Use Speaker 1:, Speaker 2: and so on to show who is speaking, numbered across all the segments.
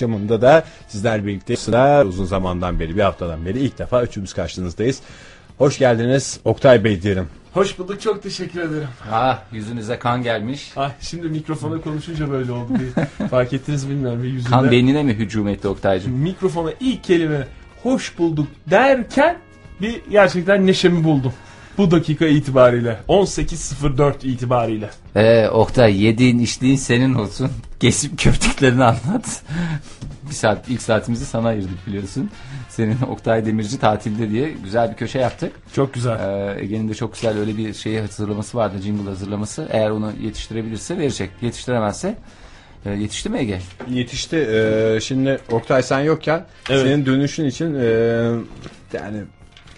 Speaker 1: akşamında da sizler birlikte sıra uzun zamandan beri bir haftadan beri ilk defa üçümüz karşınızdayız. Hoş geldiniz Oktay Bey diyelim.
Speaker 2: Hoş bulduk çok teşekkür ederim.
Speaker 3: Ah yüzünüze kan gelmiş.
Speaker 2: Ah, şimdi mikrofona konuşunca böyle oldu. Bir fark ettiniz bilmiyorum bir yüzümde.
Speaker 3: Kan beynine mi hücum etti Oktay'cığım?
Speaker 2: Mikrofona ilk kelime hoş bulduk derken bir gerçekten neşemi buldum. Bu dakika itibariyle 18.04 itibariyle.
Speaker 3: Ee, Oktay yediğin içtiğin senin olsun. Kesip köptüklerini anlat. bir saat ilk saatimizi sana ayırdık biliyorsun. Senin Oktay Demirci tatilde diye güzel bir köşe yaptık.
Speaker 2: Çok güzel.
Speaker 3: Ee, Ege'nin de çok güzel öyle bir şeyi hazırlaması vardı jingle hazırlaması. Eğer onu yetiştirebilirse verecek. Yetiştiremezse e, yetişti mi Ege?
Speaker 1: Yetişti. Ee, şimdi Oktay sen yokken
Speaker 2: Evet.
Speaker 1: senin dönüşün için ee, yani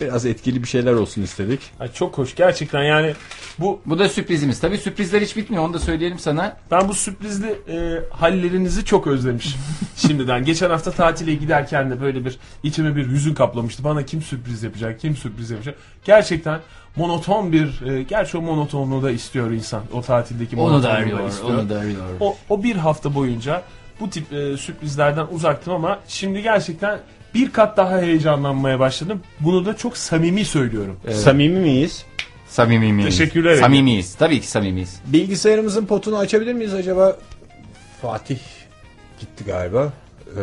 Speaker 1: biraz etkili bir şeyler olsun istedik.
Speaker 2: Ay, çok hoş gerçekten yani bu
Speaker 3: Bu da sürprizimiz. Tabii sürprizler hiç bitmiyor onu da söyleyelim sana.
Speaker 2: ben bu sürprizli e, hallerinizi çok özlemişim şimdiden. Geçen hafta tatile giderken de böyle bir içime bir hüzün kaplamıştı. Bana kim sürpriz yapacak, kim sürpriz yapacak. Gerçekten monoton bir, e, gerçi o monotonluğu da istiyor insan. O tatildeki
Speaker 3: Onu da
Speaker 2: monotonluğu
Speaker 3: arıyor.
Speaker 2: istiyor.
Speaker 3: Onu da arıyor.
Speaker 2: O, o bir hafta boyunca bu tip e, sürprizlerden uzaktım ama şimdi gerçekten bir kat daha heyecanlanmaya başladım. Bunu da çok samimi söylüyorum.
Speaker 1: Samimi miyiz?
Speaker 3: Samimi miyiz?
Speaker 2: Teşekkürler Ege.
Speaker 3: Samimiyiz. Tabii ki samimiyiz.
Speaker 1: Bilgisayarımızın potunu açabilir miyiz acaba? Fatih gitti galiba. Ee,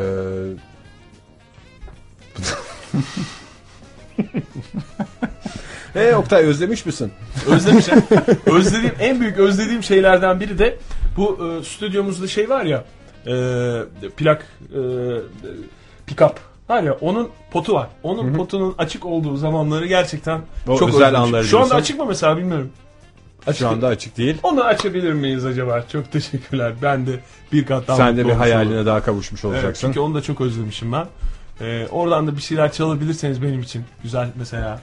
Speaker 1: Hey Oktay özlemiş misin?
Speaker 2: Özlemişim. özlediğim en büyük özlediğim şeylerden biri de bu e, stüdyomuzda şey var ya e, plak e, pick-up var ya onun potu var. Onun potunun açık olduğu zamanları gerçekten
Speaker 1: O
Speaker 2: çok
Speaker 1: özel
Speaker 2: özlemişim.
Speaker 1: anları
Speaker 2: Şu anda
Speaker 1: diyorsun.
Speaker 2: açık mı mesela bilmiyorum.
Speaker 1: Şu anda açık değil.
Speaker 2: Onu açabilir miyiz acaba? Çok teşekkürler. Ben de bir kat daha
Speaker 1: Sen
Speaker 2: mutlu
Speaker 1: de bir
Speaker 2: olmuş
Speaker 1: hayaline
Speaker 2: oldum.
Speaker 1: daha kavuşmuş
Speaker 2: Evet,
Speaker 1: olacaksın.
Speaker 2: çünkü onu da çok özlemişim ben. E, oradan da bir şeyler çalabilirseniz benim için güzel mesela.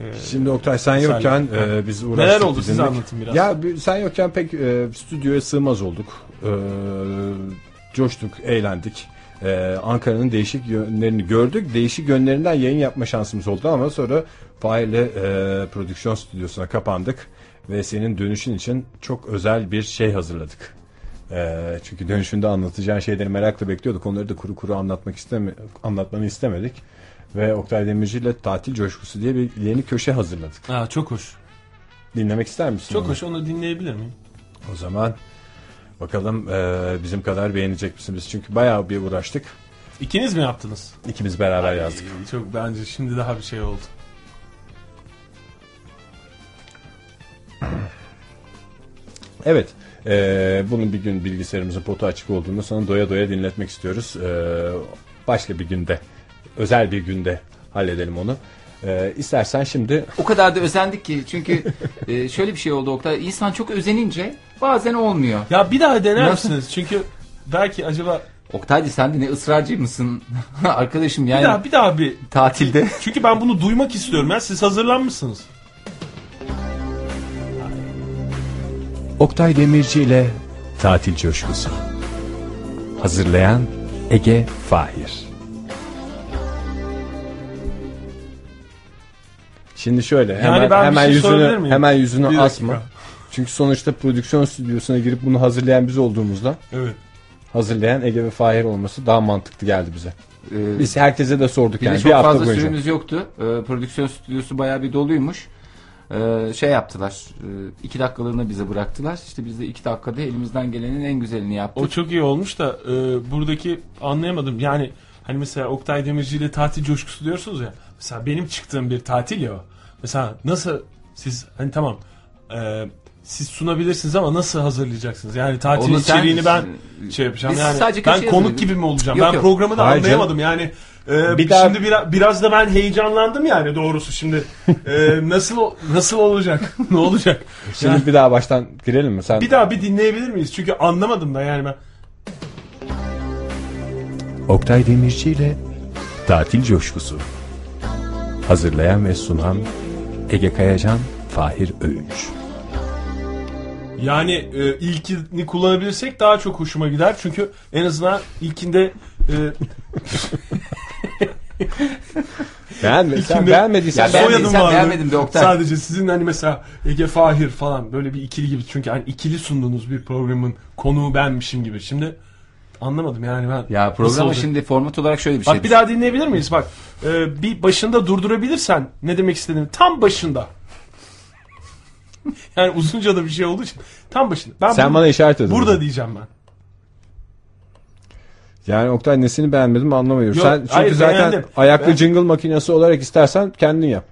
Speaker 2: E,
Speaker 1: Şimdi Oktay sen
Speaker 2: Sen-
Speaker 1: yokken e, biz uğraştık.
Speaker 2: Neler oldu size
Speaker 1: bizimle.
Speaker 2: anlatın biraz.
Speaker 1: Ya bi- sen yokken pek e, stüdyoya sığmaz olduk. E, coştuk, eğlendik. E, Ankara'nın değişik yönlerini gördük. Değişik yönlerinden yayın yapma şansımız oldu ama sonra Fahir'le e, prodüksiyon stüdyosuna kapandık. Ve senin dönüşün için çok özel bir şey hazırladık. E, çünkü dönüşünde anlatacağın şeyleri merakla bekliyorduk. Onları da kuru kuru anlatmak istemi anlatmanı istemedik. Ve Oktay Demirci ile Tatil Coşkusu diye bir yeni köşe hazırladık.
Speaker 2: Aa, çok hoş.
Speaker 1: Dinlemek ister misin?
Speaker 2: Çok
Speaker 1: onu?
Speaker 2: hoş onu dinleyebilir miyim?
Speaker 1: O zaman bakalım e, bizim kadar beğenecek misiniz? Çünkü bayağı bir uğraştık.
Speaker 2: İkiniz mi yaptınız?
Speaker 1: İkimiz beraber yazdık.
Speaker 2: Ee, Çok bence şimdi daha bir şey oldu.
Speaker 1: Evet. e, bunun bir gün bilgisayarımızın potu açık olduğunu sana doya doya dinletmek istiyoruz. E, başka bir günde, özel bir günde halledelim onu. E, istersen şimdi
Speaker 3: O kadar da özendik ki çünkü e, şöyle bir şey oldu Oktay. İnsan çok özenince bazen olmuyor.
Speaker 2: Ya bir daha dener
Speaker 3: Nasıl?
Speaker 2: misiniz? Çünkü belki acaba
Speaker 3: Oktay sen de ne ısrarcı mısın arkadaşım yani
Speaker 2: bir daha bir daha bir.
Speaker 3: tatilde. e,
Speaker 2: Çünkü ben bunu duymak istiyorum. Ya siz hazırlanmışsınız.
Speaker 1: Oktay Demirci ile Tatil Coşkusu. Hazırlayan Ege Fahir. Şimdi şöyle hemen
Speaker 2: ben bir
Speaker 1: hemen
Speaker 2: şey sorabilir
Speaker 1: yüzünü
Speaker 2: miyim?
Speaker 1: hemen yüzünü
Speaker 2: Bir dakika.
Speaker 1: asma. Çünkü sonuçta prodüksiyon stüdyosuna girip bunu hazırlayan biz olduğumuzda
Speaker 2: Evet.
Speaker 1: hazırlayan Ege ve Fahir olması daha mantıklı geldi bize.
Speaker 3: Ee,
Speaker 1: Biz herkese de sorduk
Speaker 3: bir
Speaker 1: yani
Speaker 3: de çok
Speaker 1: bir hafta
Speaker 3: fazla
Speaker 1: boyunca.
Speaker 3: süremiz yoktu. Ee, prodüksiyon stüdyosu bayağı bir doluymuş. Ee, şey yaptılar. e, iki dakikalığını bize bıraktılar. İşte biz de iki dakikada elimizden gelenin en güzelini yaptık.
Speaker 2: O çok iyi olmuş da e, buradaki anlayamadım. Yani hani mesela Oktay Demirci ile tatil coşkusu diyorsunuz ya. Mesela benim çıktığım bir tatil ya o. Mesela nasıl siz hani tamam e, siz sunabilirsiniz ama nasıl hazırlayacaksınız? Yani tatil
Speaker 3: Onu sen-
Speaker 2: içeriğini ben şey yapacağım
Speaker 3: Biz
Speaker 2: yani
Speaker 3: sadece
Speaker 2: ben
Speaker 3: köşeye
Speaker 2: konuk
Speaker 3: yazıyoruz.
Speaker 2: gibi mi olacağım?
Speaker 3: Yok,
Speaker 2: ben
Speaker 3: yok.
Speaker 2: programı da
Speaker 1: Hayır
Speaker 2: anlayamadım yani. e,
Speaker 1: Bir daha-
Speaker 2: şimdi biraz, biraz da ben heyecanlandım yani doğrusu şimdi. E, nasıl o- nasıl olacak? ne olacak? Yani
Speaker 1: Şimdi bir daha baştan girelim mi? Sen
Speaker 2: bir daha bir dinleyebilir miyiz? Çünkü anlamadım da yani ben.
Speaker 1: Oktay Demirci ile Tatil Coşkusu Hazırlayan ve sunan Ege Kayacan, Fahir Öğünç
Speaker 2: Yani e, ilkini kullanabilirsek daha çok hoşuma gider. Çünkü en azından ilkinde e,
Speaker 1: Beğenme, sen
Speaker 2: İkinde-
Speaker 1: beğenmediysen
Speaker 3: Ya
Speaker 1: ben...
Speaker 3: beğenmediysen
Speaker 2: soyadım vardı.
Speaker 3: beğenmedim de Oktay.
Speaker 2: Sadece sizin hani mesela Ege Fahir falan böyle bir ikili gibi. Çünkü hani ikili sunduğunuz bir programın konuğu benmişim gibi. Şimdi anlamadım yani ben.
Speaker 3: Ya
Speaker 2: Nasıl
Speaker 3: programı
Speaker 2: olacak?
Speaker 3: şimdi format olarak şöyle bir
Speaker 2: Bak
Speaker 3: şey.
Speaker 2: bir daha dinleyebilir miyiz? Bak e, bir başında durdurabilirsen ne demek istediğimi tam başında. Yani uzunca da bir şey olduğu için tam başında. Ben
Speaker 1: Sen
Speaker 2: bunu-
Speaker 1: bana işaret edin.
Speaker 2: burada diyeceğim ben.
Speaker 1: Yani Oktay nesini beğenmedim anlamıyorum.
Speaker 2: Yok,
Speaker 1: Sen çünkü
Speaker 2: hayır,
Speaker 1: zaten
Speaker 2: beğendim.
Speaker 1: ayaklı
Speaker 2: Ben-
Speaker 1: jingle makinesi olarak istersen kendin yap.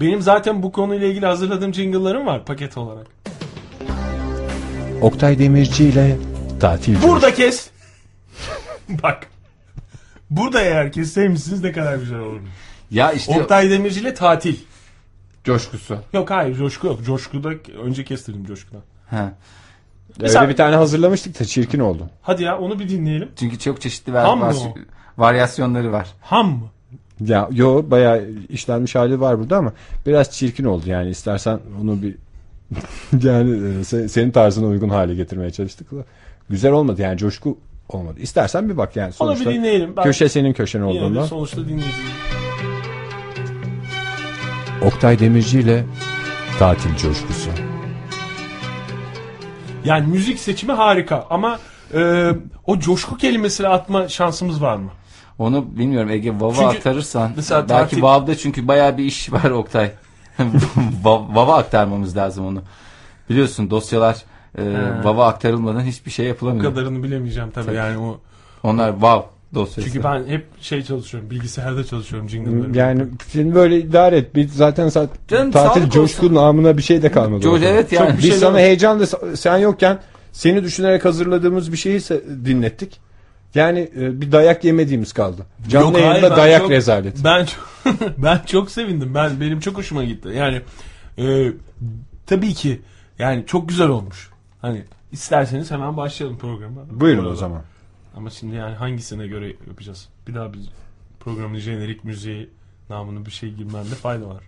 Speaker 2: Benim zaten bu konuyla ilgili hazırladığım jingle'larım var paket olarak.
Speaker 1: Oktay Demirci ile tatil.
Speaker 2: Burada kes. Bak. Burada eğer kesseymişsiniz ne kadar güzel olurdu.
Speaker 3: Ya işte
Speaker 2: Oktay Demirci ile tatil.
Speaker 3: coşkusu.
Speaker 2: Yok hayır coşku yok. Coşkuda önce kestirdim coşkudan.
Speaker 3: Ha.
Speaker 1: Öyle bir tane hazırlamıştık da çirkin oldu.
Speaker 2: Hadi ya onu bir dinleyelim.
Speaker 3: Çünkü çok çeşitli
Speaker 2: Tam mı
Speaker 3: var- varyasyonları var.
Speaker 2: Ham mı?
Speaker 1: Ya yo bayağı işlenmiş hali var burada ama biraz çirkin oldu yani istersen onu bir yani e, se- senin tarzına uygun hale getirmeye çalıştık da güzel olmadı yani coşku olmadı. İstersen bir bak yani
Speaker 2: Onu
Speaker 1: sonuçta
Speaker 2: bir dinleyelim. Ben
Speaker 1: köşe senin köşen
Speaker 2: yine de
Speaker 1: olduğunda.
Speaker 2: sonuçta dinleyeceğim.
Speaker 1: Oktay Demirci ile tatil coşkusu.
Speaker 2: Yani müzik seçimi harika ama e, o coşku kelimesini atma şansımız var mı?
Speaker 3: Onu bilmiyorum Ege Vava
Speaker 2: Çünkü
Speaker 3: aktarırsan
Speaker 2: mesela
Speaker 3: belki
Speaker 2: tatil-
Speaker 3: Vav'da çünkü bayağı bir iş var Oktay. Va- Vava aktarmamız lazım onu. Biliyorsun dosyalar e, Vava aktarılmadan hiçbir şey
Speaker 2: Bu
Speaker 3: yapılamıyor.
Speaker 2: kadarını bilemeyeceğim tabii, yani o.
Speaker 3: Onlar Vav dosyası.
Speaker 2: Çünkü ben hep şey çalışıyorum. Bilgisayarda çalışıyorum jingle'ları.
Speaker 1: Yani seni böyle idare et. Bir zaten sa-
Speaker 3: Canım,
Speaker 1: tatil
Speaker 3: sağlık
Speaker 1: coşku
Speaker 3: olsun.
Speaker 1: namına bir şey de kalmadı.
Speaker 3: Coş-
Speaker 1: ortada.
Speaker 3: evet yani.
Speaker 1: Biz
Speaker 2: şey
Speaker 1: sana
Speaker 2: yok.
Speaker 1: heyecanla sa- sen yokken seni düşünerek hazırladığımız bir şeyi se- dinlettik. Yani e, bir dayak yemediğimiz kaldı. Canlı
Speaker 2: Yok,
Speaker 1: yayında
Speaker 2: hayır, ben
Speaker 1: dayak
Speaker 2: çok-
Speaker 1: rezaleti.
Speaker 2: Ben çok, ben çok sevindim. Ben benim çok hoşuma gitti. Yani e, tabii ki yani çok güzel olmuş. Hani isterseniz hemen başlayalım programa.
Speaker 1: Buyurun
Speaker 2: Bu
Speaker 1: o
Speaker 2: arada.
Speaker 1: zaman.
Speaker 2: Ama şimdi yani hangisine göre yapacağız? Bir daha biz programın jenerik müziği namını bir şey girmemde fayda var.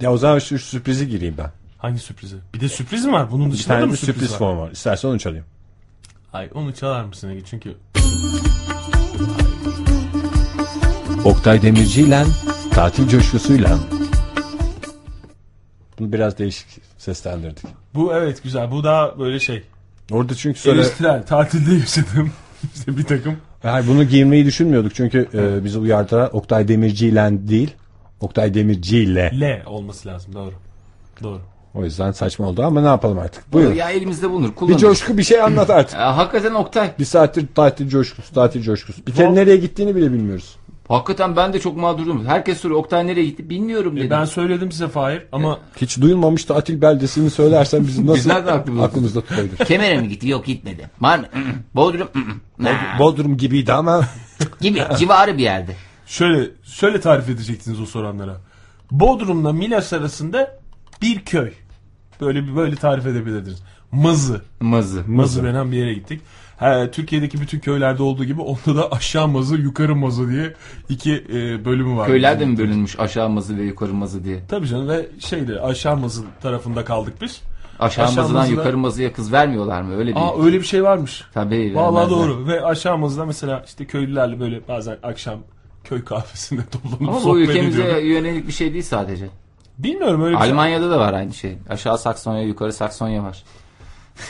Speaker 1: Ya o zaman şu sürprizi gireyim ben.
Speaker 2: Hangi sürprizi? Bir de sürpriz mi var? Bunun
Speaker 1: Bir
Speaker 2: dışında da
Speaker 1: tane
Speaker 2: mı
Speaker 1: bir
Speaker 2: sürpriz,
Speaker 1: sürpriz
Speaker 2: var?
Speaker 1: form var. İstersen onu çalayım.
Speaker 2: Ay onu çalar mısın Ege? Çünkü
Speaker 1: Oktay Demirci ile tatil coşkusuyla. Bunu biraz değişik seslendirdik.
Speaker 2: bu evet güzel. Bu daha böyle şey.
Speaker 1: Orada çünkü
Speaker 2: Söyle.
Speaker 1: söyle...
Speaker 2: tatilde yaşadığım işte bir takım
Speaker 1: Hayır bunu giymeyi düşünmüyorduk çünkü e, bizi uyardılar Oktay Demirci ile değil Oktay Demirci ile.
Speaker 2: L olması lazım. Doğru. Doğru.
Speaker 1: O yüzden saçma oldu ama ne yapalım artık. Buyur.
Speaker 3: Ya elimizde bulunur.
Speaker 1: Bir
Speaker 3: Kullanırız.
Speaker 1: coşku bir şey anlat artık.
Speaker 3: Ya hakikaten Oktay.
Speaker 1: Bir saattir tatil coşkusu tatil coşkusu. Bir kere
Speaker 2: Bu-
Speaker 1: nereye gittiğini bile bilmiyoruz.
Speaker 3: Hakikaten ben de çok mağdurum. Herkes soruyor Oktay nereye gitti? Bilmiyorum
Speaker 2: E,
Speaker 3: dedim.
Speaker 2: ben söyledim size Fahir ama
Speaker 1: Hiç duyulmamış tatil beldesini söylersen biz nasıl
Speaker 3: nereden aklımızda-
Speaker 1: aklımızda tutabilir?
Speaker 3: Kemer'e mi gitti? Yok gitmedi. Var mı? Bodrum Nah,
Speaker 1: Bodrum gibiydi ama
Speaker 3: gibi civarı bir yerde.
Speaker 2: şöyle şöyle tarif edecektiniz o soranlara. Bodrum'la Milas arasında bir köy. Böyle bir böyle tarif edebilirdiniz. Mazı.
Speaker 3: Mazı.
Speaker 2: Mazı denen bir yere gittik. He, Türkiye'deki bütün köylerde olduğu gibi onda da aşağı mazı, yukarı mazı diye iki e, bölümü var.
Speaker 3: Köyler de mi bölünmüş aşağı mazı ve yukarı mazı diye?
Speaker 2: Tabii canım ve şeydi aşağı mazı tarafında kaldık biz.
Speaker 3: Aşağı,
Speaker 2: Aşağı
Speaker 3: mazıdan
Speaker 2: mazıda-
Speaker 3: yukarı mazıya kız vermiyorlar mı? Öyle bir.
Speaker 2: Aa öyle bir şey varmış.
Speaker 3: Tabii.
Speaker 2: Vallahi
Speaker 3: vermezler.
Speaker 2: doğru ve aşağı mazıda mesela işte köylülerle böyle bazen akşam köy kahvesinde toplanıp
Speaker 3: Ama bu
Speaker 2: sohbet
Speaker 3: ülkemize
Speaker 2: ediyorduk.
Speaker 3: yönelik bir şey değil sadece.
Speaker 2: Bilmiyorum öyle bir şey.
Speaker 3: Almanya'da da var aynı şey. Aşağı Saksonya, yukarı Saksonya var.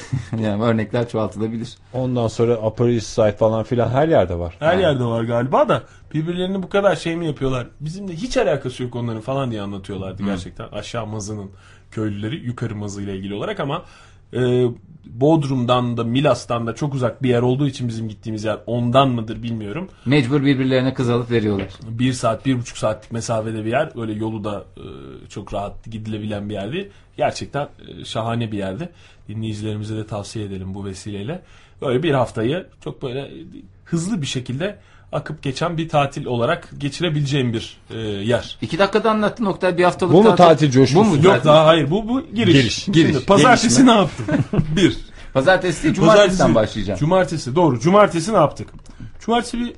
Speaker 3: yani örnekler çoğaltılabilir.
Speaker 1: ondan sonra Upper East Side falan filan her yerde var.
Speaker 2: Her yerde var galiba da birbirlerini bu kadar şey mi yapıyorlar? Bizimle hiç alakası yok onların falan diye anlatıyorlardı gerçekten. Aşağı mazının köylüleri yukarı mazı ile ilgili olarak ama e, Bodrum'dan da Milas'tan da çok uzak bir yer olduğu için bizim gittiğimiz yer ondan mıdır bilmiyorum.
Speaker 3: Mecbur birbirlerine kız alıp veriyorlar.
Speaker 2: Bir saat, bir buçuk saatlik mesafede bir yer. Öyle yolu da e, çok rahat gidilebilen bir yerdi. Gerçekten e, şahane bir yerdi. Dinleyicilerimize de tavsiye edelim bu vesileyle. Böyle bir haftayı çok böyle e, hızlı bir şekilde akıp geçen bir tatil olarak geçirebileceğim bir e, yer.
Speaker 3: İki dakikada anlattın Oktay bir haftalık
Speaker 1: Bu mu tatil coşkusu?
Speaker 3: Bu mu?
Speaker 2: Yok daha hayır bu bu giriş.
Speaker 1: Giriş,
Speaker 2: Şimdi
Speaker 1: giriş.
Speaker 2: pazartesi
Speaker 1: Giriş mi?
Speaker 2: ne yaptım? bir.
Speaker 3: Pazartesi değil, cumartesiden başlayacağım.
Speaker 2: Cumartesi doğru. Cumartesi ne yaptık? Cumartesi bir,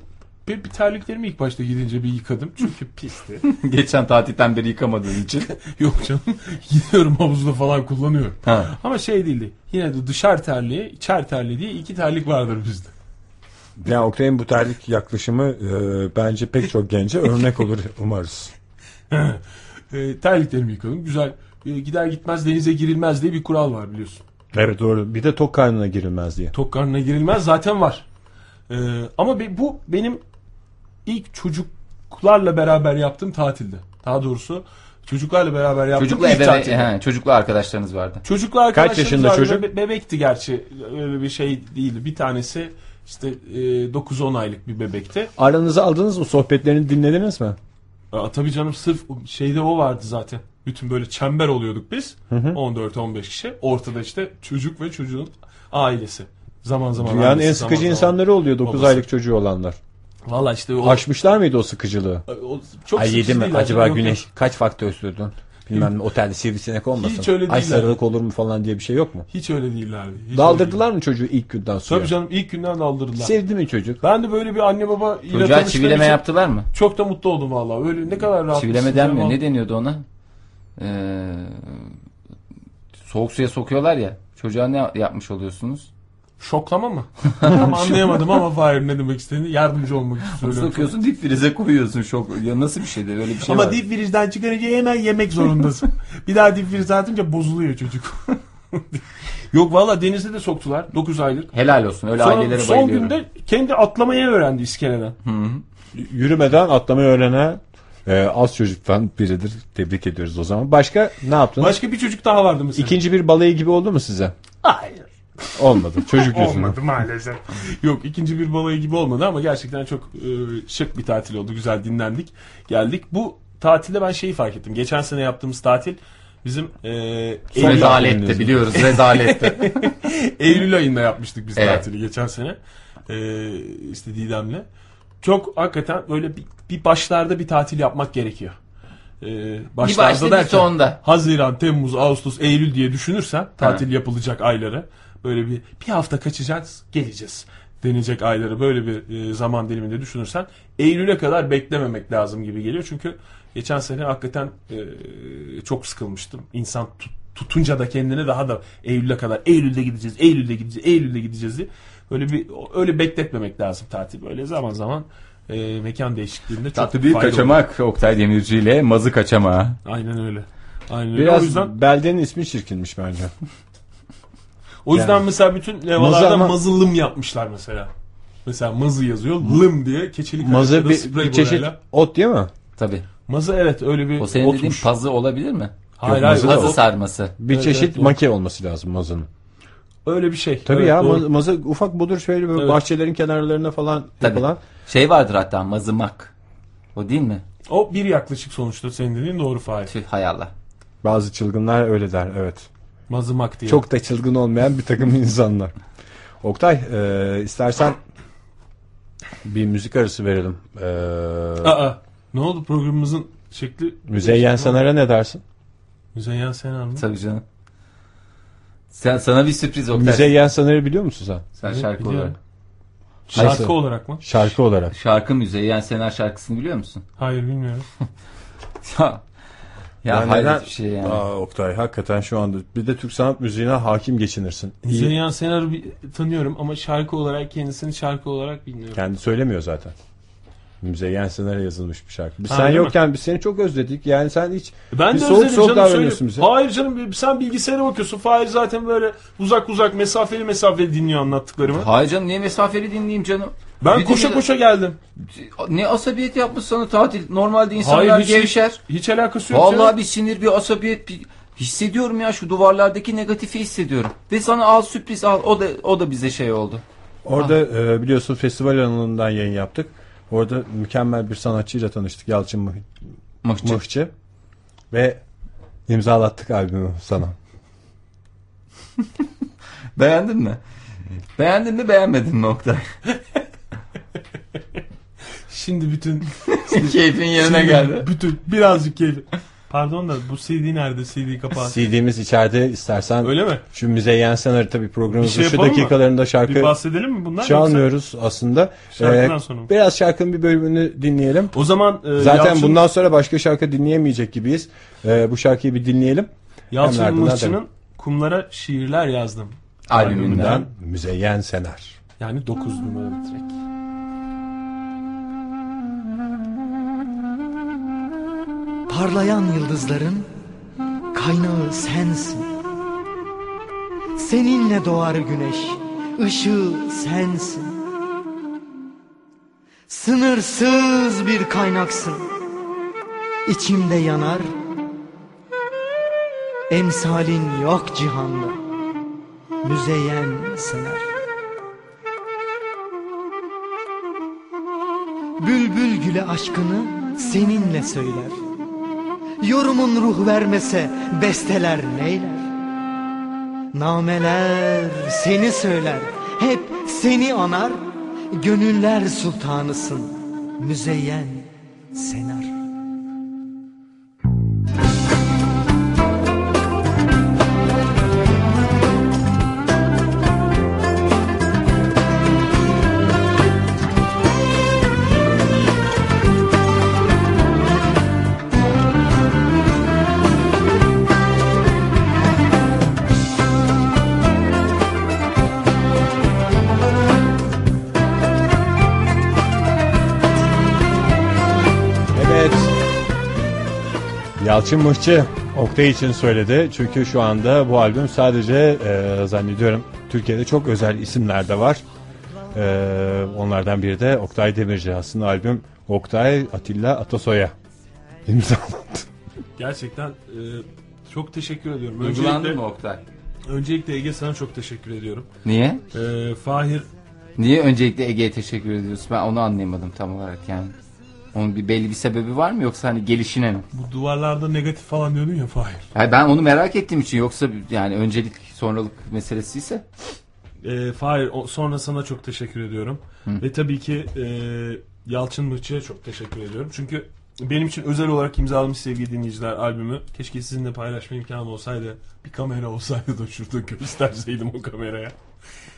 Speaker 2: bir, bir terliklerimi ilk başta gidince bir yıkadım. Çünkü pisti.
Speaker 3: Geçen tatilden beri yıkamadığın için.
Speaker 2: Yok canım. Gidiyorum havuzda falan kullanıyorum.
Speaker 3: Ha.
Speaker 2: Ama şey değildi. Yine de dışarı terliği, içer terliği diye iki terlik vardır bizde.
Speaker 1: Yani Oktay'ın bu terlik yaklaşımı e, bence pek çok gence örnek olur umarız.
Speaker 2: E, terliklerimi yıkadım. Güzel. E, gider gitmez denize girilmez diye bir kural var biliyorsun.
Speaker 1: Evet doğru. Bir de tok karnına girilmez diye.
Speaker 2: Tok karnına girilmez zaten var. Ee, ama be- bu benim ilk çocuklarla beraber yaptığım tatilde. Daha doğrusu çocuklarla beraber yaptığım
Speaker 3: Çocuklu
Speaker 2: ilk
Speaker 3: ebeve,
Speaker 2: tatilde.
Speaker 3: he, çocuklu arkadaşlarınız vardı.
Speaker 2: Çocuklar arkadaşlarımız
Speaker 1: yaşında
Speaker 2: vardı.
Speaker 1: çocuk?
Speaker 2: Be- bebekti gerçi. Öyle bir şey değildi. Bir tanesi işte e, 9-10 aylık bir bebekti.
Speaker 1: Aranızı aldınız mı? Sohbetlerini dinlediniz mi?
Speaker 2: Aa, tabii canım sırf şeyde o vardı zaten. Bütün böyle çember oluyorduk biz. 14-15 kişi. Ortada işte çocuk ve çocuğun ailesi. Zaman zaman
Speaker 1: Dünyanın en
Speaker 2: annesi,
Speaker 1: sıkıcı
Speaker 2: zaman zaman-
Speaker 1: insanları oluyor 9
Speaker 2: Babası.
Speaker 1: aylık çocuğu olanlar.
Speaker 2: Valla işte o,
Speaker 1: Aşmışlar mıydı o sıkıcılığı?
Speaker 2: o çok
Speaker 4: Ay
Speaker 2: sıkıcı
Speaker 4: yedi mi?
Speaker 2: değil
Speaker 4: Acaba
Speaker 2: zaten. Yok,
Speaker 4: güneş kaç vakte ösürdün? Bilmem ne, otelde sivrisinek olmasın.
Speaker 2: Hiç öyle
Speaker 1: Ay
Speaker 2: değiller.
Speaker 1: sarılık olur mu falan diye bir şey yok mu?
Speaker 2: Hiç öyle değillerdi. Hiç öyle değil.
Speaker 1: Daldırdılar mı çocuğu ilk günden
Speaker 2: Tabii
Speaker 1: sonra?
Speaker 2: canım ilk günden daldırdılar.
Speaker 1: Sevdi mi çocuk?
Speaker 2: ben de böyle bir anne baba ile
Speaker 3: Çocuğa
Speaker 2: tanıştığım
Speaker 3: çivileme
Speaker 2: için
Speaker 3: yaptılar mı?
Speaker 2: Çok da mutlu oldum valla. Öyle ne kadar rahat.
Speaker 3: Çivileme
Speaker 2: mısın
Speaker 3: denmiyor.
Speaker 2: ya?
Speaker 3: Ne deniyordu ona? Ee, soğuk suya sokuyorlar ya. Çocuğa ne yapmış oluyorsunuz?
Speaker 2: Şoklama mı? Tam anlayamadım ama Fahir ne demek istediğini yardımcı olmak için söylüyorum.
Speaker 3: Sokuyorsun dip frize koyuyorsun şok. Ya nasıl bir şeydir öyle bir şey
Speaker 2: şey. Ama
Speaker 3: var.
Speaker 2: dip frizden çıkarınca hemen yemek zorundasın. bir daha dip frize atınca bozuluyor çocuk. Yok valla denize de soktular 9 aylık.
Speaker 3: Helal olsun öyle
Speaker 2: Sonra
Speaker 3: ailelere
Speaker 2: son
Speaker 3: bayılıyorum.
Speaker 2: günde kendi atlamayı öğrendi iskeleden.
Speaker 1: Yürümeden atlamayı öğrenen e, az çocuktan biridir. Tebrik ediyoruz o zaman. Başka ne yaptınız?
Speaker 2: Başka bir çocuk daha vardı mesela.
Speaker 1: İkinci bir balayı gibi oldu mu size?
Speaker 2: Hayır.
Speaker 1: Olmadı. Çocuk yüzünden.
Speaker 2: Olmadı maalesef. Yok ikinci bir balayı gibi olmadı ama gerçekten çok e, şık bir tatil oldu. Güzel dinlendik. Geldik. Bu tatilde ben şeyi fark ettim. Geçen sene yaptığımız tatil bizim e, Eylül,
Speaker 3: Rezalette biliyoruz rezalette.
Speaker 2: Eylül ayında yapmıştık biz
Speaker 3: Evet.
Speaker 2: tatili geçen sene. E, işte Didem'le. Çok hakikaten böyle bir, bir başlarda bir tatil yapmak gerekiyor. E,
Speaker 3: bir başta bir
Speaker 2: derken-
Speaker 3: sonda.
Speaker 2: Haziran, Temmuz, Ağustos, Eylül diye düşünürsen tatil yapılacak ayları böyle bir bir hafta kaçacağız, geleceğiz denecek ayları böyle bir e, zaman diliminde düşünürsen Eylül'e kadar beklememek lazım gibi geliyor. Çünkü geçen sene hakikaten e, çok sıkılmıştım. İnsan tut- tutunca da kendini daha da Eylül'e kadar Eylül'de gideceğiz, Eylül'de gideceğiz, Eylül'de gideceğiz diye böyle bir öyle bekletmemek lazım tatil. Böyle zaman zaman e, mekan değişikliğinde çok
Speaker 3: Tatlı bir
Speaker 2: fayda olur.
Speaker 3: kaçamak Oktay Demirci ile mazı kaçamağı.
Speaker 2: Aynen öyle. Aynen öyle. O
Speaker 1: Biraz
Speaker 2: yüzden
Speaker 1: beldenin ismi çirkinmiş bence.
Speaker 2: O yüzden
Speaker 1: Yani.
Speaker 2: mesela bütün
Speaker 1: Mazı
Speaker 2: levalarda
Speaker 1: ama-
Speaker 2: mazılım yapmışlar mesela. Mesela mazı yazıyor. Lım diye keçeli
Speaker 1: Mazı
Speaker 2: kaynakları
Speaker 1: bir,
Speaker 2: sprey
Speaker 1: bir çeşit
Speaker 2: boyayla.
Speaker 1: ot değil mi?
Speaker 3: Tabii.
Speaker 2: Mazı evet öyle bir
Speaker 3: O senin dediğin
Speaker 2: otmuş.
Speaker 3: pazı olabilir mi?
Speaker 2: hayır
Speaker 1: Yok,
Speaker 2: hayır.
Speaker 1: mazı
Speaker 2: o-
Speaker 1: da
Speaker 3: Pazı
Speaker 2: o-
Speaker 3: sarması.
Speaker 1: Bir
Speaker 2: Evet,
Speaker 1: çeşit
Speaker 2: evet, doğru.
Speaker 1: make olması lazım mazının.
Speaker 2: öyle bir şey.
Speaker 1: Tabii
Speaker 2: Evet,
Speaker 1: ya
Speaker 2: doğru.
Speaker 1: ma- maza ufak budur şöyle böyle
Speaker 2: Evet.
Speaker 1: bahçelerin kenarlarına falan
Speaker 3: Tabii.
Speaker 1: yapılan.
Speaker 3: Şey vardır hatta mazımak. O değil mi?
Speaker 2: O bir yaklaşık sonuçta senin dediğin doğru Fahir.
Speaker 3: Tüh hay Allah.
Speaker 1: Bazı çılgınlar öyle der evet.
Speaker 2: Mazımak diye.
Speaker 1: Çok da çılgın olmayan bir takım insanlar. Oktay e, istersen bir müzik arası verelim. E,
Speaker 2: Aa, ne oldu programımızın şekli?
Speaker 1: Müzeyyen Sanar'a ne dersin?
Speaker 2: Müzeyyen Senar mı?
Speaker 3: Tabii canım. Sen, sana bir sürpriz Oktay.
Speaker 1: Müzeyyen Sanar'ı biliyor musun sen?
Speaker 3: Sen şarkı
Speaker 2: Biliyorum.
Speaker 3: olarak.
Speaker 2: Şarkı
Speaker 1: Nasıl?
Speaker 2: olarak mı?
Speaker 1: Şarkı olarak.
Speaker 3: Şarkı Müzeyyen Senar şarkısını biliyor musun?
Speaker 2: Hayır bilmiyorum.
Speaker 3: ya
Speaker 1: Yani
Speaker 3: hayret
Speaker 1: neden-
Speaker 3: bir şey yani.
Speaker 1: Aa, Oktay hakikaten şu anda bir de Türk sanat müziğine hakim geçinirsin. İyi.
Speaker 2: Müzeyyen Senar'ı bir tanıyorum ama şarkı olarak kendisini şarkı olarak bilmiyorum.
Speaker 1: Kendi söylemiyor zaten. Müzeyyen Senar'a yazılmış bir şarkı. Biz
Speaker 2: Ha,
Speaker 1: sen
Speaker 2: değil mi?
Speaker 1: yokken biz seni çok özledik. Yani sen hiç
Speaker 2: E Ben
Speaker 1: Biz
Speaker 2: de
Speaker 1: soğuk
Speaker 2: özledim
Speaker 1: soğuk
Speaker 2: canım
Speaker 1: davranıyorsun
Speaker 2: söyle.
Speaker 1: bize.
Speaker 2: Hayır canım sen bilgisayara bakıyorsun. Fahir zaten böyle uzak uzak mesafeli mesafeli dinliyor anlattıklarımı.
Speaker 3: Hayır canım niye mesafeli dinleyeyim canım?
Speaker 2: Ben
Speaker 3: Bir
Speaker 2: koşa
Speaker 3: dinle-
Speaker 2: koşa geldim.
Speaker 3: Ne asabiyet yapmış sana tatil. Normalde insanlar
Speaker 2: Hayır, hiç-
Speaker 3: gevşer.
Speaker 2: Hiç alakası yok.
Speaker 3: Vallahi
Speaker 2: canım.
Speaker 3: bir sinir bir asabiyet bir... Hissediyorum ya şu duvarlardaki negatifi hissediyorum. Ve sana al sürpriz al. O da o da bize şey oldu.
Speaker 1: Orada e, biliyorsun festival alanından yayın yaptık. Orada mükemmel bir sanatçıyla tanıştık Yalçın Mıh-
Speaker 3: Mıhçı.
Speaker 1: Mıhçı. Ve imzalattık albümü sana.
Speaker 3: Beğendin mi? Beğendin mi beğenmedin mi Oktay?
Speaker 2: Şimdi bütün
Speaker 3: Keyfin yerine
Speaker 2: şimdi
Speaker 3: geldi.
Speaker 2: Bütün birazcık keyif. Pardon da bu CD nerede? CD kapağı.
Speaker 1: CD'miz içeride istersen
Speaker 2: Öyle mi?
Speaker 1: şu Müzeyyen Senar'ı tabii
Speaker 2: Bir
Speaker 1: programımızın
Speaker 2: şey
Speaker 1: şu
Speaker 2: yapalım mı?
Speaker 1: dakikalarında
Speaker 2: Bir
Speaker 1: şarkı
Speaker 2: bahsedelim mi bundan? yoksa
Speaker 1: çalmıyoruz aslında.
Speaker 2: Şarkıdan
Speaker 1: Ee,
Speaker 2: sonra mı?
Speaker 1: biraz şarkının bir bölümünü dinleyelim.
Speaker 2: O zaman e,
Speaker 1: Zaten
Speaker 2: Yalçın,
Speaker 1: bundan sonra başka şarkı dinleyemeyecek gibiyiz. Ee, bu şarkıyı bir dinleyelim. Hem
Speaker 2: Yalçın
Speaker 1: ardından
Speaker 2: Mıhçı'nın kumlara şiirler yazdım.
Speaker 3: Albümünden.
Speaker 1: Müzeyyen Senar.
Speaker 2: Yani 9 numaralı track.
Speaker 5: Parlayan yıldızların kaynağı sensin. Seninle doğar güneş, ışığı sensin. Sınırsız bir kaynaksın. İçimde yanar. Emsalin yok cihanda. Müzeyyen sener. Bülbül güle aşkını seninle söyler. Yorumun ruh vermese besteler neyler? Nameler seni söyler, hep seni anar. Gönüller sultanısın, müzeyyen senar.
Speaker 1: Evet. Yalçın Mıhçı Oktay için söyledi. Çünkü şu anda bu albüm sadece e, zannediyorum Türkiye'de çok özel isimler de var. E, onlardan biri de Oktay Demirci. Aslında albüm Oktay Atilla Atasoy'a imzalandı.
Speaker 2: Gerçekten e, çok teşekkür ediyorum.
Speaker 3: Duygulandın
Speaker 2: Öncelikle-
Speaker 3: mı Oktay?
Speaker 2: Öncelikle Ege sana çok teşekkür ediyorum.
Speaker 3: Niye?
Speaker 2: E, Fahir
Speaker 3: Niye öncelikle Ege'ye teşekkür ediyorsun? Ben onu anlayamadım tam olarak yani. Onun bir belli bir sebebi var mı yoksa hani gelişine mi?
Speaker 2: bu duvarlarda negatif falan diyordun ya Fahir.
Speaker 3: Yani ben onu merak ettiğim için yoksa bir- yani öncelik sonralık meselesi ise
Speaker 2: E, Fahir o- sonra sana çok teşekkür ediyorum. Ve tabii ki e, Yalçın Mıhçı'ya çok teşekkür ediyorum. Çünkü benim için özel olarak imzalamış sevgili dinleyiciler albümü. Keşke sizinle paylaşma imkanım olsaydı. Bir kamera olsaydı da şurada gösterseydim o kameraya.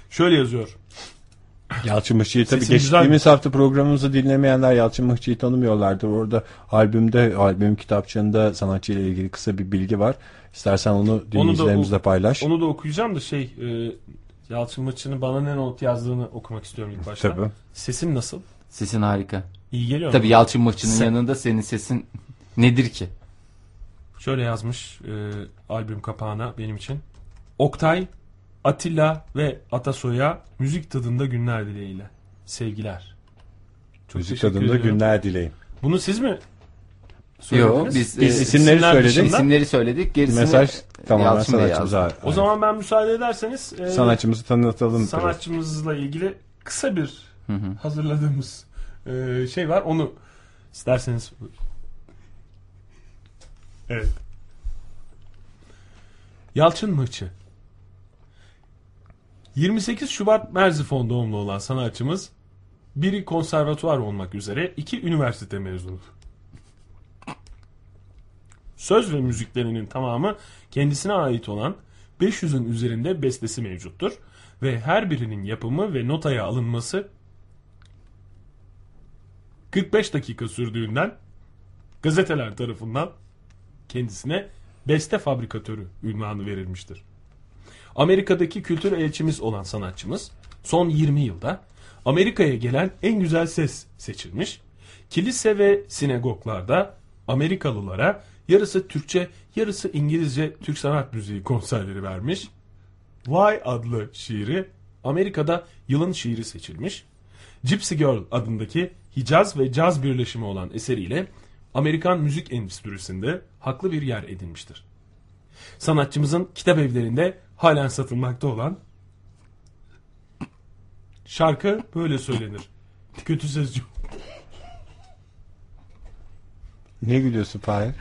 Speaker 2: Şöyle yazıyor.
Speaker 1: Yalçın Mıhçı'yı tabii
Speaker 2: Sesim güzel
Speaker 1: geçtiğimiz hafta programımızı dinlemeyenler Yalçın Mıhçı'yı tanımıyorlardır. Orada albümde, albüm kitapçığında sanatçıyla ilgili kısa bir bilgi var. İstersen onu dinleyicilerimizle paylaş.
Speaker 2: Onu da okuyacağım da şey e, Yalçın Mıhçı'nın bana ne not yazdığını okumak istiyorum ilk başta.
Speaker 1: Tabii.
Speaker 2: Sesim nasıl?
Speaker 3: sesin harika.
Speaker 2: İyi geliyor mu?
Speaker 3: Tabii Yalçın Mıhçı'nın
Speaker 2: Sen-
Speaker 3: yanında senin sesin nedir ki?
Speaker 2: Şöyle yazmış e, albüm kapağına benim için. Oktay, Atilla ve Atasoy'a müzik tadında günler dileğiyle. Sevgiler. Çok
Speaker 1: Müzik
Speaker 2: teşekkür
Speaker 1: tadında
Speaker 2: ediyorum.
Speaker 1: günler dileyim.
Speaker 2: Bunu siz mi söylediniz?
Speaker 3: Yok biz,
Speaker 1: Biz
Speaker 3: e,
Speaker 1: isimleri
Speaker 2: isimler
Speaker 1: söyledik.
Speaker 2: dışında-
Speaker 3: isimleri söyledik. Gerisini
Speaker 1: Mesaj tamamen
Speaker 3: Yalçın Bey
Speaker 1: sanatçımıza.
Speaker 3: yazdı.
Speaker 2: O zaman ben müsaade ederseniz e,
Speaker 1: sanatçımızı tanıtalım.
Speaker 2: sanatçımızla ilgili kısa bir hazırladığımız e, şey var. Onu isterseniz Evet. Yalçın Mıhçı 28 Şubat Merzifon doğumlu olan sanatçımız biri konservatuvar olmak üzere iki üniversite mezunu. Söz ve müziklerinin tamamı kendisine ait olan 500'ün üzerinde bestesi mevcuttur ve her birinin yapımı ve notaya alınması 45 dakika sürdüğünden gazeteler tarafından kendisine beste fabrikatörü ünvanı verilmiştir. Amerika'daki kültür elçimiz olan sanatçımız son 20 yılda Amerika'ya gelen en güzel ses seçilmiş. Kilise ve sinagoglarda Amerikalılara yarısı Türkçe, yarısı İngilizce Türk sanat müziği konserleri vermiş. Vay adlı şiiri Amerika'da yılın şiiri seçilmiş. Gypsy Girl adındaki Hicaz ve caz birleşimi olan eseriyle Amerikan müzik endüstrisinde haklı bir yer edinmiştir. Sanatçımızın kitap evlerinde halen satılmakta olan şarkı böyle söylenir. Kötü söz yok.
Speaker 1: Ne gülüyorsun Fahir?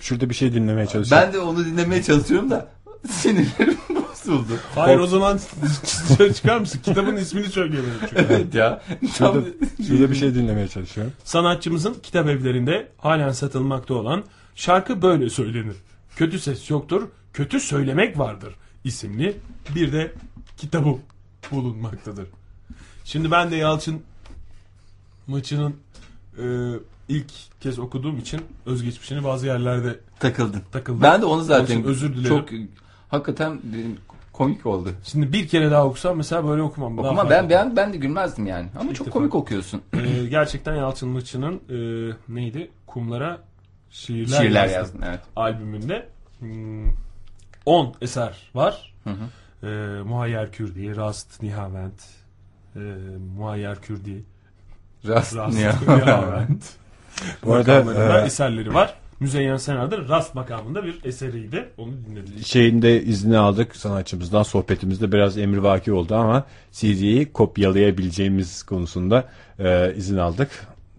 Speaker 1: Şurada bir şey dinlemeye çalışıyorum.
Speaker 3: Ben de onu dinlemeye çalışıyorum da sinirlerim bozuldu.
Speaker 2: Hayır o zaman söz çıkar mısın? Kitabın ismini söyleyemiyorum çünkü.
Speaker 3: Evet ya. Tam...
Speaker 1: Şurada, şurada bir şey dinlemeye çalışıyorum.
Speaker 2: Sanatçımızın kitap evlerinde halen satılmakta olan Şarkı Böyle Söylenir. Kötü ses yoktur, kötü söylemek vardır isimli bir de kitabı bulunmaktadır. Şimdi ben de Yalçın maçının e, ilk kez okuduğum için özgeçmişini bazı yerlerde
Speaker 3: Takıldın.
Speaker 2: takıldım.
Speaker 3: Ben de onu zaten
Speaker 2: Onun için özür dilerim.
Speaker 3: çok hakikaten benim komik oldu.
Speaker 2: Şimdi bir kere daha okusam mesela böyle okumam. Daha
Speaker 3: Okuma ben
Speaker 2: faydalı.
Speaker 3: ben ben de gülmezdim yani. Ama çok
Speaker 2: defa.
Speaker 3: komik okuyorsun.
Speaker 2: E, gerçekten Yalçın Mıçı'nın e, neydi? Kumlara şiirler,
Speaker 3: Şiirler
Speaker 2: yazdım.
Speaker 3: yazdın evet.
Speaker 2: albümünde hmm, 10 eser var. Ee, Muayyer ee, Kürdi, Rast Nihavent, e, Muayyer Kürdi,
Speaker 3: Rastlıyor.
Speaker 2: Nihavent.
Speaker 1: Bu arada,
Speaker 2: Makamlarında
Speaker 1: e,
Speaker 2: eserleri var. Müzeyyen Senar'da Rast makamında bir eseriydi. Onu dinledik.
Speaker 1: şeyinde izni aldık sanatçımızdan sohbetimizde biraz emrivaki oldu ama CD'yi kopyalayabileceğimiz konusunda e, izin aldık.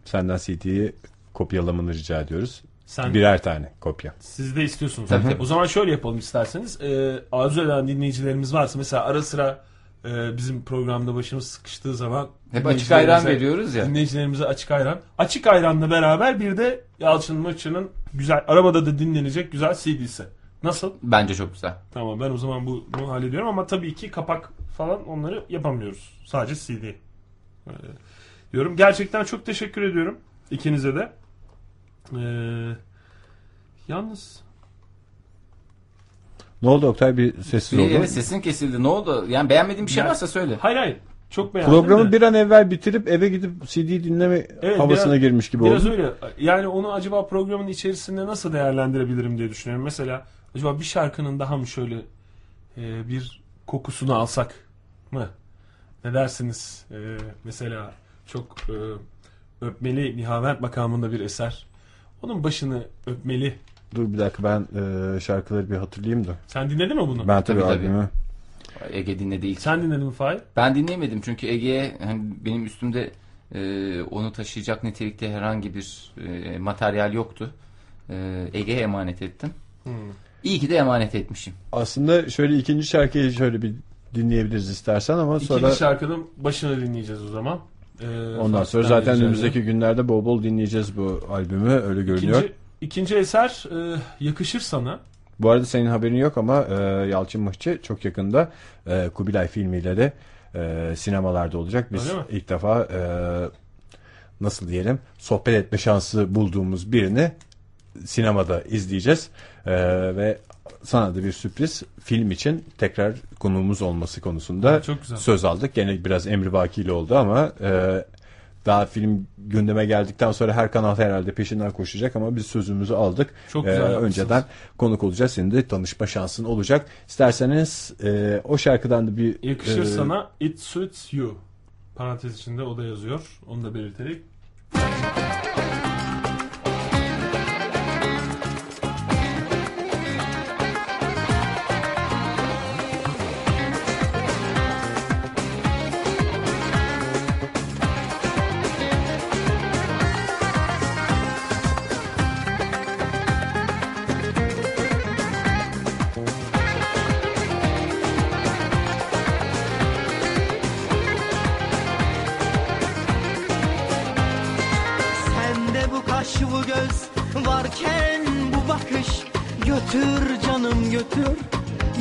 Speaker 1: Senden CD'yi kopyalamanı rica ediyoruz.
Speaker 2: Sen
Speaker 1: Birer tane kopya.
Speaker 2: siz de istiyorsunuz.
Speaker 3: Tabii, tabii.
Speaker 2: O zaman şöyle yapalım isterseniz. Ee, arzu eden dinleyicilerimiz varsa mesela ara sıra e, bizim programda başımız sıkıştığı zaman
Speaker 3: Hep açık ayran
Speaker 2: dinleyicilerimize-
Speaker 3: veriyoruz ya.
Speaker 2: Dinleyicilerimize açık ayran. Açık ayranla beraber bir de Yalçın Maçı'nın güzel arabada da dinlenecek güzel CD'si. Nasıl?
Speaker 3: Bence çok güzel.
Speaker 2: Tamam ben o zaman bu- bunu hallediyorum ama tabii ki kapak falan onları yapamıyoruz. Sadece CD. Ee, diyorum. Gerçekten çok teşekkür ediyorum ikinize de. Ee, yalnız
Speaker 1: Ne oldu Oktay bir sessiz oldu.
Speaker 3: Bir, evet sesin kesildi. Ne oldu? Yani beğenmediğin bir şey
Speaker 2: Ya-
Speaker 3: varsa söyle.
Speaker 2: hayır hayır çok beğendim
Speaker 1: Programı
Speaker 2: de.
Speaker 1: bir an evvel bitirip eve gidip CD dinleme
Speaker 2: Evet,
Speaker 1: havasına
Speaker 2: biraz-
Speaker 1: girmiş gibi
Speaker 2: Biraz
Speaker 1: oldu.
Speaker 2: öyle. Yani onu acaba programın içerisinde nasıl değerlendirebilirim diye düşünüyorum. Mesela acaba bir şarkının daha mı şöyle e, bir kokusunu alsak mı? Ne dersiniz? E, mesela çok e, öpmeli Nihavent makamında bir eser. Onun başını öpmeli.
Speaker 1: Dur bir dakika ben e, şarkıları bir hatırlayayım da.
Speaker 2: Sen dinledin mi bunu?
Speaker 1: Ben tabii,
Speaker 3: Tabii, tabii.
Speaker 1: albümü.
Speaker 3: Ege dinledi ilk.
Speaker 2: Sen dinledin mi Fahir?
Speaker 3: Ben dinleyemedim çünkü Ege'ye hani benim üstümde e, onu taşıyacak nitelikte herhangi bir e, materyal yoktu. E, Ege'ye emanet ettim. İyi ki de emanet etmişim.
Speaker 1: Aslında şöyle ikinci şarkıyı şöyle bir dinleyebiliriz istersen ama sonra
Speaker 2: İkinci şarkının başını dinleyeceğiz o zaman. E,
Speaker 1: ondan sonra
Speaker 2: Fatih'ten
Speaker 1: zaten
Speaker 2: rica
Speaker 1: önümüzdeki günlerde bol bol dinleyeceğiz bu albümü öyle görünüyor.
Speaker 2: İkinci, ikinci eser e, yakışır sana.
Speaker 1: Bu arada senin haberin yok ama e, Yalçın Mıhçı çok yakında e, Kubilay filmiyle de e, sinemalarda olacak. Biz
Speaker 2: Öyle mi?
Speaker 1: ilk defa e, nasıl diyelim sohbet etme şansı bulduğumuz birini sinemada izleyeceğiz. E, ve sana da bir sürpriz film için tekrar konuğumuz olması konusunda
Speaker 2: Çok güzel.
Speaker 1: söz aldık. Gene biraz emrivakiyle oldu ama e, daha film gündeme geldikten sonra her kanal herhalde peşinden koşacak ama biz sözümüzü aldık. E,
Speaker 2: Çok güzel yapmışsınız.
Speaker 1: önceden konuk olacağız. Senin de tanışma şansın olacak. İsterseniz e, o şarkıdan da bir
Speaker 2: Yakışır
Speaker 1: e,
Speaker 2: sana It Suits You. Parantez içinde o da yazıyor. Onu da belirterek.
Speaker 5: Sende bu kaş bu göz varken bu bakış Götür canım götür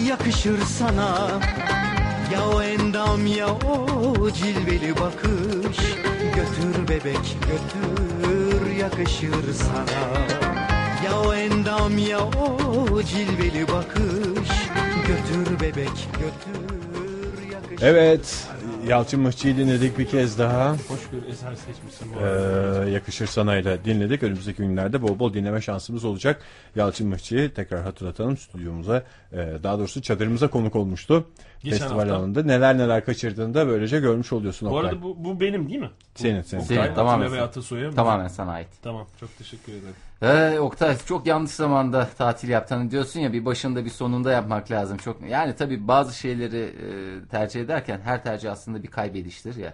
Speaker 5: yakışır sana Ya o endam ya o cilveli bakış Götür bebek götür yakışır sana Ya o endam ya o cilveli bakış Götür bebek götür yakışır
Speaker 1: Evet. Yalçın Mıhçı'yı dinledik bir kez daha.
Speaker 2: Hoş bir eser seçmişsin bu
Speaker 1: E,
Speaker 2: arada.
Speaker 1: yakışır sana'yla dinledik. Önümüzdeki günlerde bol bol dinleme şansımız olacak. Yalçın Mıhçı'yı tekrar hatırlatalım stüdyomuza e, daha doğrusu çadırımıza konuk olmuştu.
Speaker 2: Geçen
Speaker 1: Festival
Speaker 2: hafta.
Speaker 1: alanında neler neler kaçırdığını da böylece görmüş oluyorsun.
Speaker 2: bu
Speaker 1: Oktay.
Speaker 2: arada bu, bu benim değil mi?
Speaker 1: Senin senin.
Speaker 3: Senin,
Speaker 2: Oktay,
Speaker 3: tamamen
Speaker 2: Atilla
Speaker 3: senin.
Speaker 2: ve Atasoy'a mı?
Speaker 3: Tamamen sana ait.
Speaker 2: Tamam çok teşekkür ederim.
Speaker 3: Ee, Oktay çok yanlış zamanda tatil yaptığını diyorsun ya bir başında bir sonunda yapmak lazım. çok Yani tabii bazı şeyleri e, tercih ederken her tercih aslında bir kaybediştir ya.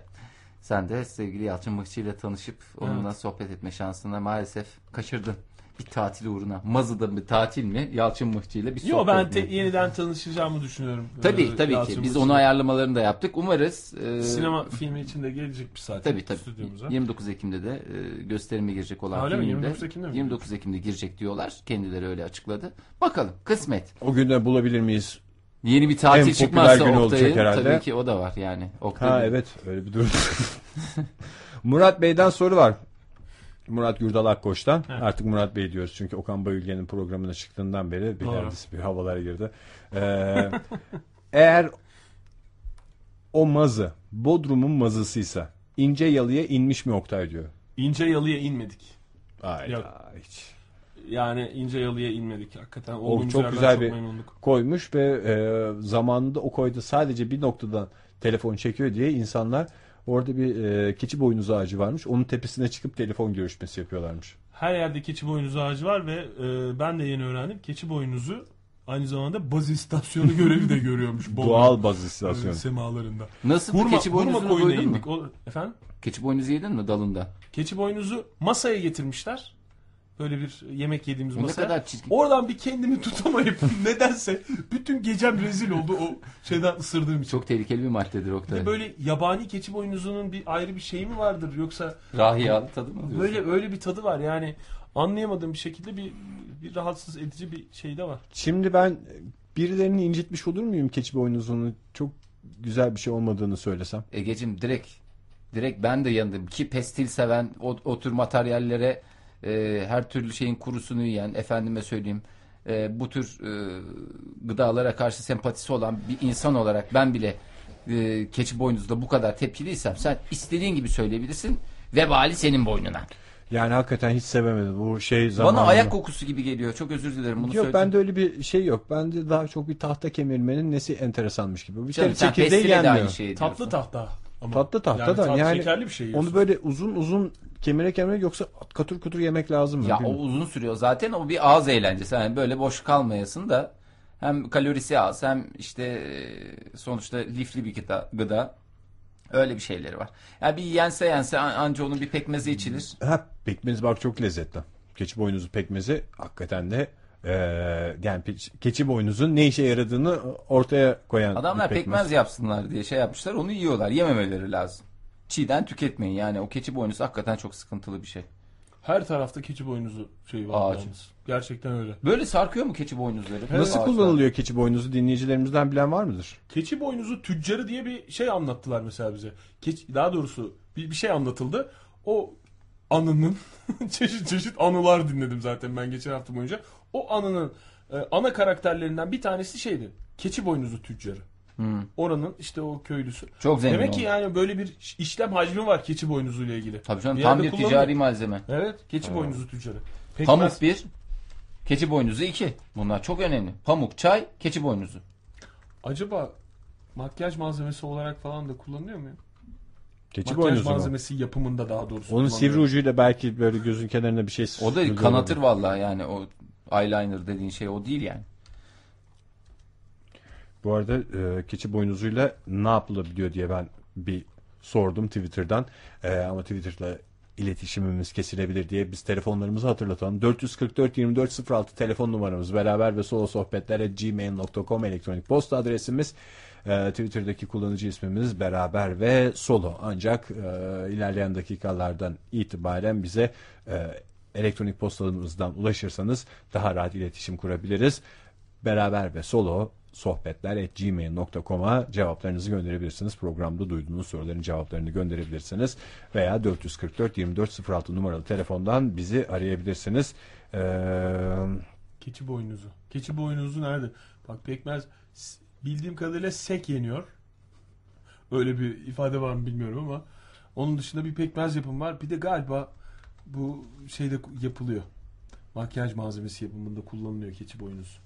Speaker 3: Sen de sevgili Yalçın Mıhçı ile tanışıp onunla sohbet etme şansını maalesef kaçırdın. Bir tatil uğruna. Mazı'da bir tatil mi? Yalçın Mıhçı ile bir sohbet
Speaker 2: Yo ben te-
Speaker 3: mi?
Speaker 2: yeniden tanışacağımı düşünüyorum.
Speaker 3: Tabii
Speaker 2: Ee,
Speaker 3: tabii
Speaker 2: Yalçın
Speaker 3: ki. Biz
Speaker 2: Mısır'la.
Speaker 3: onu ayarlamalarını da yaptık. Umarız. e,
Speaker 2: Sinema filmi için de gelecek bir saat.
Speaker 3: Tabii tabii.
Speaker 2: Stüdyomuza.
Speaker 3: 29 Ekim'de de e, gösterime girecek olan
Speaker 2: Öyle mi?
Speaker 3: filmde
Speaker 2: 29 Ekim'de mi?
Speaker 3: 29 Ekim'de girecek diyorlar. Kendileri öyle açıkladı. Bakalım kısmet.
Speaker 1: O günde bulabilir miyiz?
Speaker 3: Yeni bir
Speaker 1: En
Speaker 3: tatil
Speaker 1: popüler
Speaker 3: çıkmazsa
Speaker 1: günü olacak
Speaker 3: Oktay'ın
Speaker 1: herhalde.
Speaker 3: tabii ki o da var yani. Oktay
Speaker 1: Ha evet öyle bir durum. Murat Bey'den soru var. Murat Gürdal Akkoç'tan. Artık Murat Bey diyoruz çünkü Okan Bayülgen'in programına çıktığından beri bir
Speaker 2: Doğru.
Speaker 1: neredeyse bir havalara girdi. Ee, eğer o mazı Bodrum'un mazısıysa ince yalıya inmiş mi Oktay diyor.
Speaker 2: İnce yalıya inmedik. Yok.
Speaker 1: Hayda hiç.
Speaker 2: Yani ince yalıya inmedik hakikaten.
Speaker 1: O
Speaker 2: Olduğumuz
Speaker 1: çok
Speaker 2: yerden
Speaker 1: güzel
Speaker 2: çok
Speaker 1: bir
Speaker 2: memnunduk.
Speaker 1: koymuş ve e, zamanında o koyda sadece bir noktadan telefon çekiyor diye insanlar Orada bir e, keçi boynuzu ağacı varmış. Onun tepesine çıkıp telefon görüşmesi yapıyorlarmış.
Speaker 2: Her yerde keçi boynuzu ağacı var ve e, ben de yeni öğrendim. Keçi boynuzu aynı zamanda baz istasyonu görevi de görüyormuş. Bolu
Speaker 1: Doğal baz
Speaker 2: e,
Speaker 1: istasyonu.
Speaker 2: semalarında.
Speaker 3: Nasıl
Speaker 2: Hurma,
Speaker 3: keçi
Speaker 2: hurma
Speaker 3: boynuzunu
Speaker 2: koyuna
Speaker 3: koydun mu?
Speaker 2: indik. O, efendim?
Speaker 3: Keçi boynuzu yedin mi dalında?
Speaker 2: Keçi boynuzu masaya getirmişler. Böyle bir yemek yediğimiz
Speaker 3: Ne
Speaker 2: masaya.
Speaker 3: kadar çirkin.
Speaker 2: Oradan bir kendimi tutamayıp nedense bütün gecem rezil oldu o şeyden ısırdığım için.
Speaker 3: Çok tehlikeli bir maddedir
Speaker 2: Bir de
Speaker 3: Oktay.
Speaker 2: böyle yabani keçi boynuzunun bir ayrı bir şeyi mi vardır yoksa
Speaker 3: Rahiyalı tadı mı diyorsun?
Speaker 2: böyle öyle bir tadı var yani anlayamadığım bir şekilde bir bir rahatsız edici bir şey de var.
Speaker 1: Şimdi ben birilerini incitmiş olur muyum keçi boynuzunun çok güzel bir şey olmadığını söylesem?
Speaker 3: Egeciğim direkt direkt ben de yandım ki pestil seven o, o tür materyallere e, her türlü şeyin kurusunu yiyen efendime söyleyeyim e, bu tür e, gıdalara karşı sempatisi olan bir insan olarak ben bile e, keçi boynuzda bu kadar tepkiliysem sen istediğin gibi söyleyebilirsin vebali senin boynuna.
Speaker 1: Yani hakikaten hiç sevemedim. Bu şey zamanı.
Speaker 3: Bana ayak kokusu gibi geliyor. Çok özür dilerim bunu
Speaker 1: Yok
Speaker 3: söyledim.
Speaker 1: bende öyle bir şey yok. Bende daha çok bir tahta kemirmenin nesi enteresanmış gibi. Bir
Speaker 3: Canım,
Speaker 1: kere
Speaker 3: sen
Speaker 1: çekirdeği
Speaker 3: pestile de aynı şey.
Speaker 1: yenmiyor.
Speaker 3: şeyi
Speaker 2: Tatlı
Speaker 3: diyorsun.
Speaker 2: tahta. Ama
Speaker 1: Tatlı tahta
Speaker 2: yani
Speaker 1: da
Speaker 2: tat-
Speaker 1: yani
Speaker 2: şekerli bir şey yiyorsun.
Speaker 1: Onu böyle uzun uzun kemire kemire yoksa katır kutur yemek lazım mı?
Speaker 3: Ya o
Speaker 1: Bilmiyorum.
Speaker 3: uzun sürüyor zaten o bir ağız eğlencesi. Yani böyle boş kalmayasın da hem kalorisi az hem işte e, sonuçta lifli bir gıda. gıda. Öyle bir şeyleri var. Yani bir yense yense an- anca onun bir pekmezi içilir.
Speaker 1: Ha, pekmez bak çok lezzetli. Keçi boynuzu pekmezi hakikaten de eee, yani pe- keçi boynuzun ne işe yaradığını ortaya koyan
Speaker 3: Adamlar
Speaker 1: bir
Speaker 3: pekmez. yapsınlar diye şey yapmışlar onu yiyorlar. Yememeleri lazım. Çiğden tüketmeyin yani o keçi boynuzu hakikaten çok sıkıntılı bir şey.
Speaker 2: Her tarafta keçi boynuzu şeyi var.
Speaker 3: Ağacı.
Speaker 2: yalnız. Gerçekten öyle.
Speaker 3: Böyle sarkıyor mu keçi boynuzları?
Speaker 1: Nasıl
Speaker 3: Ağaçlar.
Speaker 1: kullanılıyor keçi boynuzu dinleyicilerimizden bilen var mıdır?
Speaker 2: Keçi boynuzu tüccarı diye bir şey anlattılar mesela bize. Keç, daha doğrusu bir, bir şey anlatıldı. O anının çeşit çeşit anılar dinledim zaten ben geçen hafta boyunca. O anının e, ana karakterlerinden bir tanesi şeydi. Keçi boynuzu tüccarı.
Speaker 1: Hmm.
Speaker 2: Oranın işte o köylüsü.
Speaker 3: Çok zengin
Speaker 2: Demek ki
Speaker 3: olmuş.
Speaker 2: yani böyle bir işlem hacmi var keçi boynuzuyla ilgili.
Speaker 3: Tabii canım
Speaker 2: Bir
Speaker 3: tam
Speaker 2: yerde
Speaker 3: bir
Speaker 2: kullanılıyor.
Speaker 3: ticari malzeme.
Speaker 2: Evet keçi boynuzu tüccarı. Pekmez-
Speaker 3: Pamuk bir, keçi boynuzu iki. Bunlar çok önemli. Pamuk, çay, keçi boynuzu.
Speaker 2: Acaba makyaj malzemesi olarak falan da kullanılıyor mu? ya?
Speaker 1: Keçi
Speaker 2: Makyaj
Speaker 1: boynuzu mu?
Speaker 2: malzemesi yapımında daha doğrusu.
Speaker 1: Onun
Speaker 2: kullanılıyor.
Speaker 1: sivri ucuyla belki böyle gözün kenarına bir şey
Speaker 3: O da
Speaker 1: sürülüyor
Speaker 3: kanatır
Speaker 1: olabilir.
Speaker 3: vallahi yani o eyeliner dediğin şey o değil yani.
Speaker 1: Bu arada e, keçi boynuzuyla ne yapılabiliyor diye ben bir sordum Twitter'dan. E, ama Twitter'la iletişimimiz kesilebilir diye biz telefonlarımızı hatırlatalım. 444 2406 telefon numaramız beraber ve solo sohbetlere gmail.com elektronik posta adresimiz. E, Twitter'daki kullanıcı ismimiz beraber ve solo. Ancak e, ilerleyen dakikalardan itibaren bize e, elektronik postamızdan ulaşırsanız daha rahat iletişim kurabiliriz beraber ve solo sohbetler gmail.com'a cevaplarınızı gönderebilirsiniz. Programda duyduğunuz soruların cevaplarını gönderebilirsiniz. Veya 444 2406 numaralı telefondan bizi arayabilirsiniz. Ee,
Speaker 2: Keçi boynuzu. Keçi boynuzu nerede? Bak pekmez s- bildiğim kadarıyla sek yeniyor. Öyle bir ifade var mı bilmiyorum ama onun dışında bir pekmez yapımı var. Bir de galiba bu şeyde ku- yapılıyor. Makyaj malzemesi yapımında kullanılıyor keçi boynuzu.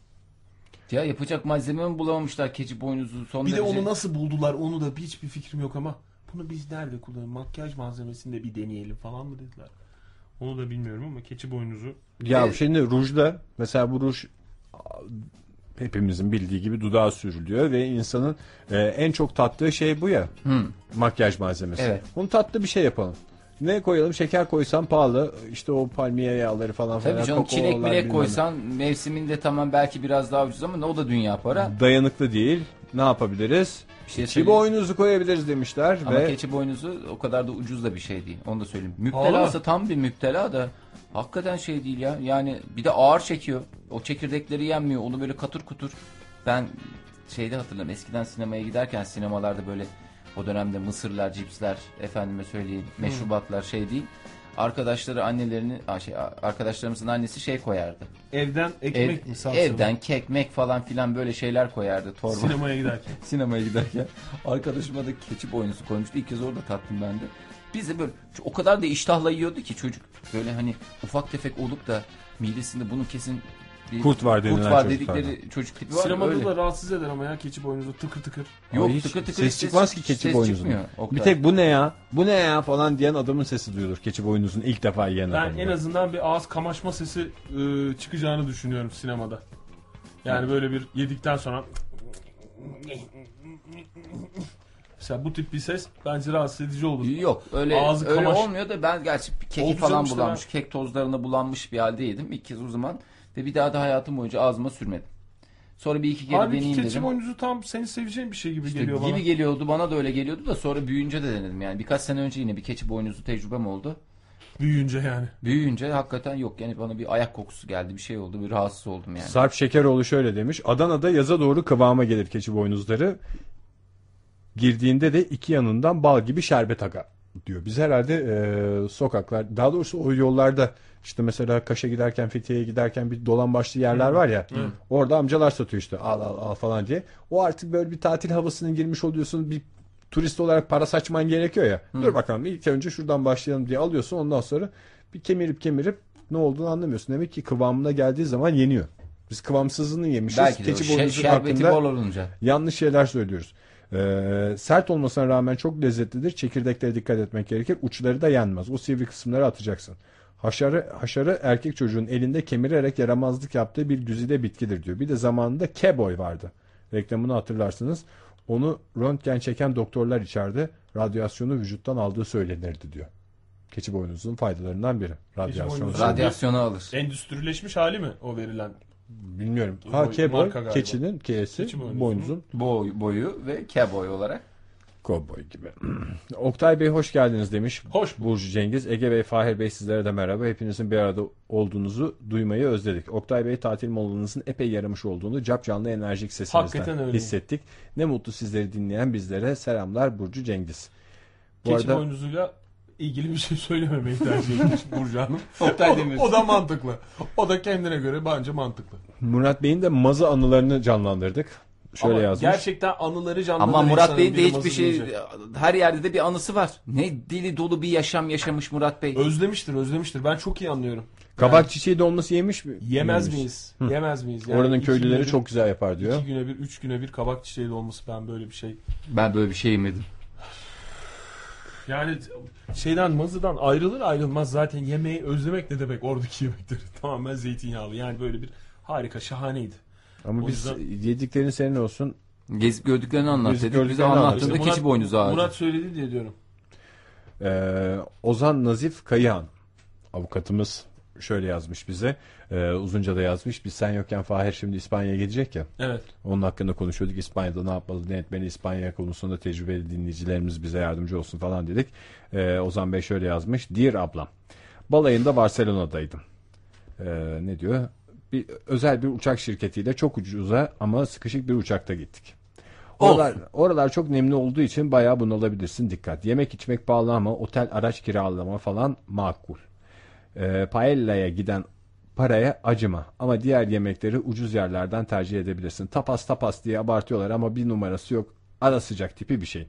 Speaker 3: Ya yapacak malzeme mi bulamamışlar keçi boynuzu son
Speaker 2: Bir de
Speaker 3: derece-
Speaker 2: onu nasıl buldular onu da hiçbir fikrim yok ama bunu biz nerede kullanıyoruz? Makyaj malzemesinde bir deneyelim falan mı dediler. Onu da bilmiyorum ama keçi boynuzu
Speaker 1: ya şimdi rujda mesela bu ruj hepimizin bildiği gibi dudağa sürülüyor ve insanın e, en çok tattığı şey bu ya. Makyaj malzemesi.
Speaker 3: Evet.
Speaker 1: Bunu tatlı bir şey yapalım. Ne koyalım? Şeker koysam pahalı. İşte o palmiye yağları falan
Speaker 3: Tabii
Speaker 1: falan.
Speaker 3: canım
Speaker 1: kakaolar,
Speaker 3: çilek
Speaker 1: bilmem
Speaker 3: bilek
Speaker 1: ne.
Speaker 3: koysan mevsiminde tamam belki biraz daha ucuz ama ne o da dünya para.
Speaker 1: dayanıklı değil. Ne yapabiliriz?
Speaker 3: Bir şey
Speaker 1: Çivi
Speaker 3: söyleyeyim.
Speaker 1: oyunuzu koyabiliriz demişler
Speaker 3: Ama
Speaker 1: ve
Speaker 3: keçi boynuzu o kadar da ucuz da bir şey değil. Onu da söyleyeyim.
Speaker 2: Pahalı
Speaker 3: Müptelası tam bir müptela da hakikaten şey değil ya. Yani bir de ağır çekiyor. O çekirdekleri yenmiyor. Onu böyle katır kutur. Ben şeyde hatırlarım. Eskiden sinemaya giderken sinemalarda böyle o dönemde mısırlar, cipsler, efendime söyleyeyim, meşrubatlar şey değil. Arkadaşları annelerini, aa, şey, arkadaşlarımızın annesi şey koyardı.
Speaker 2: evden ekmek
Speaker 3: Ev,
Speaker 2: mi salça mı?
Speaker 3: evden kekmek falan filan böyle şeyler koyardı torba.
Speaker 2: sinemaya giderken.
Speaker 3: sinemaya giderken arkadaşıma da keçi boynuzu koymuştu. İlk kez orada tattım ben de. Biz de böyle o kadar da iştahla yiyordu ki çocuk. Böyle hani ufak tefek olup da midesinde bunun kesin bir
Speaker 1: Kurt var denilen
Speaker 3: kurt var
Speaker 1: çocuklardan.
Speaker 3: dedikleri çocuk tipi var.
Speaker 2: Sinemada
Speaker 3: öyle.
Speaker 2: da rahatsız eder ama ya keçi boynuzu tıkır tıkır.
Speaker 3: Yok
Speaker 1: Ay hiç
Speaker 3: tıkır tıkır
Speaker 1: ses
Speaker 3: hiç
Speaker 1: çıkmaz ki keçi
Speaker 3: ses
Speaker 1: boynuzundan.
Speaker 3: çıkmıyor. Oktay.
Speaker 1: Bir tek bu ne ya? Bu ne ya falan diyen adamın sesi duyulur. Keçi boynuzun ilk defa yiyen
Speaker 2: Ben
Speaker 1: adamın.
Speaker 2: en azından bir ağız kamaşma sesi e, çıkacağını düşünüyorum sinemada. Yani böyle bir yedikten sonra mesela bu tip bir ses bence rahatsız edici olur.
Speaker 3: Yok öyle
Speaker 2: Ağzı
Speaker 3: öyle
Speaker 2: kamaş-
Speaker 3: olmuyor da ben gerçi bir keki
Speaker 2: Oldu canım
Speaker 3: falan
Speaker 2: işte
Speaker 3: bulanmış, kek tozlarına bulanmış bir halde yedim. İlk kez o zaman ve bir daha da hayatım boyunca ağzıma sürmedim. Sonra bir iki kere
Speaker 2: Halbuki
Speaker 3: deneyeyim
Speaker 2: keçi
Speaker 3: dedim.
Speaker 2: boynuzu tam senin seveceğin bir şey gibi
Speaker 3: İşte
Speaker 2: geliyor
Speaker 3: gibi
Speaker 2: bana.
Speaker 3: geliyordu bana da öyle geliyordu da sonra büyüyünce de denedim yani. Birkaç sene önce yine bir keçi boynuzu tecrübem oldu.
Speaker 2: Büyüyünce yani.
Speaker 3: Büyüyünce hakikaten yok yani bana bir ayak kokusu geldi bir şey oldu bir rahatsız oldum yani.
Speaker 1: Sarp Şekeroğlu şöyle demiş. Adana'da yaza doğru kıvama gelir keçi boynuzları. Girdiğinde de iki yanından bal gibi şerbet aga diyor. Biz herhalde e, sokaklar daha doğrusu o yollarda işte mesela Kaş'a giderken Fethiye'ye giderken bir dolan başlı yerler var ya. Orada amcalar satıyor işte al al al falan diye. O artık böyle bir tatil havasına girmiş oluyorsun. Bir turist olarak para saçman gerekiyor ya. Dur bakalım ilk önce şuradan başlayalım diye alıyorsun. Ondan sonra bir kemirip kemirip ne olduğunu anlamıyorsun. Demek ki kıvamına geldiği zaman yeniyor. Biz kıvamsızını yemişiz.
Speaker 3: Belki
Speaker 2: şey,
Speaker 3: de o
Speaker 1: Keçi
Speaker 3: şe-
Speaker 1: boynuzu
Speaker 3: şerbeti
Speaker 1: hakkında
Speaker 3: bol olunca.
Speaker 1: yanlış şeyler söylüyoruz. Ee, sert olmasına rağmen çok lezzetlidir. Çekirdeklere dikkat etmek gerekir. Uçları da yenmez. O sivri kısımları atacaksın. Haşarı, haşarı erkek çocuğun elinde kemirerek yaramazlık yaptığı bir güzide bitkidir diyor. Bir de zamanında Keboy vardı. Reklamını hatırlarsınız. Onu röntgen çeken doktorlar içeride radyasyonu vücuttan aldığı söylenirdi diyor. Keçi boynuzunun faydalarından biri. Radyasyon.
Speaker 2: boynuzu-
Speaker 3: Radyasyonu alır.
Speaker 2: Şey, Endüstrileşmiş hali mi o verilen?
Speaker 1: Bilmiyorum.
Speaker 2: Keboy
Speaker 1: Ha Keboy,
Speaker 2: marka galiba.
Speaker 1: keçinin K'si,
Speaker 2: Keçi boynuzunun.
Speaker 1: boynuzun
Speaker 3: Boy, boyu ve keboy olarak.
Speaker 1: Kovboy gibi. Oktay Bey hoş geldiniz demiş.
Speaker 2: Hoş
Speaker 1: Burcu Cengiz. Ege Bey, Fahir Bey sizlere de merhaba. Hepinizin bir arada olduğunuzu duymayı özledik. Oktay Bey tatil molanızın epey yaramış olduğunu cap canlı enerjik
Speaker 2: Hakikaten
Speaker 1: sesinizden
Speaker 2: öyle.
Speaker 1: hissettik. Ne mutlu sizleri dinleyen bizlere. Selamlar Burcu Cengiz. Bu
Speaker 2: Keçi
Speaker 1: arada
Speaker 2: boynuzuyla ilgili bir şey söylememeyi tercih etmiş Burcu Hanım.
Speaker 3: Oktay Demir.
Speaker 2: O, o da mantıklı. O da kendine göre bence mantıklı.
Speaker 1: Murat Bey'in de mazı anılarını canlandırdık. Şöyle
Speaker 2: Ama
Speaker 1: yazmış.
Speaker 2: Gerçekten anıları canlanır.
Speaker 3: Ama Murat
Speaker 2: insanın
Speaker 3: Bey'in de
Speaker 2: biri
Speaker 3: hiçbir şey
Speaker 2: mazılayacak.
Speaker 3: her yerde de bir anısı var. Ne dili dolu bir yaşam yaşamış Murat Bey.
Speaker 2: Özlemiştir, özlemiştir. Ben çok iyi anlıyorum.
Speaker 1: Kabak çiçeği dolması yemiş mi?
Speaker 2: Yemez
Speaker 1: Yemiş.
Speaker 2: miyiz? Yemez miyiz?
Speaker 1: Oranın
Speaker 2: iki güne
Speaker 1: köylüleri
Speaker 2: bir-
Speaker 1: çok güzel yapar diyor.
Speaker 2: İki güne bir, üç güne bir kabak çiçeği olması ben böyle bir şey.
Speaker 3: Ben böyle bir şey yemedim.
Speaker 2: Yani şeyden mazıdan ayrılır ayrılmaz zaten yemeği özlemek ne demek oradaki yemekleri tamamen zeytinyağlı. Yani böyle bir harika şahaneydi.
Speaker 1: Ama
Speaker 2: O
Speaker 1: biz
Speaker 2: yüzden-
Speaker 1: yediklerin senin olsun.
Speaker 3: Gezip gördüklerini anlat
Speaker 1: Gezip
Speaker 3: dedik. Bize
Speaker 1: gördüklerini anlat.
Speaker 3: anlattığında
Speaker 2: İşte
Speaker 3: keçi boynuzu ağacı.
Speaker 2: Murat söyledi diye diyorum.
Speaker 1: Ee, Ozan Nazif Kayıhan avukatımız şöyle yazmış bize. Ee, uzunca da yazmış. Biz sen yokken Fahir şimdi İspanya'ya gidecek ya.
Speaker 2: Evet.
Speaker 1: Onun hakkında konuşuyorduk. İspanya'da ne yapmalı, ne etmeli, İspanya konusunda tecrübeli dinleyicilerimiz bize yardımcı olsun falan dedik. Ee, Ozan Bey şöyle yazmış. Dear ablam, balayında Barcelona'daydım. Ee, ne diyor? Bir, özel bir uçak şirketiyle çok ucuza ama sıkışık bir uçakta gittik. Oralar, oralar çok nemli olduğu için bayağı bunalabilirsin dikkat. Yemek içmek pahalı ama otel araç kiralama falan makul. Ee, paella'ya giden paraya acıma ama diğer yemekleri ucuz yerlerden tercih edebilirsin. Tapas tapas diye abartıyorlar ama bir numarası yok. Ara sıcak tipi bir şey.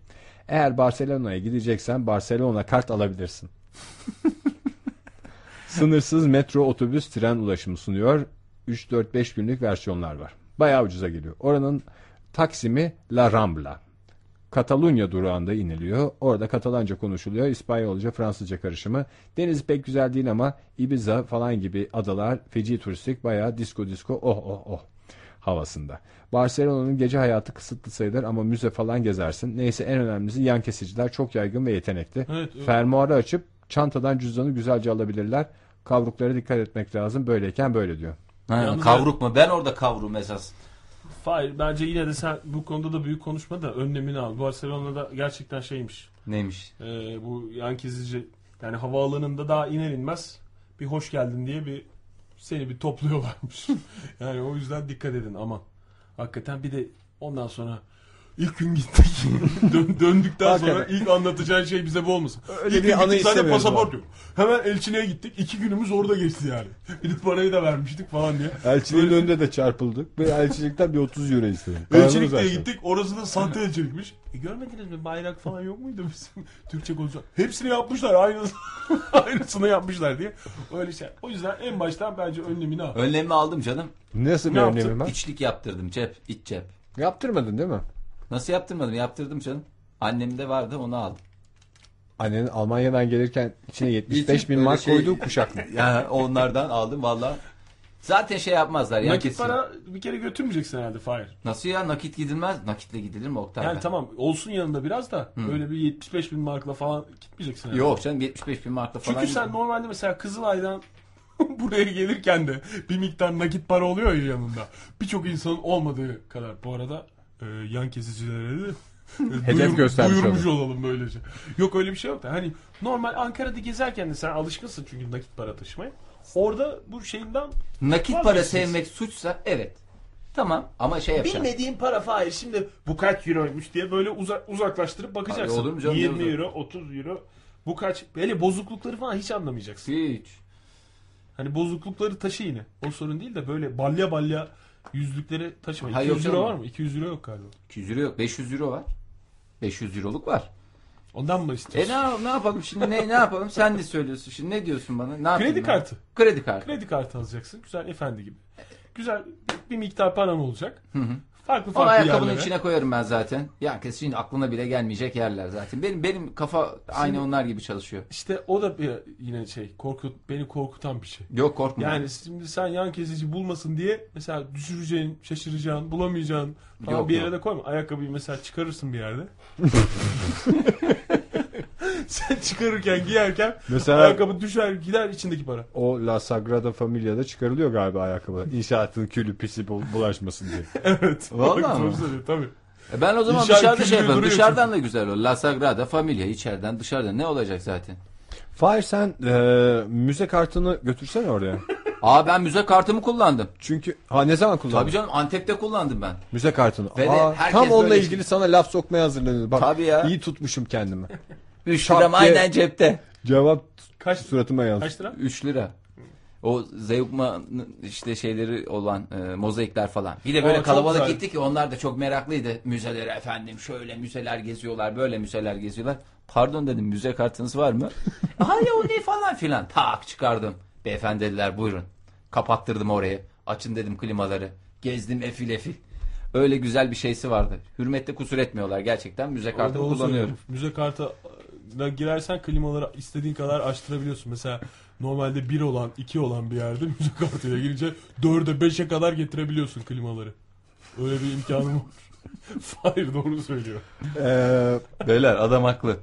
Speaker 1: Eğer Barcelona'ya gideceksen Barcelona kart alabilirsin. Sınırsız metro, otobüs, tren ulaşımı sunuyor. 3-4-5 günlük versiyonlar var. Bayağı ucuza geliyor. Oranın Taksim'i La Rambla. Katalunya durağında iniliyor. Orada Katalanca konuşuluyor. İspanyolca, Fransızca karışımı. Deniz pek güzel değil ama Ibiza falan gibi adalar feci turistik bayağı disco disco oh oh oh havasında. Barcelona'nın gece hayatı kısıtlı sayılır ama müze falan gezersin. Neyse en önemlisi yan kesiciler çok yaygın ve yetenekli.
Speaker 2: Evet, evet.
Speaker 1: Fermuarı açıp çantadan cüzdanı güzelce alabilirler. Kavruklara dikkat etmek lazım. Böyleyken böyle diyor.
Speaker 3: Ha,
Speaker 2: Yalnız-
Speaker 3: kavruk mu? Ben orada kavrum esas.
Speaker 2: Hayır bence yine de sen bu konuda da büyük konuşma da önlemini al. Barcelona'da gerçekten şeymiş.
Speaker 3: Neymiş?
Speaker 2: Ee, bu yan kezici yani havaalanında daha iner inmez bir hoş geldin diye bir seni bir topluyorlarmış. yani o yüzden dikkat edin ama hakikaten bir de ondan sonra ilk gün gittik. Dön- döndükten sonra
Speaker 1: Hakikaten.
Speaker 2: ilk anlatacağın şey bize bu olmasın.
Speaker 1: Öyle
Speaker 2: İlk
Speaker 1: bir
Speaker 2: gün
Speaker 1: anı
Speaker 2: gittik, zaten
Speaker 1: istemiyoruz
Speaker 2: pasaport yok. Hemen elçiliğe gittik. İki günümüz orada geçti yani. Bir de parayı da vermiştik falan diye.
Speaker 1: Elçiliğin önünde de çarpıldık ve elçilikten bir 30 euro istedim.
Speaker 2: Elçilikle gittik. Orası da sahte elçilikmiş. E görmediniz mi bayrak falan yok muydu bizim Türkçe konuşan? Hepsini yapmışlar aynısını, aynısını yapmışlar diye. Öyle şey. O yüzden en baştan bence önlemini al.
Speaker 3: Önlemi aldım canım.
Speaker 1: Nasıl bir
Speaker 2: Ne yaptın?
Speaker 1: önlemi var?
Speaker 3: İçlik yaptırdım cep, iç cep.
Speaker 1: Yaptırmadın değil mi?
Speaker 3: Nasıl yaptırmadım? Yaptırdım canım. Annemde vardı onu aldım.
Speaker 1: Annenin Almanya'dan gelirken içine 75 bin
Speaker 3: böyle
Speaker 1: mark
Speaker 3: şey-
Speaker 1: koyduğu kuşaklı.
Speaker 3: Yani onlardan aldım valla. Zaten şey yapmazlar yani
Speaker 2: Nakit
Speaker 3: kesin.
Speaker 2: para bir kere götürmeyeceksin herhalde Fahir.
Speaker 3: Nasıl ya nakit gidilmez? Nakitle gidilir mi Oktay?
Speaker 2: Yani
Speaker 3: Bey?
Speaker 2: tamam olsun yanında biraz da böyle bir 75 bin markla falan gitmeyeceksin. herhalde.
Speaker 3: Yok canım 75 bin markla falan.
Speaker 2: Çünkü sen normalde mesela Kızılay'dan buraya gelirken de bir miktar nakit para oluyor ya yanında. Birçok insanın olmadığı kadar. Bu arada e, yan kesicilere de e,
Speaker 1: Hedef göstermiş
Speaker 2: duyurmuş olalım böylece. Yok öyle bir şey yok da hani normal Ankara'da gezerken de sen alışkınsın çünkü nakit para taşımaya. Orada bu şeyinden
Speaker 3: Nakit para
Speaker 2: Vazgeçeceğiz.
Speaker 3: sevmek suçsa evet. Tamam ama şey yapacaksın.
Speaker 2: bilmediğin para fail şimdi bu kaç euroymuş diye böyle uza- uzaklaştırıp bakacaksın.
Speaker 3: Abi olur mu canım, ne
Speaker 2: 20
Speaker 3: uzak-
Speaker 2: euro, 30 euro. Bu kaç? Hele bozuklukları falan hiç anlamayacaksın.
Speaker 3: Hiç.
Speaker 2: Hani bozuklukları taşı yine. O sorun değil de böyle balya balya yüzlükleri taşıma.
Speaker 3: Hayır,
Speaker 2: 200
Speaker 3: yok
Speaker 2: euro var
Speaker 3: canım.
Speaker 2: mı? 200 euro yok galiba.
Speaker 3: 200 euro yok. 500 euro var. 500 euroluk var.
Speaker 2: Ondan mı
Speaker 3: E
Speaker 2: istiyorsun?
Speaker 3: ne, ne yapalım şimdi ne ne yapalım? Sen de söylüyorsun şimdi ne diyorsun bana? Ne yapayım
Speaker 2: Kredi
Speaker 3: ben?
Speaker 2: kartı.
Speaker 3: Kredi kartı.
Speaker 2: Kredi kartı alacaksın. Güzel efendi gibi. Güzel bir miktar paran olacak. Farklı
Speaker 3: Onu
Speaker 2: farklı
Speaker 3: ayakkabının
Speaker 2: yerlere.
Speaker 3: içine koyarım ben zaten. Ya kesin şimdi aklına bile gelmeyecek yerler zaten. Benim benim kafa aynı onlar gibi çalışıyor.
Speaker 2: İşte o da bir, yine şey korkut beni korkutan bir şey.
Speaker 3: Yok korkma.
Speaker 2: Yani şimdi sen yan kesici bulmasın diye mesela düşüreceğin, şaşıracağın, bulamayacağın falan
Speaker 3: Yok,
Speaker 2: bir yere
Speaker 3: yok.
Speaker 2: de koyma. Ayakkabıyı mesela çıkarırsın bir yerde. sen çıkarırken giyerken
Speaker 3: Ee,
Speaker 1: Mesela-
Speaker 2: ayakkabı düşer gider içindeki para.
Speaker 1: O La Sagrada Familia'da çıkarılıyor galiba ayakkabı. İnşaatın külü pisi bu- bulaşmasın diye.
Speaker 2: Evet.
Speaker 3: Vallahi
Speaker 2: Bak,
Speaker 3: mi?
Speaker 2: doğru söylüyor, Tabii.
Speaker 3: E ben o zaman
Speaker 2: İnşaat
Speaker 3: dışarıda şey
Speaker 2: kültürü
Speaker 3: yaparım.
Speaker 2: duruyor
Speaker 3: Dışarıdan da güzel o. La Sagrada Familia içeriden dışarıdan ne olacak zaten?
Speaker 1: Fahir sen e, müze kartını götürsen oraya.
Speaker 3: Aa ben müze kartımı kullandım.
Speaker 1: Çünkü ha ne zaman kullandın?
Speaker 3: Tabii canım Antep'te kullandım ben.
Speaker 1: Müze kartını.
Speaker 3: Ve de
Speaker 1: Aa,
Speaker 3: herkes
Speaker 1: tam onunla
Speaker 3: böyle- şey-
Speaker 1: ilgili sana laf sokmaya hazırlanıyor. Bak
Speaker 3: Tabii ya.
Speaker 1: iyi tutmuşum kendimi.
Speaker 3: 3
Speaker 1: Şak
Speaker 3: liram
Speaker 1: diye-
Speaker 3: aynen cepte.
Speaker 1: Cevap
Speaker 2: Kaç,
Speaker 1: suratıma yaz.
Speaker 2: kaç lira?
Speaker 3: 3 lira. O Zeugma'nın işte şeyleri olan e, mozaikler falan. Bir de
Speaker 2: Aa,
Speaker 3: böyle
Speaker 2: çok
Speaker 3: kalabalık
Speaker 2: güzel.
Speaker 3: gitti ki onlar da çok meraklıydı. Müzelere efendim şöyle müzeler geziyorlar böyle müzeler geziyorlar. Pardon dedim müze kartınız var mı? Hayır o ne falan filan. Tak çıkardım. Beyefendi dediler buyurun. Kapattırdım orayı. Açın dedim klimaları. Gezdim efil efil. Öyle güzel bir şeysi vardı. Hürmette kusur etmiyorlar gerçekten. Müze kartı
Speaker 2: Doğru
Speaker 3: kullanıyorum.
Speaker 2: söylüyorum. Müze kartına girersen klimaları istediğin kadar açtırabiliyorsun. Mesela normalde 1 olan 2 olan bir yerde müze kartıyla girince 4'e 5'e kadar getirebiliyorsun klimaları. Öyle bir imkanım var. Hayır doğru söylüyor.
Speaker 1: Ee,
Speaker 3: Beyler adam haklı.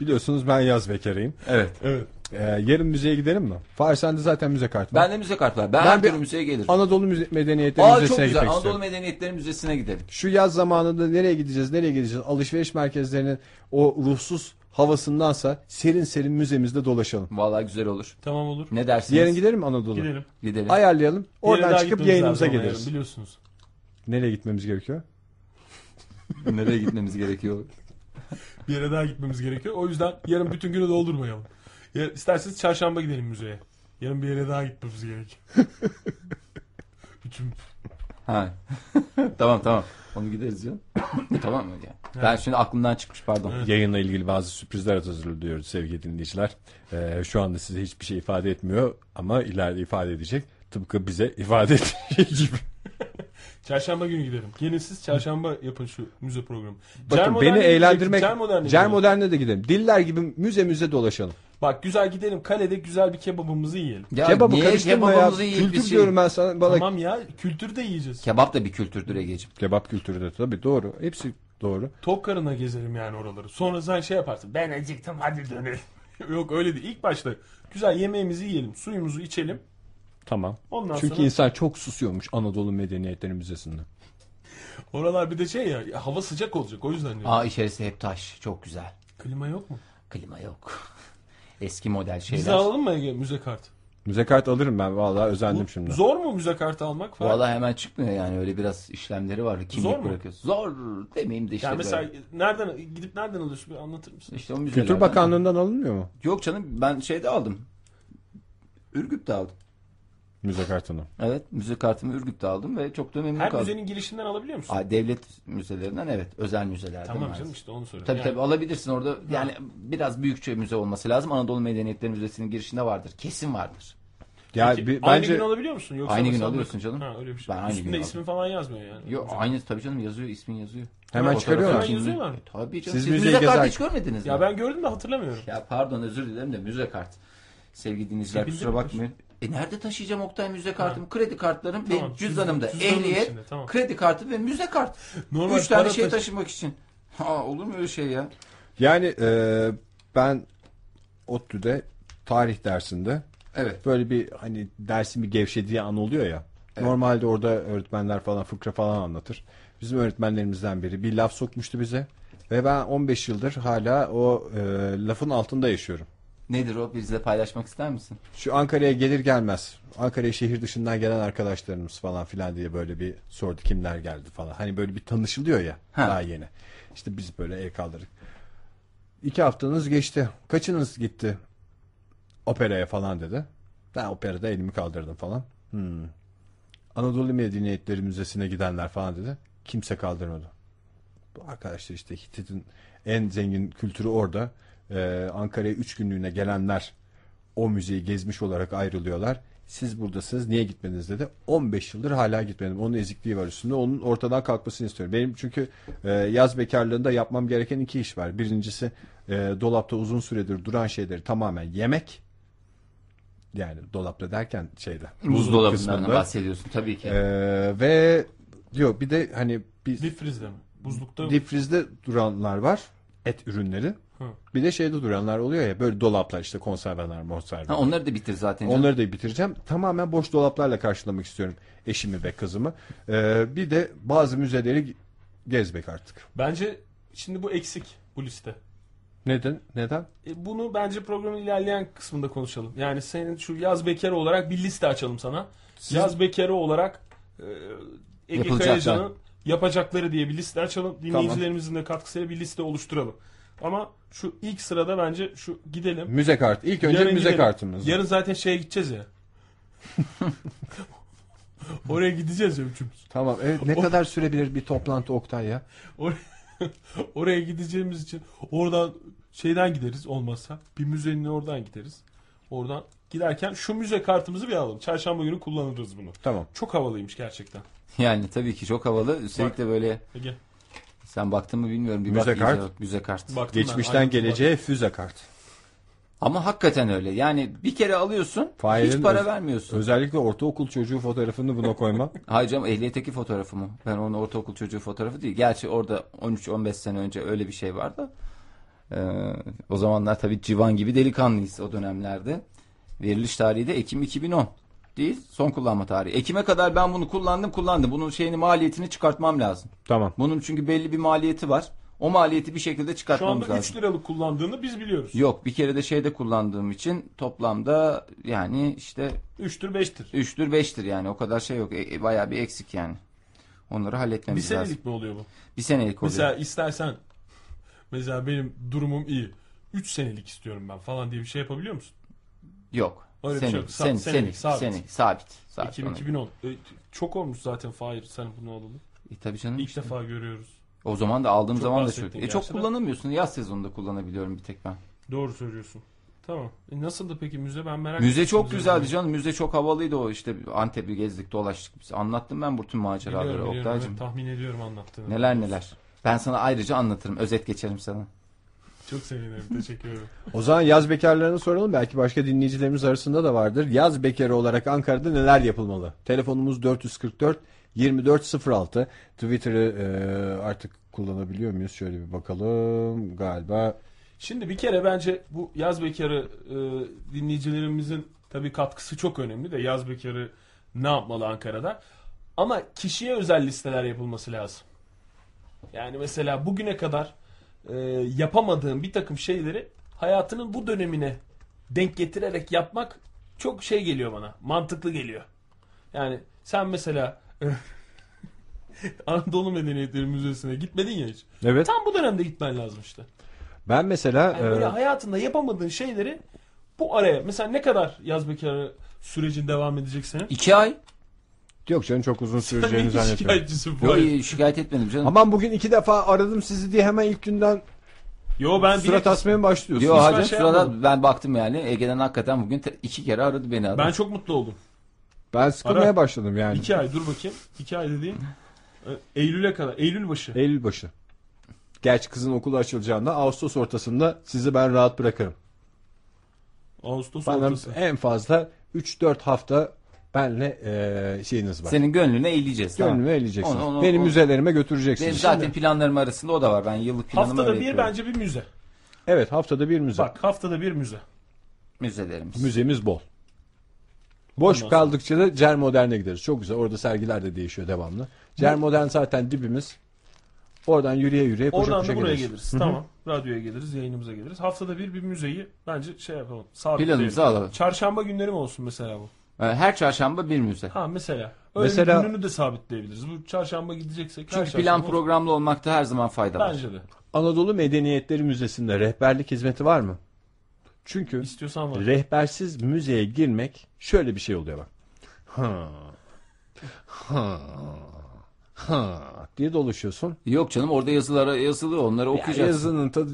Speaker 1: biliyorsunuz ben yaz bekarıyım.
Speaker 3: Evet.
Speaker 2: Evet.
Speaker 1: Ee, yarın müzeye gidelim mi? Fahir sende zaten müze kartı var.
Speaker 3: Ben de müze kartı var. Ben,
Speaker 1: Ben
Speaker 3: her
Speaker 1: bir-
Speaker 3: türlü müzeye gelirim.
Speaker 1: Anadolu Müze- Medeniyetleri
Speaker 3: Aa çok
Speaker 1: Müzesi'ne
Speaker 3: güzel.
Speaker 1: gitmek
Speaker 3: Anadolu
Speaker 1: istiyorum.
Speaker 3: Medeniyetleri Müzesi'ne gidelim.
Speaker 1: Şu yaz zamanında nereye gideceğiz, nereye gideceğiz? Alışveriş merkezlerinin o ruhsuz havasındansa serin serin müzemizde dolaşalım.
Speaker 3: Vallahi güzel olur.
Speaker 2: Tamam olur.
Speaker 3: Ne dersiniz?
Speaker 1: Yarın gidelim mi Anadolu'ya?
Speaker 2: Gidelim.
Speaker 3: Gidelim.
Speaker 1: Ayarlayalım.
Speaker 2: Bir yere
Speaker 1: Oradan
Speaker 2: daha
Speaker 1: çıkıp
Speaker 2: gitmemiz
Speaker 1: yayınımıza
Speaker 2: lazım ama
Speaker 1: geliriz.
Speaker 2: yarın, biliyorsunuz.
Speaker 1: Nereye gitmemiz gerekiyor?
Speaker 3: Nereye gitmemiz gerekiyor?
Speaker 2: Bir yere daha gitmemiz gerekiyor. O yüzden yarın bütün günü doldurmayalım. Ya, isterseniz çarşamba gidelim müzeye. Yarın bir yere daha gitmemiz gerek. Üçümüz.
Speaker 3: Ha. tamam tamam. Onu gideriz ya. E, tamam mı? Ya. Ben şimdi aklımdan çıkmış pardon.
Speaker 1: Yayınla ilgili bazı sürprizler hazırlıyoruz sevgili dinleyiciler. Ee, şu anda size hiçbir şey ifade etmiyor ama ileride ifade edecek. Tıpkı bize ifade ettiği gibi.
Speaker 2: Çarşamba günü gidelim. Gelin siz çarşamba yapın şu müze programı.
Speaker 1: Bakın
Speaker 2: Cer
Speaker 1: beni
Speaker 2: Modern'e
Speaker 1: eğlendirmek...
Speaker 2: gidecektik, Cer Modern'e
Speaker 1: Cer
Speaker 2: gidelim.
Speaker 1: Modern'e de gidelim. Diller gibi müze müze dolaşalım.
Speaker 2: Bak güzel gidelim kalede güzel bir kebabımızı yiyelim.
Speaker 3: Ya
Speaker 1: Kebabı
Speaker 3: niye
Speaker 1: karıştırma ya.
Speaker 3: kebabımızı yiyip
Speaker 1: Kültür
Speaker 3: biz şey-
Speaker 1: diyorum ben sana. Bana...
Speaker 2: Tamam ya kültür de yiyeceğiz.
Speaker 3: Kebap da bir kültürdür Ege'ciğim.
Speaker 1: Kebap kültürü de tabii doğru. Hepsi doğru.
Speaker 2: Tok karına gezelim yani oraları. Sonra sen şey yaparsın. Ben acıktım hadi dönelim. Yok öyle değil. İlk başta güzel yemeğimizi yiyelim. Suyumuzu içelim.
Speaker 1: Tamam.
Speaker 2: Ondan
Speaker 1: Çünkü
Speaker 2: sonra
Speaker 1: insan çok susuyormuş Anadolu Medeniyetleri Müzesi'nde.
Speaker 2: oralar bir de şey ya, ya hava sıcak olacak o yüzden. diyorum.
Speaker 3: Aa içerisi hep taş. Çok güzel.
Speaker 2: Klima yok mu?
Speaker 3: Klima yok. Eski model
Speaker 2: Biz
Speaker 3: şeyler.
Speaker 2: de alalım mı Ege müze kartı?
Speaker 1: Müze kart alırım ben vallahi özendim
Speaker 2: Bu-
Speaker 1: şimdi.
Speaker 2: Zor mu müze kartı almak falan?
Speaker 3: Vallahi hemen çıkmıyor yani öyle biraz işlemleri var. Kimlik
Speaker 2: Zor mu?
Speaker 3: bırakıyorsun. Zor demeyeyim de işte.
Speaker 2: yani mesela
Speaker 3: şey böyle.
Speaker 2: nereden gidip nereden alıyorsun bir anlatır mısın?
Speaker 3: işte o müzelerden-
Speaker 1: Kültür
Speaker 2: şey
Speaker 1: Bakanlığı'ndan alınmıyor mu?
Speaker 3: Yok canım ben şeyde aldım. Ürgüp'te aldım.
Speaker 1: Müze kartını.
Speaker 3: Evet müze kartımı Ürgüp'te aldım ve çok da memnun
Speaker 2: Her
Speaker 3: kaldım.
Speaker 2: müzenin girişinden alabiliyor musun?
Speaker 3: Aa, devlet müzelerinden evet özel müzelerden.
Speaker 2: tamam
Speaker 3: maalesef.
Speaker 2: canım işte onu soruyorum.
Speaker 3: Tabii
Speaker 2: Yani
Speaker 3: tabii alabilirsin orada. Yani biraz büyükçe müze olması lazım. Anadolu Medeniyetleri Müzesi'nin girişinde vardır. Kesin vardır.
Speaker 1: Ya
Speaker 2: peki
Speaker 1: bir-
Speaker 2: aynı
Speaker 1: bence
Speaker 2: gün alabiliyor musun? Yoksa
Speaker 3: Aynı gün
Speaker 2: basarlık-
Speaker 3: alıyorsun canım.
Speaker 2: Ha, öyle bir şey.
Speaker 3: Ben aynı gün
Speaker 2: Üstünde
Speaker 3: aldım.
Speaker 2: ismi falan yazmıyor yani.
Speaker 3: Yok aynı tabii canım yazıyor ismin yazıyor.
Speaker 1: hemen çıkarıyorlar.
Speaker 2: Hemen yazıyorlar.
Speaker 3: E, tabii canım.
Speaker 1: Siz
Speaker 3: Siz,
Speaker 1: müzeyi
Speaker 3: müze kartı
Speaker 1: gezerken-
Speaker 3: hiç görmediniz mi?
Speaker 2: Ya ben gördüm de hatırlamıyorum.
Speaker 3: Ya pardon özür dilerim de müze kart. Sevgili dinleyiciler
Speaker 2: Cebinde
Speaker 3: kusura
Speaker 2: mi
Speaker 3: bakmayın. E nerede taşıyacağım Oktay müze kartımı? Kredi kartlarım
Speaker 2: Tamam,
Speaker 3: ve cüzdanımda.
Speaker 2: cüzdanın
Speaker 3: Ehliyet,
Speaker 2: içinde, tamam.
Speaker 3: kredi kartı ve müze kart.
Speaker 2: Normal
Speaker 3: Üç tane
Speaker 2: para
Speaker 3: şey
Speaker 2: taşı-
Speaker 3: taşımak için. Ha, olur mu öyle şey ya?
Speaker 1: Yani e, ben ODTÜ'de tarih dersinde
Speaker 3: Evet.
Speaker 1: böyle bir hani dersin bir gevşediği an oluyor ya. Normalde orada öğretmenler falan fıkra falan anlatır. Bizim öğretmenlerimizden biri bir laf sokmuştu bize. Ve ben 15 yıldır hala o e, lafın altında yaşıyorum.
Speaker 3: Nedir o? Bizle paylaşmak ister misin?
Speaker 1: Şu Ankara'ya gelir gelmez. Ankara'ya şehir dışından gelen arkadaşlarımız falan filan diye böyle bir sordu kimler geldi falan. Hani böyle bir tanışılıyor ya
Speaker 3: Ha.
Speaker 1: daha yeni. İşte biz böyle el kaldırdık. İki haftanız geçti. Kaçınız gitti operaya falan dedi. Ben operada elimi kaldırdım falan. Hmm. Anadolu Medeniyetleri Müzesi'ne gidenler falan dedi. Kimse kaldırmadı. Bu arkadaşlar işte Hitit'in en zengin kültürü orada. Ee, Ankara'ya üç günlüğüne gelenler o müzeyi gezmiş olarak ayrılıyorlar. Siz buradasınız niye gitmediniz dedi. 15 yıldır hala gitmedim. Onun ezikliği var üstünde. Onun ortadan kalkmasını istiyorum. Benim çünkü e, yaz bekarlığında yapmam gereken iki iş var. Birincisi e, dolapta uzun süredir duran şeyleri tamamen yemek. Yani dolapta derken şeyde.
Speaker 3: Buzdolabından
Speaker 1: kısmında.
Speaker 3: bahsediyorsun tabii ki.
Speaker 1: E, ve diyor bir de hani bir
Speaker 2: Deep freeze'de mi? Buzlukta mı?
Speaker 1: difrizde duranlar var. Et ürünleri.
Speaker 2: Hı.
Speaker 1: Bir de şeyde duranlar oluyor ya böyle dolaplar işte konserveler, monserveler.
Speaker 3: Ha, onları da bitir zaten. canım.
Speaker 1: Onları da bitireceğim. Tamamen boş dolaplarla karşılamak istiyorum eşimi ve kızımı. Ee, bir de bazı müzeleri gezmek artık.
Speaker 2: Bence şimdi bu eksik bu liste.
Speaker 1: Neden? Neden?
Speaker 2: E, bunu bence programın ilerleyen kısmında konuşalım. Yani senin şu yaz bekarı olarak bir liste açalım sana. Yaz bekarı olarak e, Ege
Speaker 3: Yapılacaklar.
Speaker 2: Kayacan'ın yapacakları diye bir liste açalım. Dinleyicilerimizin de katkısıyla bir liste oluşturalım. Ama şu ilk sırada bence şu gidelim.
Speaker 1: Müze kartı. İlk önce
Speaker 2: Yarın
Speaker 1: müze
Speaker 2: gidelim.
Speaker 1: kartımız.
Speaker 2: Yarın zaten şeye gideceğiz ya. Oraya gideceğiz ya üçümüz.
Speaker 1: Tamam. Evet, ne kadar sürebilir bir toplantı Oktay ya?
Speaker 2: Or- Oraya gideceğimiz için oradan şeyden gideriz olmazsa. Bir müzenin oradan gideriz. Oradan giderken şu müze kartımızı bir alalım. Çarşamba günü kullanırız bunu.
Speaker 1: Tamam.
Speaker 2: Çok havalıymış gerçekten.
Speaker 3: Yani tabii ki çok havalı. Üstelik de böyle
Speaker 2: Ege
Speaker 3: sen baktın mı bilmiyorum. Bir bak
Speaker 1: Müze
Speaker 3: iyice
Speaker 1: kart.
Speaker 3: bak, Müze kart.
Speaker 2: baktım ben.
Speaker 1: Geçmişten
Speaker 2: Ayrıntı
Speaker 1: geleceğe füze kart.
Speaker 3: Ama hakikaten öyle. Yani bir kere alıyorsun
Speaker 1: Failin
Speaker 3: hiç para
Speaker 1: öz-
Speaker 3: vermiyorsun.
Speaker 1: Özellikle ortaokul çocuğu fotoğrafını buna koyma.
Speaker 3: Hayır canım ehliyetteki fotoğrafı mı? Ben onun ortaokul çocuğu fotoğrafı değil. Gerçi orada 13-15 sene önce öyle bir şey vardı. Ee, o zamanlar tabii civan gibi delikanlıyız o dönemlerde. Veriliş tarihi de Ekim 2010 değil son kullanma tarihi. Ekim'e kadar ben bunu kullandım kullandım. Bunun şeyini maliyetini çıkartmam lazım.
Speaker 1: tamam.
Speaker 3: Bunun çünkü belli bir maliyeti var. O maliyeti bir şekilde
Speaker 2: var. Şu
Speaker 3: çıkartmamız
Speaker 2: anda
Speaker 3: lazım.
Speaker 2: 3 liralık kullandığını biz biliyoruz.
Speaker 3: Yok bir kere de şeyde kullandığım için toplamda yani işte
Speaker 2: 3'tür 5'tir.
Speaker 3: 3'tür 5'tir yani o kadar şey yok. E, e, bayağı bir eksik yani. Onları
Speaker 2: Bir
Speaker 3: halletmemiz lazım.
Speaker 2: senelik mi oluyor bu?
Speaker 3: Bir senelik oluyor.
Speaker 2: Mesela istersen mesela benim durumum iyi. 3 senelik istiyorum ben falan diye bir şey yapabiliyor musun?
Speaker 3: yok.
Speaker 2: Öyle bir
Speaker 3: senelik,
Speaker 2: şey yok. Sa- senelik,
Speaker 3: senelik, senelik,
Speaker 2: sabit.
Speaker 3: sabit. sabit. sabit
Speaker 2: 2000,
Speaker 3: ona.
Speaker 2: 2010. E, çok olmuş zaten Fahir sen bunu alalı.
Speaker 3: E, tabii canım.
Speaker 2: İlk defa görüyoruz.
Speaker 3: O zaman da aldığım
Speaker 2: Çok
Speaker 3: zaman da
Speaker 2: bahsettin
Speaker 3: çok. E,
Speaker 2: gerçi
Speaker 3: çok
Speaker 2: de.
Speaker 3: kullanamıyorsun. Yaz sezonunda kullanabiliyorum bir tek ben.
Speaker 2: Doğru söylüyorsun. Tamam. E nasıldı peki müze ben merak
Speaker 3: Müze
Speaker 2: ettim.
Speaker 3: çok güzeldi
Speaker 2: Müze-
Speaker 3: canım. Müze çok havalıydı o işte. Antep'i gezdik dolaştık. Biz anlattım ben bütün
Speaker 2: Biliyorum,
Speaker 3: maceraları
Speaker 2: biliyorum,
Speaker 3: Oktay'cığım.
Speaker 2: evet, tahmin ediyorum anlattığını.
Speaker 3: Neler neler. Ben sana ayrıca anlatırım. Özet geçerim sana.
Speaker 2: Çok sevinirim. Teşekkür ederim.
Speaker 1: O zaman yaz bekarlarını soralım. Belki başka dinleyicilerimiz arasında da vardır. Yaz bekarı olarak Ankara'da neler yapılmalı? Telefonumuz 444 2406. Twitter'ı e, artık kullanabiliyor muyuz? Şöyle bir bakalım. Galiba
Speaker 2: Şimdi bir kere bence bu yaz bekarı e, dinleyicilerimizin tabii katkısı çok önemli de yaz bekarı ne yapmalı Ankara'da? Ama kişiye özel listeler yapılması lazım. Yani mesela bugüne kadar e, yapamadığın bir takım şeyleri hayatının bu dönemine denk getirerek yapmak çok şey geliyor bana. Mantıklı geliyor. Yani sen mesela Anadolu Medeniyetleri Müzesi'ne gitmedin ya hiç.
Speaker 1: Evet.
Speaker 2: Tam bu dönemde gitmen lazım işte.
Speaker 1: Ben mesela
Speaker 2: Yani böyle
Speaker 1: e,
Speaker 2: hayatında yapamadığın şeyleri Bu araya mesela ne kadar yaz bekarı sürecin devam edecek senin?
Speaker 3: İki ay.
Speaker 1: Yok canım çok uzun
Speaker 2: Sen
Speaker 1: süreceğini
Speaker 2: iki
Speaker 1: zannetmiyorum.
Speaker 2: şikayetçisin bu
Speaker 3: Yok
Speaker 2: arada.
Speaker 3: şikayet etmedim canım.
Speaker 1: Aman bugün iki defa aradım sizi diye hemen ilk günden
Speaker 2: Yo ben
Speaker 1: surat
Speaker 2: bir
Speaker 1: asmaya mı başlıyorsun?
Speaker 3: Yok hacım
Speaker 2: şey
Speaker 3: şurada
Speaker 2: yapmadım.
Speaker 3: ben baktım yani Ege'den hakikaten bugün te- iki kere aradı beni adam.
Speaker 2: ben çok mutlu oldum.
Speaker 1: Ben sıkılmaya
Speaker 2: Ara.
Speaker 1: başladım yani.
Speaker 2: İki ay dur bakayım. İki ay dediğim e, Eylül'e kadar. Eylül başı.
Speaker 1: Eylül başı. Gerçi kızın okulu açılacağında Ağustos ortasında sizi ben rahat bırakırım.
Speaker 2: Ağustos
Speaker 1: Bana
Speaker 2: ortası.
Speaker 1: en fazla 3-4 hafta benle eee, şeyiniz var.
Speaker 3: Senin gönlünü eğleyeceğiz. tamam.
Speaker 1: Gönlümü eleyeceksiniz.
Speaker 3: Onu- onu-
Speaker 1: Beni
Speaker 3: onu-
Speaker 1: müzelerime
Speaker 3: Benim
Speaker 1: götüreceksiniz.
Speaker 3: zaten planlarım arasında o da var. Ben yıllık planımı
Speaker 2: Haftada
Speaker 3: öyle
Speaker 2: bir
Speaker 3: yapıyorum.
Speaker 2: bence bir müze.
Speaker 1: Evet haftada bir müze.
Speaker 2: Bak haftada bir müze.
Speaker 3: Müzelerimiz.
Speaker 1: Müzemiz bol. Boş
Speaker 2: Ondan sonra-
Speaker 1: kaldıkça da Cer Modern'e gideriz. Çok güzel. Orada sergiler de değişiyor devamlı. Cer Modern zaten dibimiz. Oradan yürüye yürüye koşa
Speaker 2: Oradan
Speaker 1: koşa
Speaker 2: da buraya
Speaker 1: gideriz.
Speaker 2: geliriz. Tamam. Radyoya geliriz, yayınımıza geliriz. Haftada bir bir müzeyi bence şey yapalım.
Speaker 3: Planımızı
Speaker 2: Sabitleyelim.
Speaker 3: alalım.
Speaker 2: Çarşamba günleri mi olsun mesela bu?
Speaker 3: Ee, Her çarşamba bir müze.
Speaker 2: Ha mesela. Öyle
Speaker 1: Mesela-
Speaker 2: gününü de sabitleyebiliriz. Bu çarşamba gideceksek her
Speaker 3: Çünkü plan
Speaker 2: çarşamba-
Speaker 3: programlı olmakta her zaman fayda var.
Speaker 2: Bence de.
Speaker 1: Anadolu Medeniyetleri Müzesi'nde rehberlik hizmeti var mı? Çünkü
Speaker 2: İstiyorsan var.
Speaker 1: Rehbersiz müzeye girmek şöyle bir şey oluyor bak. Ha. Ha. Ha diye dolaşıyorsun.
Speaker 3: Yok canım orada yazılara yazılı onları
Speaker 1: Ya
Speaker 3: okuyacağız.
Speaker 1: yazının tadı,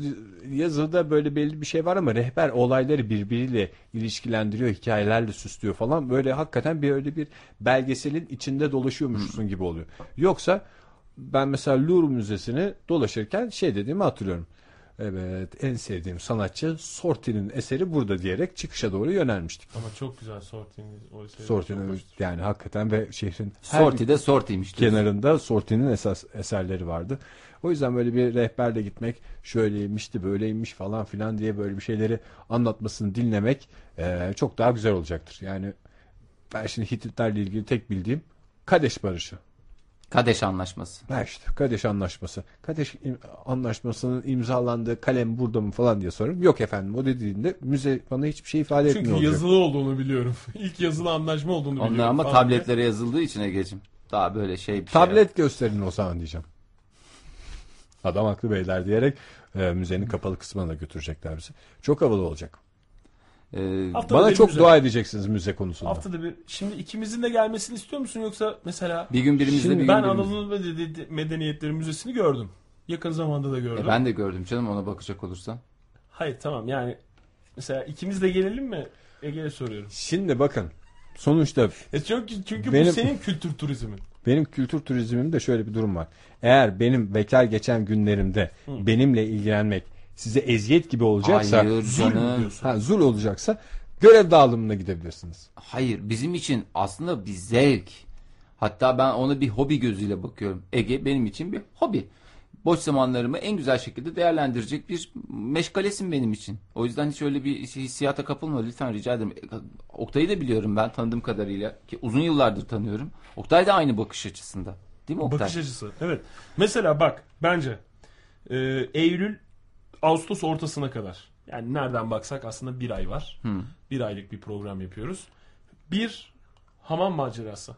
Speaker 1: yazıda böyle belli bir şey var ama rehber olayları birbiriyle ilişkilendiriyor, hikayelerle süslüyor falan. Böyle hakikaten bir öyle bir belgeselin içinde dolaşıyormuşsun gibi oluyor. Yoksa ben mesela Louvre Müzesi'ni dolaşırken şey dediğimi hatırlıyorum. Evet en sevdiğim sanatçı Sorti'nin eseri burada diyerek çıkışa doğru yönelmiştik.
Speaker 2: Ama çok güzel sorting. oysa-
Speaker 1: Sortinin yani hakikaten ve şehrin her
Speaker 3: Sorti de sortiymiş. diyorsun.
Speaker 1: kenarında Sorti'nin esas eserleri vardı. O yüzden böyle bir rehberle gitmek şöyleymişti böyleymiş falan filan diye böyle bir şeyleri anlatmasını dinlemek eee, çok daha güzel olacaktır. Yani ben şimdi Hititlerle ilgili tek bildiğim Kadeş Barışı.
Speaker 3: Kadeş anlaşması.
Speaker 1: Ha işte Kadeş Anlaşması. Kadeş im- Anlaşması'nın imzalandığı kalem burada mı falan diye soruyorum. Yok efendim o dediğinde müze bana hiçbir şey ifade
Speaker 2: Çünkü
Speaker 1: etmiyor. olacak.
Speaker 2: yazılı olduğunu biliyorum. İlk yazılı anlaşma olduğunu biliyorum.
Speaker 3: Onlar ama
Speaker 2: Falan diye.
Speaker 3: tabletlere yazıldığı için Ege'cim. Daha böyle şey bir şey yok.
Speaker 1: Tablet gösterin o zaman diyeceğim. Adam haklı beyler diyerek e, müzenin kapalı kısmına da götürecekler bizi. Çok havalı olacak.
Speaker 3: Ee,
Speaker 2: Haftada
Speaker 1: Bana
Speaker 2: bir
Speaker 1: çok
Speaker 2: müze.
Speaker 1: dua edeceksiniz müze konusunda.
Speaker 2: Haftada bir. Şimdi ikimizin de gelmesini istiyor musun yoksa mesela
Speaker 3: bir gün birimizde bir
Speaker 2: Şimdi
Speaker 3: gün
Speaker 2: ben
Speaker 3: birimizde.
Speaker 2: Anadolu Medeni- Medeniyetleri Müzesi'ni gördüm. Yakın zamanda da gördüm.
Speaker 3: E, ben de gördüm canım ona bakacak olursan.
Speaker 2: Hayır tamam yani mesela ikimiz de gelelim mi? Ege'ye soruyorum.
Speaker 1: Şimdi bakın sonuçta
Speaker 2: E çünkü çünkü bu
Speaker 1: Benim-
Speaker 2: senin kültür turizmin.
Speaker 1: benim kültür turizmimde şöyle bir durum var. Eğer benim bekar geçen günlerimde benimle ilgilenmek size eziyet gibi olacaksa
Speaker 3: Hayır canım.
Speaker 1: ha, zul olacaksa görev dağılımına gidebilirsiniz.
Speaker 3: Hayır bizim için aslında bir zevk. Hatta ben ona bir hobi gözüyle bakıyorum. Ege benim için bir hobi. Boş zamanlarımı en güzel şekilde değerlendirecek bir meşgalesin benim için. O yüzden hiç öyle bir şey- hissiyata kapılma lütfen rica ederim. E, Oktay'ı da biliyorum ben tanıdığım kadarıyla ki uzun yıllardır tanıyorum. Oktay da aynı bakış açısında. Değil mi Oktay?
Speaker 2: Bakış açısı. Evet. Mesela bak bence e, Eylül Ağustos ortasına kadar. Yani nereden baksak aslında bir ay var. Bir aylık bir program yapıyoruz. Bir hamam macerası.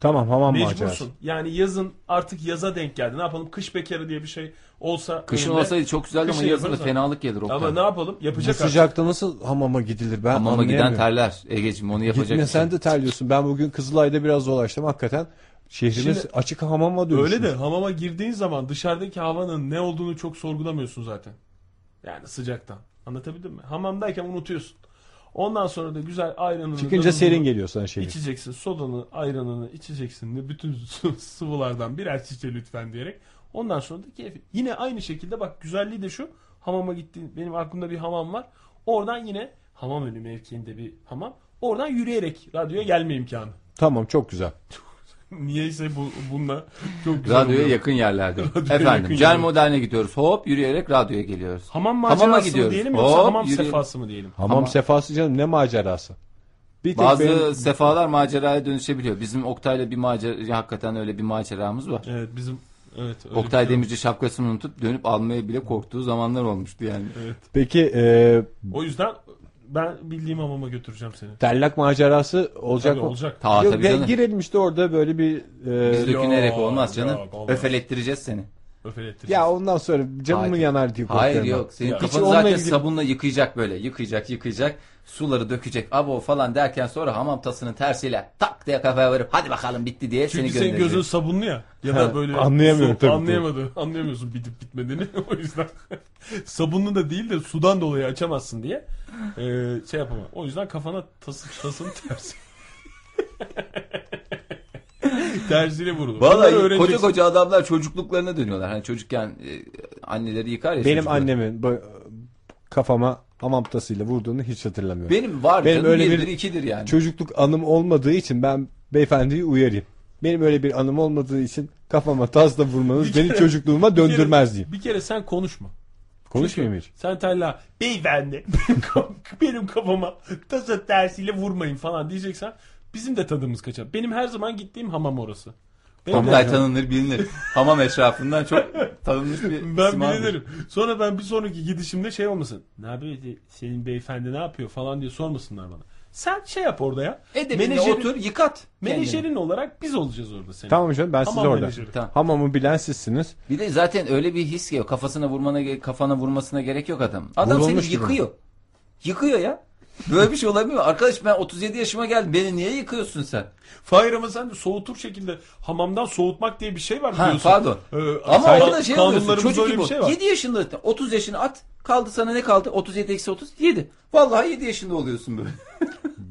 Speaker 1: Tamam hamam macerası.
Speaker 2: Mecbursun. Yani yazın artık yaza denk geldi. Ne yapalım? Kış bekarı diye bir şey olsa.
Speaker 3: Kışın
Speaker 2: önümde-
Speaker 3: olsaydı çok güzeldi ama
Speaker 2: Kışın
Speaker 3: yazın da
Speaker 2: yaparız
Speaker 3: fenalık gelir Oktay.
Speaker 2: Ama ne yapalım?
Speaker 1: Bu
Speaker 2: Yapacak artık.
Speaker 1: sıcakta nasıl hamama gidilir ben
Speaker 3: Hamama giden
Speaker 1: anlayamıyorum.
Speaker 3: terler Ege'cim onu yapacak. bir şey
Speaker 1: Gitmesen de terliyorsun. Ben bugün Kızılay'da biraz dolaştım. Hakikaten şehrimiz
Speaker 2: Şimdi-
Speaker 1: açık hamama dönüşmüş.
Speaker 2: Öyle de hamama girdiğin zaman dışarıdaki havanın ne olduğunu çok sorgulamıyorsun zaten. Yani sıcaktan. Anlatabildim mi? Hamamdayken unutuyorsun. Ondan sonra da güzel ayranını
Speaker 1: Çıkınca
Speaker 2: dalını
Speaker 1: serin geliyor sana şehir.
Speaker 2: içeceksin. Sodanı, ayranını içeceksin. de Bütün su- sıvılardan birer şişe lütfen diyerek. Ondan sonra da keyif. Yine aynı şekilde bak güzelliği de şu. Hamama gittiğin benim aklımda bir hamam var. Oradan yine hamam önü mevkiinde bir hamam. Oradan yürüyerek radyoya gelme imkanı.
Speaker 1: Tamam çok güzel.
Speaker 2: Niyeyse bu, bununla çok güzel
Speaker 3: Radyoya
Speaker 2: oluyor.
Speaker 3: yakın yerlerde.
Speaker 2: Radyoya yakın
Speaker 3: Efendim Cel
Speaker 2: yerler.
Speaker 3: Modern'e gidiyoruz. Hop yürüyerek radyoya geliyoruz.
Speaker 2: Hamam
Speaker 3: Hamama
Speaker 2: macerası mı
Speaker 3: gidiyoruz.
Speaker 2: diyelim yoksa
Speaker 3: Hop,
Speaker 2: hamam
Speaker 3: yürüyelim.
Speaker 2: sefası mı diyelim?
Speaker 1: Hamam sefası canım ne macerası. Bir tek
Speaker 3: Bazı
Speaker 1: benim-
Speaker 3: sefalar maceraya dönüşebiliyor. Bizim Oktay'la bir macera hakikaten öyle bir maceramız var.
Speaker 2: Evet bizim evet öyle
Speaker 3: Oktay
Speaker 2: bir şey
Speaker 3: Demirci şapkasını unutup dönüp almaya bile korktuğu zamanlar olmuştu yani.
Speaker 2: yok. Evet.
Speaker 1: Peki e,
Speaker 2: O yüzden ben bildiğim hamama götüreceğim seni.
Speaker 1: tellak macerası olacak
Speaker 2: Tabii
Speaker 1: mı?
Speaker 2: olacak.
Speaker 3: Ta
Speaker 1: Yok,
Speaker 3: tabii
Speaker 1: de-
Speaker 3: canım.
Speaker 1: girelim işte orada böyle bir e,
Speaker 3: Biz dökünerek olmaz
Speaker 2: yok,
Speaker 3: canım.
Speaker 2: olmaz.
Speaker 3: Öfelettireceğiz seni.
Speaker 2: öfelettireceğiz.
Speaker 1: Ya ondan sonra camı mı
Speaker 3: Hayır.
Speaker 1: yanar diye
Speaker 3: Hayır
Speaker 1: korkuyorum ben.
Speaker 3: yok. Senin
Speaker 2: Ya.
Speaker 1: Hiç
Speaker 3: kafanı
Speaker 1: onunla
Speaker 3: zaten
Speaker 1: ilgili-
Speaker 3: sabunla yıkayacak böyle. Yıkayacak yıkayacak. Suları dökecek. Abo falan derken sonra hamam tasının tersiyle tak diye kafaya verip hadi bakalım bitti diye
Speaker 2: Çünkü
Speaker 3: seni
Speaker 2: senin
Speaker 3: gönderecek.
Speaker 2: gözün sabunlu ya. Ya
Speaker 1: Ha,
Speaker 2: da böyle
Speaker 1: anlayamıyorum
Speaker 2: su-
Speaker 1: tabii,
Speaker 2: Anlayamadı. Anlayamıyorsun bitip bitmediğini. o yüzden sabunlu da değil de sudan dolayı açamazsın diye e, şey yapamam. O yüzden kafana tası, tasın tersi. Tersiyle vurulur. Bunları
Speaker 3: Vallahi koca
Speaker 2: öğreneceksin.
Speaker 3: koca adamlar çocukluklarına dönüyorlar. Hani çocukken e, anneleri yıkar ya.
Speaker 1: Benim
Speaker 3: çocukları.
Speaker 1: annemin bu- kafama amamtasıyla vurduğunu hiç hatırlamıyorum.
Speaker 3: Benim var
Speaker 1: Benim
Speaker 3: canım
Speaker 1: öyle bir-
Speaker 3: birdir ikidir yani.
Speaker 1: Çocukluk anım olmadığı için ben beyefendiyi uyarayım. Benim öyle bir anım olmadığı için kafama tasla
Speaker 2: Bir
Speaker 1: vurmanız
Speaker 2: kere-
Speaker 1: beni çocukluğuma
Speaker 2: Bir kere-
Speaker 1: döndürmez diyeyim.
Speaker 2: Bir kere sen konuşma.
Speaker 1: Konuşmayayım hiç.
Speaker 2: Sen Tella beyefendi benim, kaf- benim kafama tasa tersiyle vurmayın falan diyeceksen bizim de tadımız kaçar. Benim her zaman gittiğim hamam orası. Benim de-
Speaker 3: Oktay tanınır bilinir. Hamam etrafından çok tanınmış bir
Speaker 2: Ben
Speaker 3: simadır.
Speaker 2: bilinirim. Sonra ben bir sonraki gidişimde şey olmasın. Ne yapıyor de- senin beyefendi ne yapıyor falan diye sormasınlar bana. Sen şey yap orada ya.
Speaker 3: Edebine otur yıkat. kendini.
Speaker 2: menajerin olarak biz olacağız orada senin.
Speaker 1: Tamam canım ben siz
Speaker 2: Hamam
Speaker 1: orada.
Speaker 2: menajeri.
Speaker 3: Tamam.
Speaker 1: Hamamı bilen sizsiniz.
Speaker 3: Bir de zaten öyle bir his ki kafasına vurmana ge- kafana vurmasına gerek yok adam. Adam
Speaker 1: Vurulmuş
Speaker 3: seni
Speaker 1: gibi.
Speaker 3: yıkıyor. Yıkıyor ya. Böyle bir şey olabilir mi? Arkadaş ben 37 yaşıma geldim. Beni niye yıkıyorsun sen?
Speaker 2: Fahir ama sen de soğutur şekilde hamamdan soğutmak diye bir şey var
Speaker 3: Ha,
Speaker 2: biliyorsun.
Speaker 3: pardon.
Speaker 2: Ee,
Speaker 3: Ama
Speaker 2: kan-
Speaker 3: orada şey oluyorsun.
Speaker 2: kanunlarımızda
Speaker 3: Çocuk
Speaker 2: öyle
Speaker 3: gibi.
Speaker 2: bir şey var.
Speaker 3: 7 yaşında 30 yaşını at. Kaldı sana ne kaldı? 37 eksi 30 7. Vallahi 7 yaşında oluyorsun böyle.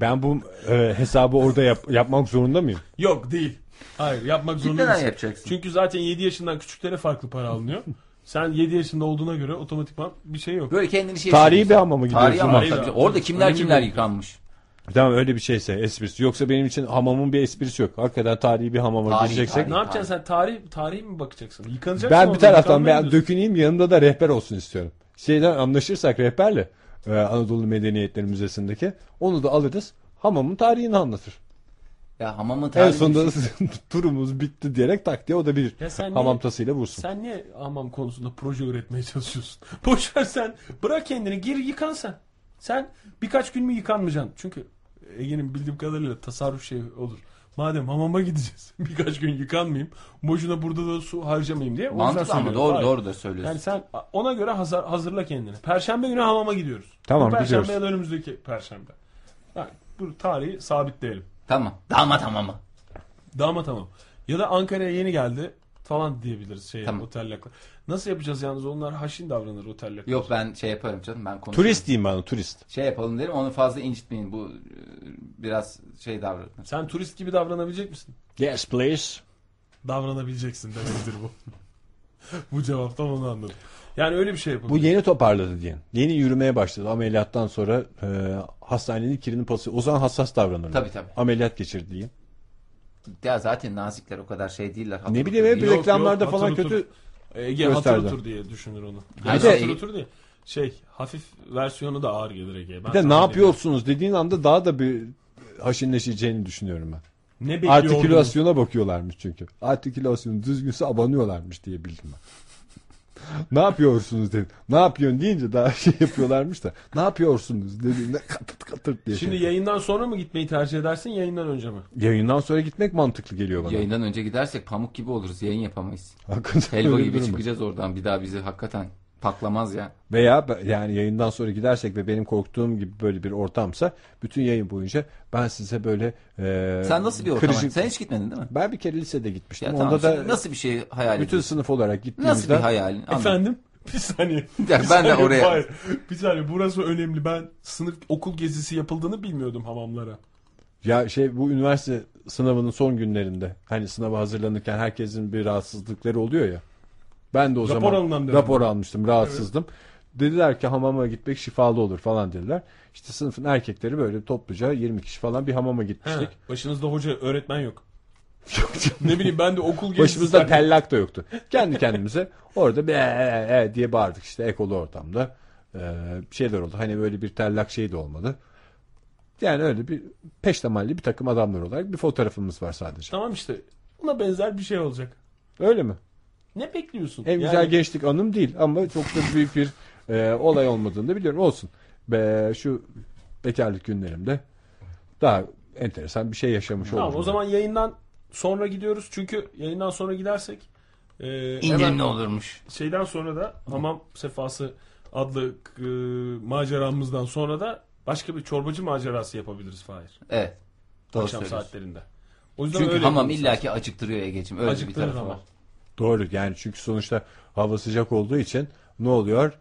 Speaker 1: Ben bu e, hesabı orada yap- yapmak zorunda mıyım?
Speaker 2: Yok değil. Hayır yapmak zorunda
Speaker 3: Neden
Speaker 2: değilsin.
Speaker 3: yapacaksın?
Speaker 2: Çünkü zaten 7 yaşından küçüklere farklı para alınıyor. Sen 7 yaşında olduğuna göre otomatikman bir şey yok.
Speaker 3: Böyle kendini şey
Speaker 1: Tarihi bir
Speaker 3: hissediyorsun.
Speaker 1: hamama gidiyoruz.
Speaker 3: Tarihi
Speaker 1: Tamam.
Speaker 3: ama
Speaker 2: Tarihi
Speaker 3: tabii.
Speaker 2: bir-
Speaker 3: Orada kimler
Speaker 2: Önemli
Speaker 3: kimler
Speaker 2: bir-
Speaker 3: yıkanmış.
Speaker 1: Tamam öyle bir şeyse esprisi. Yoksa benim için hamamın bir esprisi yok. Hakikaten tarihi bir hamama
Speaker 3: Tarihi,
Speaker 1: gireceksek.
Speaker 3: tarihi.
Speaker 2: Ne yapacaksın sen tarih tarihi mi bakacaksın? Yıkanacaksın.
Speaker 1: Ben bir
Speaker 2: orada,
Speaker 1: taraftan
Speaker 2: yıkanmayı
Speaker 1: ben döküneyim yanında da rehber olsun istiyorum. Şeyden anlaşırsak rehberle e, Anadolu Medeniyetleri Müzesi'ndeki onu da alırız. Hamamın tarihini anlatır.
Speaker 3: Ya hamamın
Speaker 1: En
Speaker 3: tarihi.
Speaker 1: sonunda turumuz bitti diyerek tak diye o da bir
Speaker 2: Ya sen niye-
Speaker 1: hamam tasıyla vursun.
Speaker 2: Sen niye hamam konusunda proje üretmeye çalışıyorsun? Boş ver sen. Bırak kendini. Gir yıkan sen. Sen birkaç gün mü yıkanmayacaksın? Çünkü Ege'nin bildiğim kadarıyla tasarruf şey olur. Madem hamama gideceğiz. Birkaç gün yıkanmayayım. Boşuna burada da su harcamayayım diye. O yüzden
Speaker 3: şey. Mantıklı ama
Speaker 2: söylüyorum.
Speaker 3: doğru
Speaker 2: Hayır.
Speaker 3: doğru da söylüyorsun.
Speaker 2: Yani sen ona göre hazır, hazırla kendini. Perşembe günü hamama gidiyoruz.
Speaker 1: Tamam,
Speaker 2: Bu perşembe
Speaker 1: gidiyoruz.
Speaker 2: ya da önümüzdeki perşembe. Yani bu tarihi sabitleyelim.
Speaker 3: Tamam. Damat hamamı.
Speaker 2: Damat tamam. Ya da Ankara'ya yeni geldi falan diyebiliriz şey
Speaker 3: Tamam.
Speaker 2: otel laklar. Nasıl yapacağız yalnız onlar haşin davranır otel laklar.
Speaker 3: Yok ben şey yaparım canım ben konuşurum.
Speaker 1: Turist diyeyim ben turist.
Speaker 3: Şey yapalım derim onu fazla incitmeyin bu e, biraz şey davranır.
Speaker 2: Sen turist gibi davranabilecek misin?
Speaker 1: Yes please.
Speaker 2: Davranabileceksin demektir bu. bu cevaptan onu anladım. Yani öyle bir şey yapalım.
Speaker 1: Bu yeni toparladı diyelim. Yeni yürümeye başladı ameliyattan sonra e, hastanenin kirini pası. O zaman hassas davranırlar.
Speaker 3: Tabii, tabii.
Speaker 1: Ameliyat geçirdi diyeyim.
Speaker 3: Ya zaten nazikler o kadar şey değiller. hatırlı
Speaker 1: Ne bileyim hep
Speaker 3: değil.
Speaker 2: Yok,
Speaker 1: reklamlarda
Speaker 2: yok,
Speaker 1: falan
Speaker 2: hatır otur.
Speaker 1: kötü.
Speaker 2: Ege
Speaker 1: gösterdi.
Speaker 2: hatır otur diye düşünür onu.
Speaker 3: Ha,
Speaker 2: Yani
Speaker 3: bir de-
Speaker 2: hatır otur diye. Şey hafif versiyonu da ağır gelir Ege'ye. Ben
Speaker 1: Bir de ne
Speaker 2: sana diyeyim.
Speaker 1: yapıyorsunuz dediğin anda daha da bir haşinleşeceğini düşünüyorum ben.
Speaker 2: Ne bekliyor olduğunu-
Speaker 1: Artikülasyona bakıyorlarmış çünkü. Artikülasyonu düzgünse abanıyorlarmış diye bildim ben. ne yapıyorsunuz dedim. Ne yapıyorsun deyince daha şey yapıyorlarmış da. Ne yapıyorsunuz dediğinde katırt katırt diye.
Speaker 2: Şimdi
Speaker 1: şey.
Speaker 2: yayından sonra mı gitmeyi tercih edersin yayından önce mi?
Speaker 1: Yayından sonra gitmek mantıklı geliyor bana.
Speaker 3: Yayından önce gidersek pamuk gibi oluruz yayın yapamayız.
Speaker 1: Hakikaten
Speaker 3: Helva
Speaker 1: öyle bir
Speaker 3: gibi
Speaker 1: durum var.
Speaker 3: çıkacağız oradan bir daha bizi hakikaten paklamaz ya.
Speaker 1: Veya be- yani yayından sonra gidersek ve benim korktuğum gibi böyle bir ortamsa bütün yayın boyunca ben size böyle e,
Speaker 3: Sen nasıl bir ortam?
Speaker 1: kırıcı-
Speaker 3: Sen hiç gitmedin değil mi?
Speaker 1: Ben bir kere lisede gitmiştim.
Speaker 3: Ya
Speaker 1: Onda
Speaker 3: tamam,
Speaker 1: da
Speaker 3: şimdi nasıl bir şey hayal
Speaker 1: bütün
Speaker 3: ediyorsun?
Speaker 1: sınıf olarak gittiğimizde
Speaker 3: Nasıl bir hayalin? Anlat.
Speaker 2: Efendim? Bir saniye.
Speaker 3: Ya
Speaker 2: Bir
Speaker 3: ben de
Speaker 2: saniye,
Speaker 3: oraya-
Speaker 2: hayır. Bir saniye burası önemli. Ben sınıf okul gezisi yapıldığını bilmiyordum hamamlara.
Speaker 1: Ya şey bu üniversite sınavının son günlerinde hani sınava hazırlanırken herkesin bir rahatsızlıkları oluyor ya. Ben de o
Speaker 2: Rapor
Speaker 1: zaman
Speaker 2: alınan dönem.
Speaker 1: rapor almıştım, rahatsızdım. Dediler ki hamama gitmek şifalı olur falan dediler. İşte sınıfın erkekleri böyle topluca 20 kişi falan bir hamama gitmiştik.
Speaker 2: Başınızda hoca öğretmen yok. ne bileyim ben de okul gezisi...
Speaker 1: Başımızda
Speaker 2: zannettim.
Speaker 1: tellak da yoktu. Kendi kendimize orada be e, e diye bağırdık işte ekolu ortamda. Ee, şeyler oldu. Hani böyle bir tellak şey de olmadı. Yani öyle bir peştemalli bir takım adamlar olarak bir fotoğrafımız var sadece.
Speaker 2: Tamam işte buna benzer bir şey olacak.
Speaker 1: Öyle mi?
Speaker 2: Ne bekliyorsun?
Speaker 1: En güzel gençlik anım değil ama çok da büyük bir e, olay olmadığını da biliyorum. Olsun. Be, şu bekarlık günlerimde daha enteresan bir şey yaşamış
Speaker 2: Tamam
Speaker 1: oldum.
Speaker 2: o zaman yayından sonra gidiyoruz. Çünkü yayından sonra gidersek Ee,
Speaker 3: İndirimli
Speaker 2: hemen
Speaker 3: olurmuş.
Speaker 2: şeyden sonra da hamam sefası adlı e, maceramızdan sonra da başka bir çorbacı macerası yapabiliriz Fahir.
Speaker 3: Evet. Doğru
Speaker 2: Akşam
Speaker 3: söylüyorsun.
Speaker 2: saatlerinde. O yüzden
Speaker 3: Çünkü
Speaker 2: öyle
Speaker 3: hamam
Speaker 2: yapalım.
Speaker 3: illaki acıktırıyor Ege'cim. Öyle bir
Speaker 2: Acıktırır
Speaker 3: tarafı
Speaker 2: hamam.
Speaker 3: var.
Speaker 1: Doğru yani çünkü sonuçta hava sıcak olduğu için ne oluyor?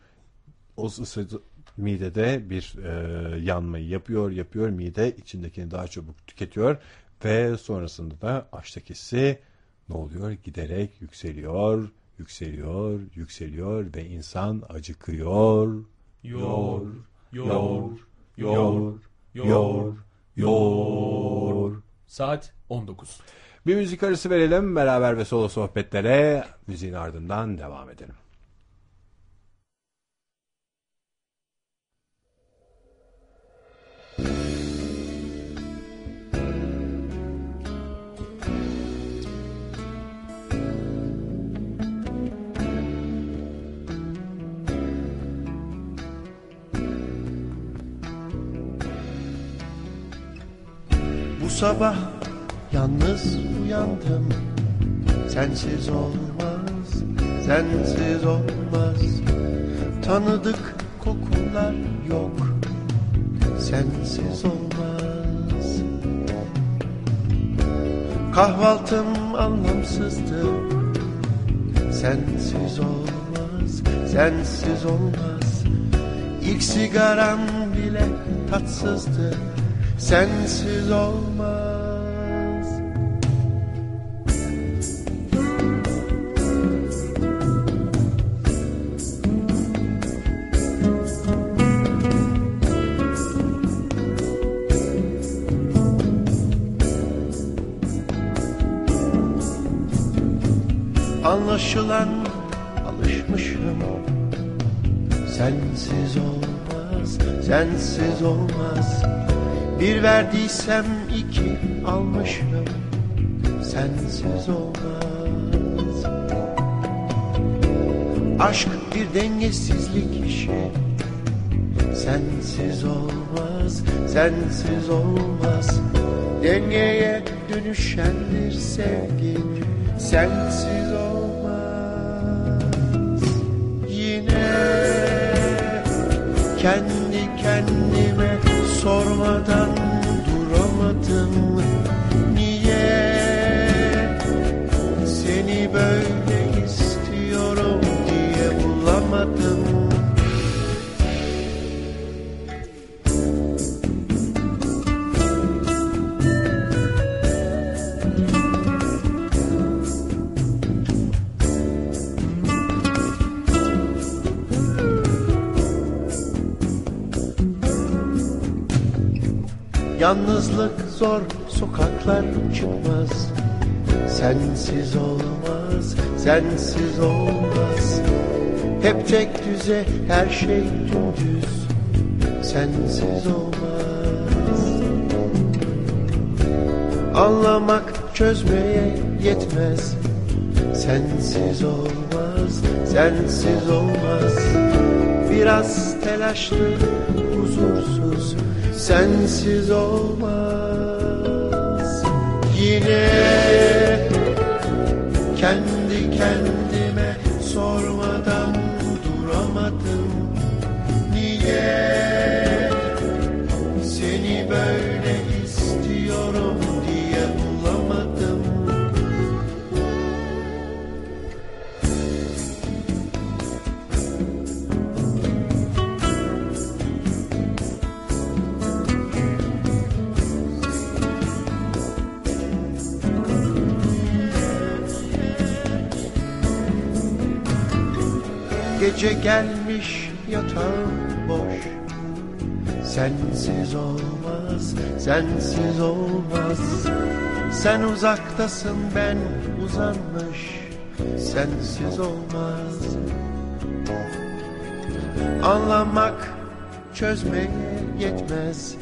Speaker 1: O ısı midede bir e, yanmayı yapıyor, yapıyor. Mide içindekini daha çabuk tüketiyor ve sonrasında da açlık hissi ne oluyor? Giderek yükseliyor, yükseliyor, yükseliyor ve insan acıkıyor.
Speaker 2: Yor, yor,
Speaker 1: Yor,
Speaker 2: yor,
Speaker 1: yor,
Speaker 2: yor.
Speaker 1: yor.
Speaker 2: Saat 19.
Speaker 1: Bir müzik arası verelim beraber ve solo sohbetlere müziğin ardından devam edelim.
Speaker 6: Bu sabah yalnız uyandım Sensiz olmaz, sensiz olmaz Tanıdık kokular yok Sensiz olmaz Kahvaltım anlamsızdı Sensiz olmaz, sensiz olmaz İlk sigaram bile tatsızdı Sensiz olmaz Anlaşılan alışmışım Sensiz olmaz, sensiz olmaz Bir verdiysem iki almışım Sensiz olmaz Aşk bir dengesizlik işi Sensiz olmaz, sensiz olmaz Dengeye dönüşen bir sevgi Sensiz olmaz Yine kendi kendime sormadan duramadım Niye seni böyle istiyorum diye bulamadım Yalnızlık zor sokaklar çıkmaz Sensiz olmaz, sensiz olmaz Hep tek düze her şey dümdüz Sensiz olmaz Anlamak çözmeye yetmez Sensiz olmaz, sensiz olmaz Biraz telaşlı, huzursuz Sensiz olmaz Yine kendi kendime sormadan duramadım Niye seni böyle istiyorum diye bulamadım Gece gelmiş yatağım boş Sensiz olmaz, sensiz olmaz Sen uzaktasın ben uzanmış Sensiz olmaz Anlamak çözmeye yetmez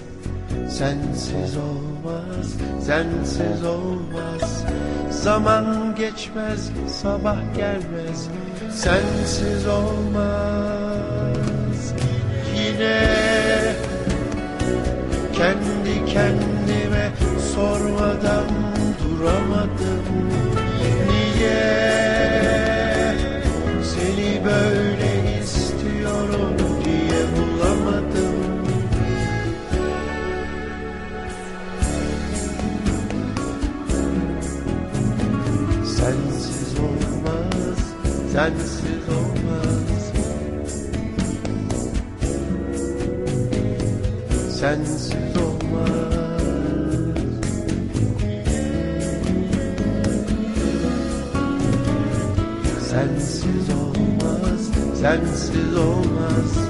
Speaker 6: Sensiz olmaz, sensiz olmaz Zaman geçmez, sabah gelmez Sensiz olmaz Yine kendi kendime sormadan duramadım Niye Seni böyle istiyorum diye bulamadım Sensiz olmaz, sensiz olmaz Sensiz olmaz Sensiz olmaz, sensiz olmaz.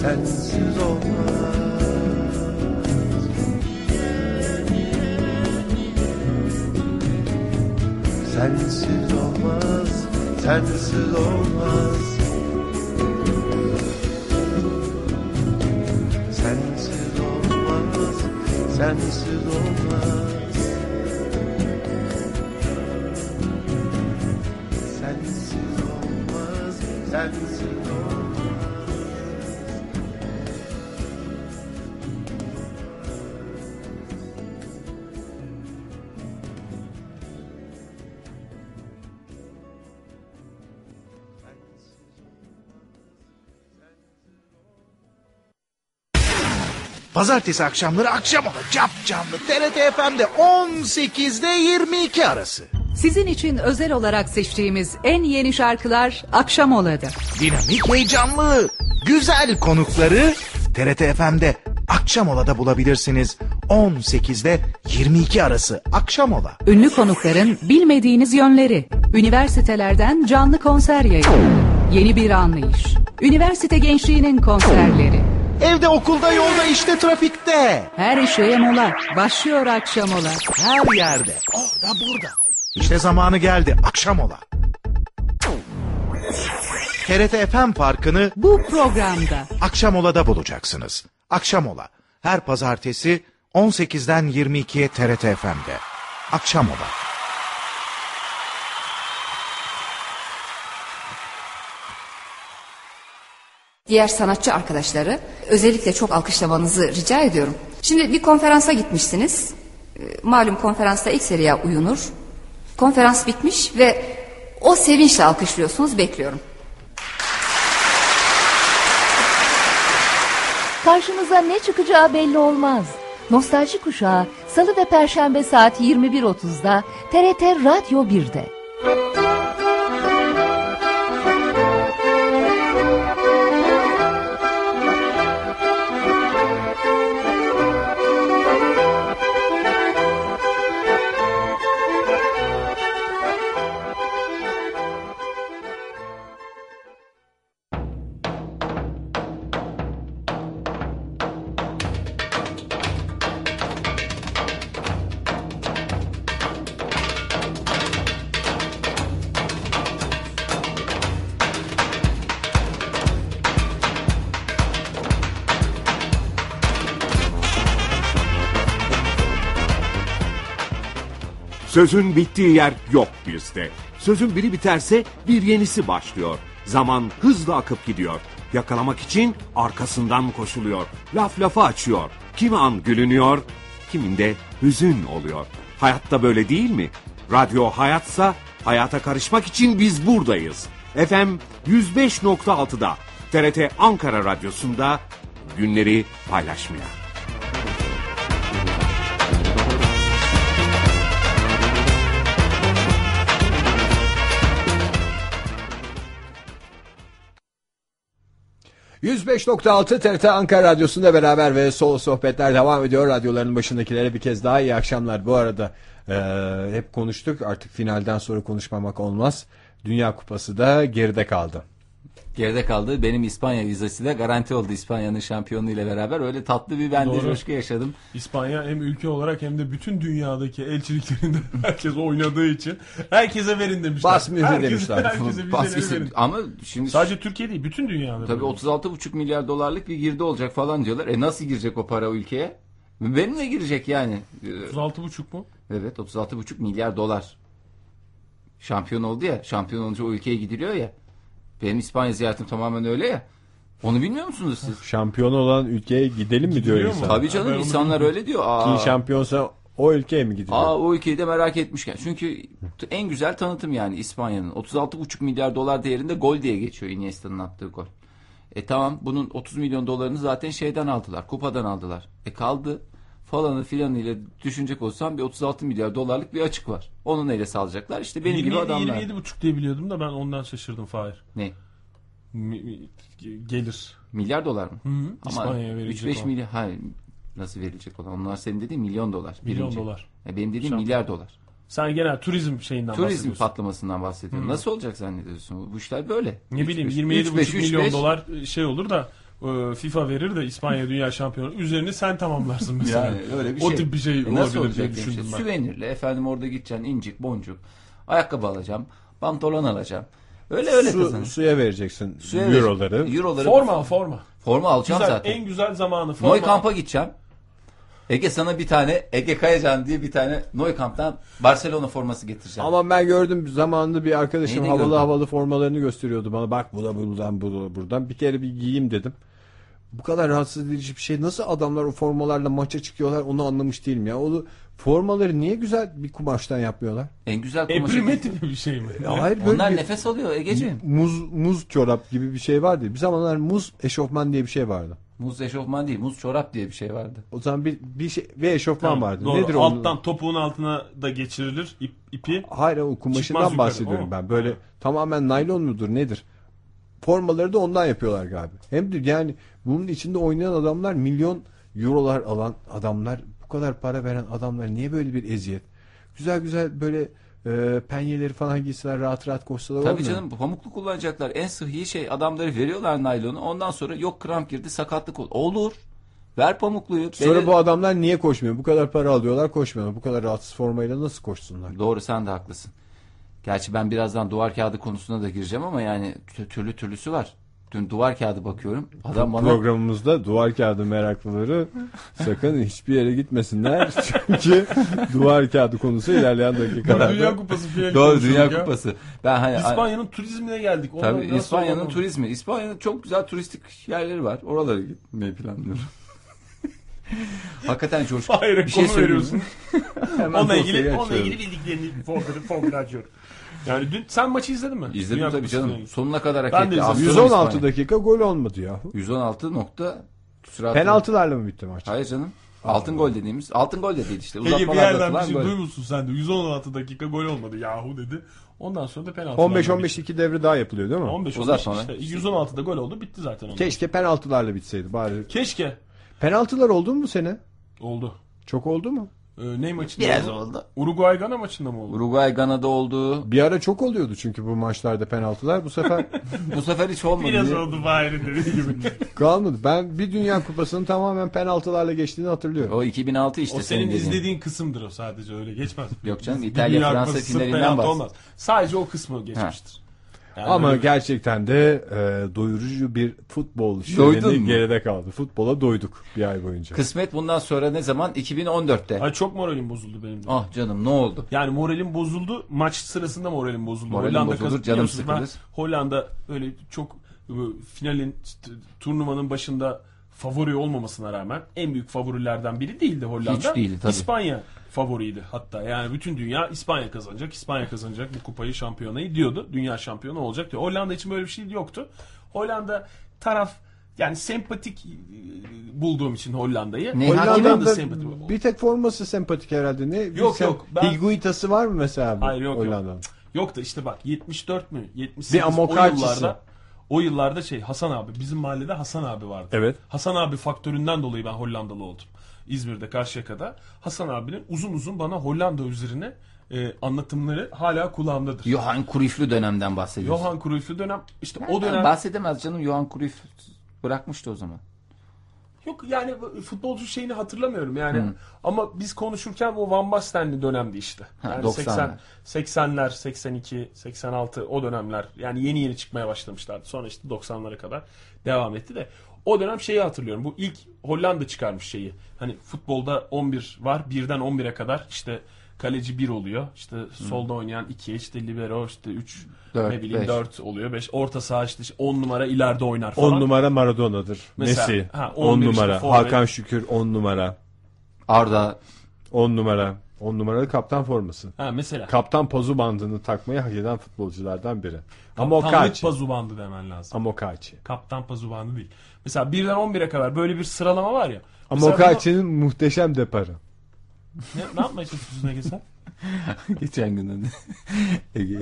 Speaker 6: Sensiz olmaz. Sensiz olmaz, sensiz olmaz. Sensiz olmaz, sensiz olmaz. Sensiz olmaz, sensiz olmaz.
Speaker 7: Pazartesi akşamları akşam ola cap canlı TRT FM'de 18'de 22 arası.
Speaker 8: Sizin için özel olarak seçtiğimiz en yeni şarkılar akşam oladı.
Speaker 7: Dinamik heyecanlı, güzel konukları TRT FM'de akşam olada bulabilirsiniz. 18'de 22 arası akşam ola.
Speaker 8: Ünlü konukların bilmediğiniz yönleri. Üniversitelerden canlı konser yayını. Yeni bir anlayış. Üniversite gençliğinin konserleri.
Speaker 7: Evde, okulda, yolda, işte, trafikte.
Speaker 8: Her işe mola. Başlıyor akşam ola.
Speaker 7: Her yerde. Orada, burada. İşte zamanı geldi. Akşam ola. TRT FM Parkı'nı
Speaker 8: Bu programda
Speaker 7: Akşam Ola'da bulacaksınız. Akşam Ola. Her pazartesi 18'den 22'ye TRT FM'de. Akşam Ola.
Speaker 9: Diğer sanatçı arkadaşları özellikle çok alkışlamanızı rica ediyorum. Şimdi bir konferansa gitmişsiniz. Ee, Malum konferansta ilk seriye uyunur. Konferans bitmiş ve o sevinçle alkışlıyorsunuz bekliyorum.
Speaker 10: Karşınıza ne çıkacağı belli olmaz. Nostalji Kuşağı Salı ve Perşembe saat 21.30'da TRT Radyo 1'de.
Speaker 11: Sözün bittiği yer yok bizde. Sözün biri biterse bir yenisi başlıyor. Zaman hızla akıp gidiyor. Yakalamak için arkasından koşuluyor. Laf lafa açıyor. Kimi an gülünüyor, kimin de hüzün oluyor. Hayatta böyle değil mi? Radyo hayatsa hayata karışmak için biz buradayız. FM 105.6'da TRT Ankara Radyosu'nda günleri paylaşmaya.
Speaker 1: ...105.6 TRT Ankara Radyosu'nda beraber ve sol sohbetler devam ediyor. Radyoların başındakilere bir kez daha iyi akşamlar. Bu arada eee, hep konuştuk artık finalden sonra konuşmamak olmaz. Dünya Kupası da geride kaldı.
Speaker 3: Geride kaldı. Benim İspanya vizesi de garanti oldu İspanya'nın şampiyonu ile beraber. Öyle tatlı bir ben de
Speaker 2: Doğru.
Speaker 3: coşku yaşadım.
Speaker 2: İspanya hem ülke olarak hem de bütün dünyadaki elçiliklerinde herkes oynadığı için herkese verin demişler.
Speaker 1: Bas mühür
Speaker 2: Herkese-
Speaker 1: demişler.
Speaker 2: Herkese vizeleri
Speaker 3: Pas vize-
Speaker 2: verin.
Speaker 3: Ama şimdi
Speaker 2: Sadece Türkiye değil bütün dünyada.
Speaker 3: tabii
Speaker 2: böyle.
Speaker 3: 36,5 milyar dolarlık bir girdi olacak falan diyorlar. E nasıl girecek o para ülkeye? Benimle girecek yani. Ee,
Speaker 2: 36,5 mu?
Speaker 3: Evet 36,5 milyar dolar. Şampiyon oldu ya. Şampiyon olunca o ülkeye gidiliyor ya. Benim İspanya ziyaretim tamamen öyle ya. Onu bilmiyor musunuz siz?
Speaker 1: Şampiyon olan ülkeye gidelim mi diyor
Speaker 2: Gidiyor mu?
Speaker 1: insan.
Speaker 3: Tabii
Speaker 2: Ben
Speaker 3: canım
Speaker 2: onu
Speaker 3: insanlar öyle diyor. Aa,
Speaker 1: Ki şampiyonsa O ülkeye mi gidiyor?
Speaker 3: Aa o ülkeyi de merak etmişken. Çünkü t- en güzel tanıtım yani İspanya'nın. 36,5 milyar dolar değerinde gol diye geçiyor Iniesta'nın attığı gol. E tamam bunun 30 milyon dolarını zaten şeyden aldılar. Kupadan aldılar. E kaldı falanı filanıyla düşünecek olsam bir 36 milyar dolarlık bir açık var. Onu neyle salacaklar? İşte benim gibi
Speaker 2: 27,
Speaker 3: adamlar.
Speaker 2: 27,5 diye biliyordum da ben ondan şaşırdım Fahir.
Speaker 3: Ne?
Speaker 2: Mi- mi- gelir.
Speaker 3: Milyar dolar mı?
Speaker 2: Hı hı.
Speaker 3: Ama
Speaker 2: İspanya'ya verecek
Speaker 3: 3-5
Speaker 2: olan.
Speaker 3: milyar hayır, nasıl verilecek olan? Onlar senin dediğin milyon dolar.
Speaker 2: Milyon
Speaker 3: birinci.
Speaker 2: dolar.
Speaker 3: E, benim dediğim
Speaker 2: Şampiyon.
Speaker 3: milyar dolar.
Speaker 2: Sen genel turizm şeyinden
Speaker 3: Turizm
Speaker 2: bahsediyorsun.
Speaker 3: patlamasından bahsediyorum.
Speaker 2: Hı.
Speaker 3: Nasıl olacak zannediyorsun? Bu işler böyle.
Speaker 2: Ne
Speaker 3: Üç
Speaker 2: bileyim
Speaker 3: beş,
Speaker 2: 27,5
Speaker 3: üç beş, üç
Speaker 2: milyon
Speaker 3: beş.
Speaker 2: dolar şey olur da e, FIFA verir de İspanya Dünya Şampiyonu üzerini sen tamamlarsın mesela.
Speaker 3: Yani öyle bir
Speaker 2: o
Speaker 3: şey.
Speaker 2: tip bir şey
Speaker 3: E, nasıl
Speaker 2: olabilir diye
Speaker 3: olacak
Speaker 2: düşündüm
Speaker 3: işte?
Speaker 2: ben.
Speaker 3: Süvenirle efendim orada gideceksin incik boncuk. Ayakkabı alacağım. Pantolon alacağım. Öyle öyle
Speaker 1: Su-
Speaker 3: kazanır.
Speaker 1: Suya vereceksin
Speaker 3: Suya
Speaker 1: euroları.
Speaker 3: vereceksin. Euroları-
Speaker 2: Forma forma.
Speaker 3: Forma alacağım
Speaker 2: Güzel,
Speaker 3: zaten.
Speaker 2: En güzel zamanı forma.
Speaker 3: Noy kampa gideceğim. Ege sana bir tane Ege Kayacan diye bir tane Noy kamptan Barcelona forması getireceğim.
Speaker 1: Ama ben gördüm zamanında bir arkadaşım
Speaker 3: Neyini
Speaker 1: havalı
Speaker 3: gördün?
Speaker 1: havalı formalarını gösteriyordu bana. Bak bu da buradan bu da buradan. Bir kere bir giyeyim dedim. Bu kadar rahatsız edici bir şey. Nasıl adamlar o formalarla maça çıkıyorlar onu anlamış değilim ya. O formaları niye güzel bir kumaştan yapmıyorlar?
Speaker 3: En güzel kumaşı.
Speaker 2: Eprime tipi bir şey mi?
Speaker 1: Ya hayır böyle
Speaker 3: Onlar
Speaker 1: bir-
Speaker 3: nefes alıyor Ege'ciğim.
Speaker 1: Muz muz çorap gibi bir şey vardı. Bir zamanlar muz eşofman diye bir şey vardı.
Speaker 3: Muz eşofman değil, muz çorap diye bir şey vardı.
Speaker 1: O zaman bir, bir şey ve eşofman
Speaker 2: Tamam,
Speaker 1: vardı.
Speaker 2: doğru.
Speaker 1: Nedir onun-
Speaker 2: Alttan topuğun altına da geçirilir ip, ipi.
Speaker 1: Hayır o kumaşından
Speaker 2: Çıkmaz yukarı,
Speaker 1: bahsediyorum
Speaker 2: o.
Speaker 1: ben. Böyle tamamen naylon mudur nedir? Formaları da ondan yapıyorlar galiba. Hem de yani bunun içinde oynayan adamlar milyon eurolar alan adamlar, bu kadar para veren adamlar niye böyle bir eziyet? Güzel güzel böyle e, penyeleri falan giysiler rahat rahat koşsalar
Speaker 3: Tabii
Speaker 1: olmuyor mu?
Speaker 3: canım pamuklu kullanacaklar. En sıhhi şey adamları veriyorlar naylonu. Ondan sonra yok kramp girdi sakatlık oldu. Olur. Ver pamukluyu.
Speaker 1: Sonra
Speaker 3: Bele-
Speaker 1: bu adamlar niye koşmuyor? Bu kadar para alıyorlar koşmuyorlar. Bu kadar rahatsız formayla nasıl koşsunlar?
Speaker 3: Doğru sen de haklısın. Gerçi ben birazdan duvar kağıdı konusuna da gireceğim ama yani tü- türlü türlüsü var. Dün duvar kağıdı bakıyorum. Adam bana
Speaker 1: Programımızda duvar kağıdı meraklıları sakın hiçbir yere gitmesinler. Çünkü duvar kağıdı konusu ilerleyen dakikalarda.
Speaker 2: Dünya Kupası finali
Speaker 3: Doğru
Speaker 2: konuşuyorduk
Speaker 3: Dünya
Speaker 2: ya.
Speaker 3: Kupası. Ben hani
Speaker 2: İspanya'nın turizmine geldik. Ondan
Speaker 3: Tabii
Speaker 2: nasıl
Speaker 3: İspanya'nın
Speaker 2: olalım?
Speaker 3: turizmi. İspanya'nın çok güzel turistik yerleri var. Oralara gitmeyi planlıyorum. Hakikaten coşku.
Speaker 2: Hayır,
Speaker 3: bir şey
Speaker 2: konu veriyorsun.
Speaker 3: söylüyorsun. Hemen
Speaker 2: onunla
Speaker 3: dosyayı
Speaker 2: ilgili onunla
Speaker 3: açıyorum.
Speaker 2: ilgili bildiklerini folder'ı folder'ı açıyorum. Yani dün sen maçı izledin mi?
Speaker 3: İzledim
Speaker 2: Dünya
Speaker 3: tabii
Speaker 2: Kupası
Speaker 3: canım.
Speaker 2: finali.
Speaker 3: Sonuna kadar hak
Speaker 2: Ben de
Speaker 3: etti.
Speaker 2: izledim.
Speaker 3: Aferin
Speaker 1: 116
Speaker 3: İspanya.
Speaker 1: dakika gol olmadı ya.
Speaker 3: 116 nokta küsuratı.
Speaker 1: Penaltılarla mı bitti maç?
Speaker 3: Hayır canım. Altın gol dediğimiz. Altın gol de değil işte.
Speaker 2: Ege bir
Speaker 3: Uzatmalarda
Speaker 2: yerden bir
Speaker 3: atılan
Speaker 2: şey
Speaker 3: gol.
Speaker 2: duymuşsun sen de. 116 dakika gol olmadı yahu dedi. Ondan sonra da penaltı.
Speaker 1: 15-15 iki devre daha yapılıyor değil mi?
Speaker 2: 15
Speaker 3: Uzatmalar.
Speaker 2: işte. E, 116'da gol oldu bitti zaten onlar.
Speaker 1: Keşke penaltılarla bitseydi bari.
Speaker 2: Keşke.
Speaker 1: Penaltılar oldu mu bu sene?
Speaker 2: Oldu.
Speaker 1: Çok oldu mu?
Speaker 2: Ee, ne maçında
Speaker 3: Biraz oldu.
Speaker 2: Uruguay Gana maçında mı oldu?
Speaker 3: Uruguay Gana'da oldu.
Speaker 1: Bir ara çok oluyordu çünkü bu maçlarda penaltılar. Bu sefer
Speaker 3: Bu sefer hiç olmadı.
Speaker 2: Biraz
Speaker 3: diye.
Speaker 2: oldu Fahir'in dediği gibi.
Speaker 1: kalmadı. Ben bir Dünya Kupası'nın tamamen penaltılarla geçtiğini hatırlıyorum.
Speaker 3: O 2006 işte
Speaker 2: o
Speaker 3: senin
Speaker 2: senin
Speaker 3: dediğin.
Speaker 2: izlediğin kısımdır o sadece öyle geçmez.
Speaker 3: Yok canım,
Speaker 2: Biz- bir
Speaker 3: İtalya,
Speaker 2: Dünya
Speaker 3: Fransa
Speaker 2: Kupası sırf
Speaker 3: finalinden
Speaker 2: penaltı
Speaker 3: bahsediyoruz.
Speaker 2: olmaz. Sadece o kısmı geçmiştir. Yani
Speaker 1: Ama
Speaker 2: öyle bir-
Speaker 1: gerçekten de e, doyurucu bir futbol
Speaker 3: Doydun
Speaker 1: şöleni
Speaker 3: mu?
Speaker 1: geride kaldı. Futbola doyduk bir ay boyunca.
Speaker 3: Kısmet bundan sonra ne zaman? 2014'te.
Speaker 2: Ay çok moralim bozuldu benim de.
Speaker 3: Ah canım ne oldu?
Speaker 2: Yani moralim bozuldu. Maç sırasında moralim bozuldu.
Speaker 3: Moralim bozulur,
Speaker 2: kazandı.
Speaker 3: canım
Speaker 2: Biliyorsunuz ben
Speaker 3: sıkılır.
Speaker 2: Hollanda öyle çok e, finalin t- turnuvanın başında favori olmamasına rağmen en büyük favorilerden biri değildi Hollanda.
Speaker 3: Hiç değildi tabii.
Speaker 2: İspanya favoriydi hatta. Yani bütün dünya İspanya kazanacak, İspanya kazanacak bu kupayı, şampiyonayı diyordu. Dünya şampiyonu olacak diyor. Hollanda için böyle bir şey yoktu. Hollanda taraf yani sempatik e, bulduğum için Hollanda'yı.
Speaker 3: Ne,
Speaker 2: Hollanda da
Speaker 1: Hollanda'da
Speaker 2: sempatik.
Speaker 1: bir tek forması sempatik herhalde. Ne? Bir
Speaker 2: Yok,
Speaker 1: sem-
Speaker 2: yok, ben-
Speaker 1: Higuita'sı var mı mesela bu
Speaker 2: Hayır yok
Speaker 1: Hollanda'nın?
Speaker 2: yok. Yok da işte bak 74 mü 78
Speaker 1: Bir
Speaker 2: o
Speaker 1: Amokarçısı.
Speaker 2: yıllarda o yıllarda şey Hasan abi bizim mahallede Hasan abi vardı.
Speaker 1: Evet.
Speaker 2: Hasan abi faktöründen dolayı ben Hollandalı oldum. İzmir'de Karşıyaka'da Hasan abinin uzun uzun bana Hollanda üzerine e, anlatımları hala kulağımdadır.
Speaker 3: Johan Cruyff'lü dönemden bahsediyorsun.
Speaker 2: Johan Cruyff'lu dönem işte
Speaker 3: Ha,
Speaker 2: o dönem
Speaker 3: Bahsedemez canım Johan Cruyff bırakmıştı o zaman.
Speaker 2: Yok yani futbolcu şeyini hatırlamıyorum yani.
Speaker 3: Hmm.
Speaker 2: Ama biz konuşurken o Van Basten'li dönemdi işte.
Speaker 3: Ha,
Speaker 2: Yani
Speaker 3: 90'lar.
Speaker 2: 80 80'ler, 82, 86 o dönemler. Yani yeni yeni çıkmaya başlamışlardı. Sonra işte 90'lara kadar devam etti de o dönem şeyi hatırlıyorum. Bu ilk Hollanda çıkarmış şeyi. Hani futbolda 11 var. 1'den 11'e kadar işte kaleci 1 oluyor. İşte solda oynayan 2, işte libero işte 3,
Speaker 3: Hmm. Dört,
Speaker 2: ne bileyim
Speaker 3: beş.
Speaker 2: 4 oluyor. 5 orta saha işte 10 numara ileride oynar falan.
Speaker 1: 10 numara Maradona'dır.
Speaker 2: Mesela,
Speaker 1: Messi
Speaker 2: ha,
Speaker 1: 10
Speaker 2: 11 işte
Speaker 1: numara.
Speaker 2: forvet.
Speaker 1: Hakan Şükür 10 numara.
Speaker 3: Arda
Speaker 1: 10 numara. 10 numaralı kaptan forması.
Speaker 2: Ha mesela.
Speaker 1: Kaptan pozu bandını takmayı hak eden futbolculardan biri. Ama o
Speaker 2: Kaptanlık
Speaker 1: kaç?
Speaker 2: pazu bandı demen lazım.
Speaker 1: Amokachi.
Speaker 2: Kaptan pazu bandı değil. Mesela 1'den 11'e kadar böyle bir sıralama var ya. Mesela
Speaker 1: Amokachi'nin muhteşem deparı.
Speaker 2: bunu- Ne, ne yapmaya çalışıyorsun Ege sen?
Speaker 4: Geçen gün hani Ege'yi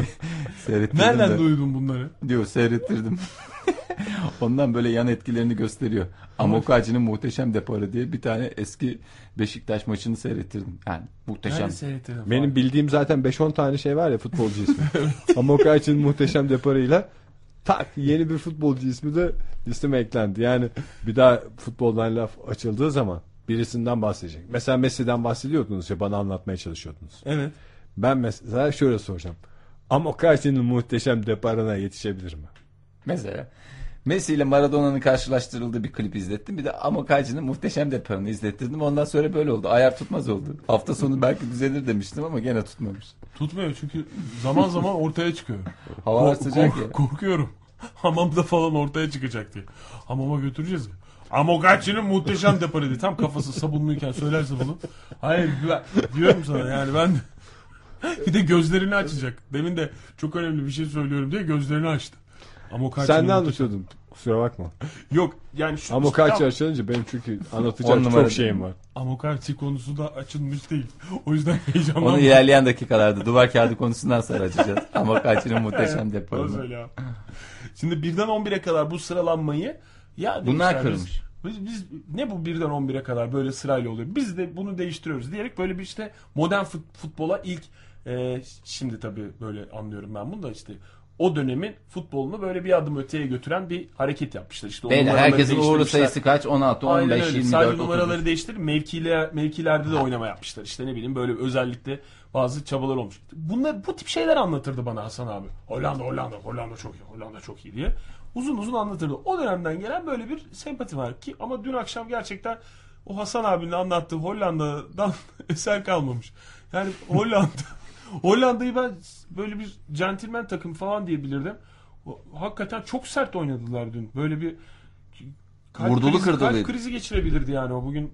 Speaker 4: seyrettirdim
Speaker 2: Nereden
Speaker 4: de.
Speaker 2: duydun bunları?
Speaker 4: Diyor seyrettirdim. Ondan böyle yan etkilerini gösteriyor. Amokaci'nin muhteşem deparı diye bir tane eski Beşiktaş maçını seyrettirdim. Yani muhteşem.
Speaker 1: Benim bildiğim zaten 5-10 tane şey var ya futbolcu ismi. Amokachi'nin muhteşem deparıyla tak yeni bir futbolcu ismi de listeme eklendi. Yani bir daha futboldan laf açıldığı zaman birisinden bahsedecek. Mesela Messi'den bahsediyordunuz ya bana anlatmaya çalışıyordunuz.
Speaker 2: Evet.
Speaker 1: Ben mesela şöyle soracağım. Amokachi'nin muhteşem deparına yetişebilir mi?
Speaker 4: Mesela Messi ile Maradona'nın karşılaştırıldığı bir klip izlettim. Bir de Amokaci'nin muhteşem deparını izlettirdim. Ondan sonra böyle oldu. Ayar tutmaz oldu. Hafta sonu belki düzelir demiştim ama gene tutmamış.
Speaker 2: Tutmuyor çünkü zaman zaman ortaya çıkıyor.
Speaker 4: Havalar
Speaker 2: Kork-
Speaker 4: sıcak
Speaker 2: kork-
Speaker 4: ya.
Speaker 2: Korkuyorum. Hamamda falan ortaya çıkacak diye. Hamama götüreceğiz ya. Amokachi'nin muhteşem deparıydı. Tam kafası sabunluyken söylerse bunu. Hayır ben, diyorum sana yani ben bir de gözlerini açacak. Demin de çok önemli bir şey söylüyorum diye gözlerini açtı. Amokachi'nin
Speaker 1: Sen ne
Speaker 2: muhteşem-
Speaker 1: anlatıyordun? Kusura bakma.
Speaker 2: Yok yani şu
Speaker 1: Amokachi
Speaker 2: Tam-
Speaker 1: açılınca benim çünkü
Speaker 4: On
Speaker 1: anlatacak
Speaker 4: numara-
Speaker 1: çok şeyim var.
Speaker 2: Amokachi konusu da açılmış değil. O yüzden
Speaker 4: Onu
Speaker 2: heyecanlandım.
Speaker 4: ilerleyen dakikalarda duvar kağıdı konusundan sonra açacağız. Amokaci'nin muhteşem
Speaker 2: Nasıl
Speaker 4: deparını.
Speaker 2: öyle ya? Şimdi birden 11'e kadar bu sıralanmayı ya
Speaker 4: Bunlar
Speaker 2: demişler biz-
Speaker 4: kırmış.
Speaker 2: Biz, biz ne bu birden 11'e kadar böyle sırayla oluyor. Biz de bunu değiştiriyoruz diyerek böyle bir işte modern fut- futbola ilk e, şimdi tabii böyle anlıyorum ben bunu da işte o dönemin futbolunu böyle bir adım öteye götüren bir hareket yapmışlar. İşte o
Speaker 4: Beyler,
Speaker 2: numaraları
Speaker 4: herkesin uğurlu
Speaker 2: değiştirmişler.
Speaker 4: sayısı kaç? 16, 15,
Speaker 2: Aynen öyle.
Speaker 4: 24,
Speaker 2: Sadece
Speaker 4: 30.
Speaker 2: numaraları değiştirip mevkiler, mevkilerde de oynama yapmışlar. İşte ne bileyim böyle özellikle bazı çabalar olmuş. Bunlar bu tip şeyler anlatırdı bana Hasan abi. Hollanda, Hollanda, Hollanda çok iyi, Hollanda çok iyi diye. Uzun uzun anlatırdı. O dönemden gelen böyle bir sempati var ki ama dün akşam gerçekten o Hasan abinin anlattığı Hollanda'dan eser kalmamış. Yani Hollanda Hollanda'yı ben böyle bir centilmen takım falan diyebilirdim. O- Hakikaten çok sert oynadılar dün. Böyle bir kalp
Speaker 4: Vurdulu
Speaker 2: krizi, kalp
Speaker 4: kırdılıydı.
Speaker 2: krizi geçirebilirdi yani o bugün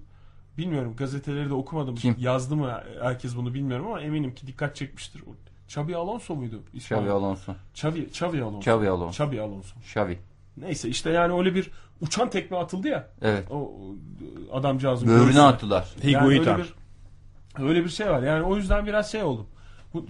Speaker 2: bilmiyorum gazeteleri de okumadım. Yazdı mı herkes bunu bilmiyorum ama eminim ki dikkat çekmiştir. O Xabi Alonso muydu? İspanya?
Speaker 3: Xabi Alonso.
Speaker 2: Xavi, Xavi Alonso.
Speaker 3: Xavi Alonso.
Speaker 2: Xavi Alonso.
Speaker 3: Xavi.
Speaker 2: Neyse işte yani öyle bir uçan tekme atıldı ya.
Speaker 3: Evet.
Speaker 2: O, o adamcağızın
Speaker 3: Böğrüne
Speaker 2: göğsüne.
Speaker 3: attılar.
Speaker 2: Yani
Speaker 3: Higuita.
Speaker 2: öyle, bir, öyle bir şey var. Yani o yüzden biraz şey oldum. Bu,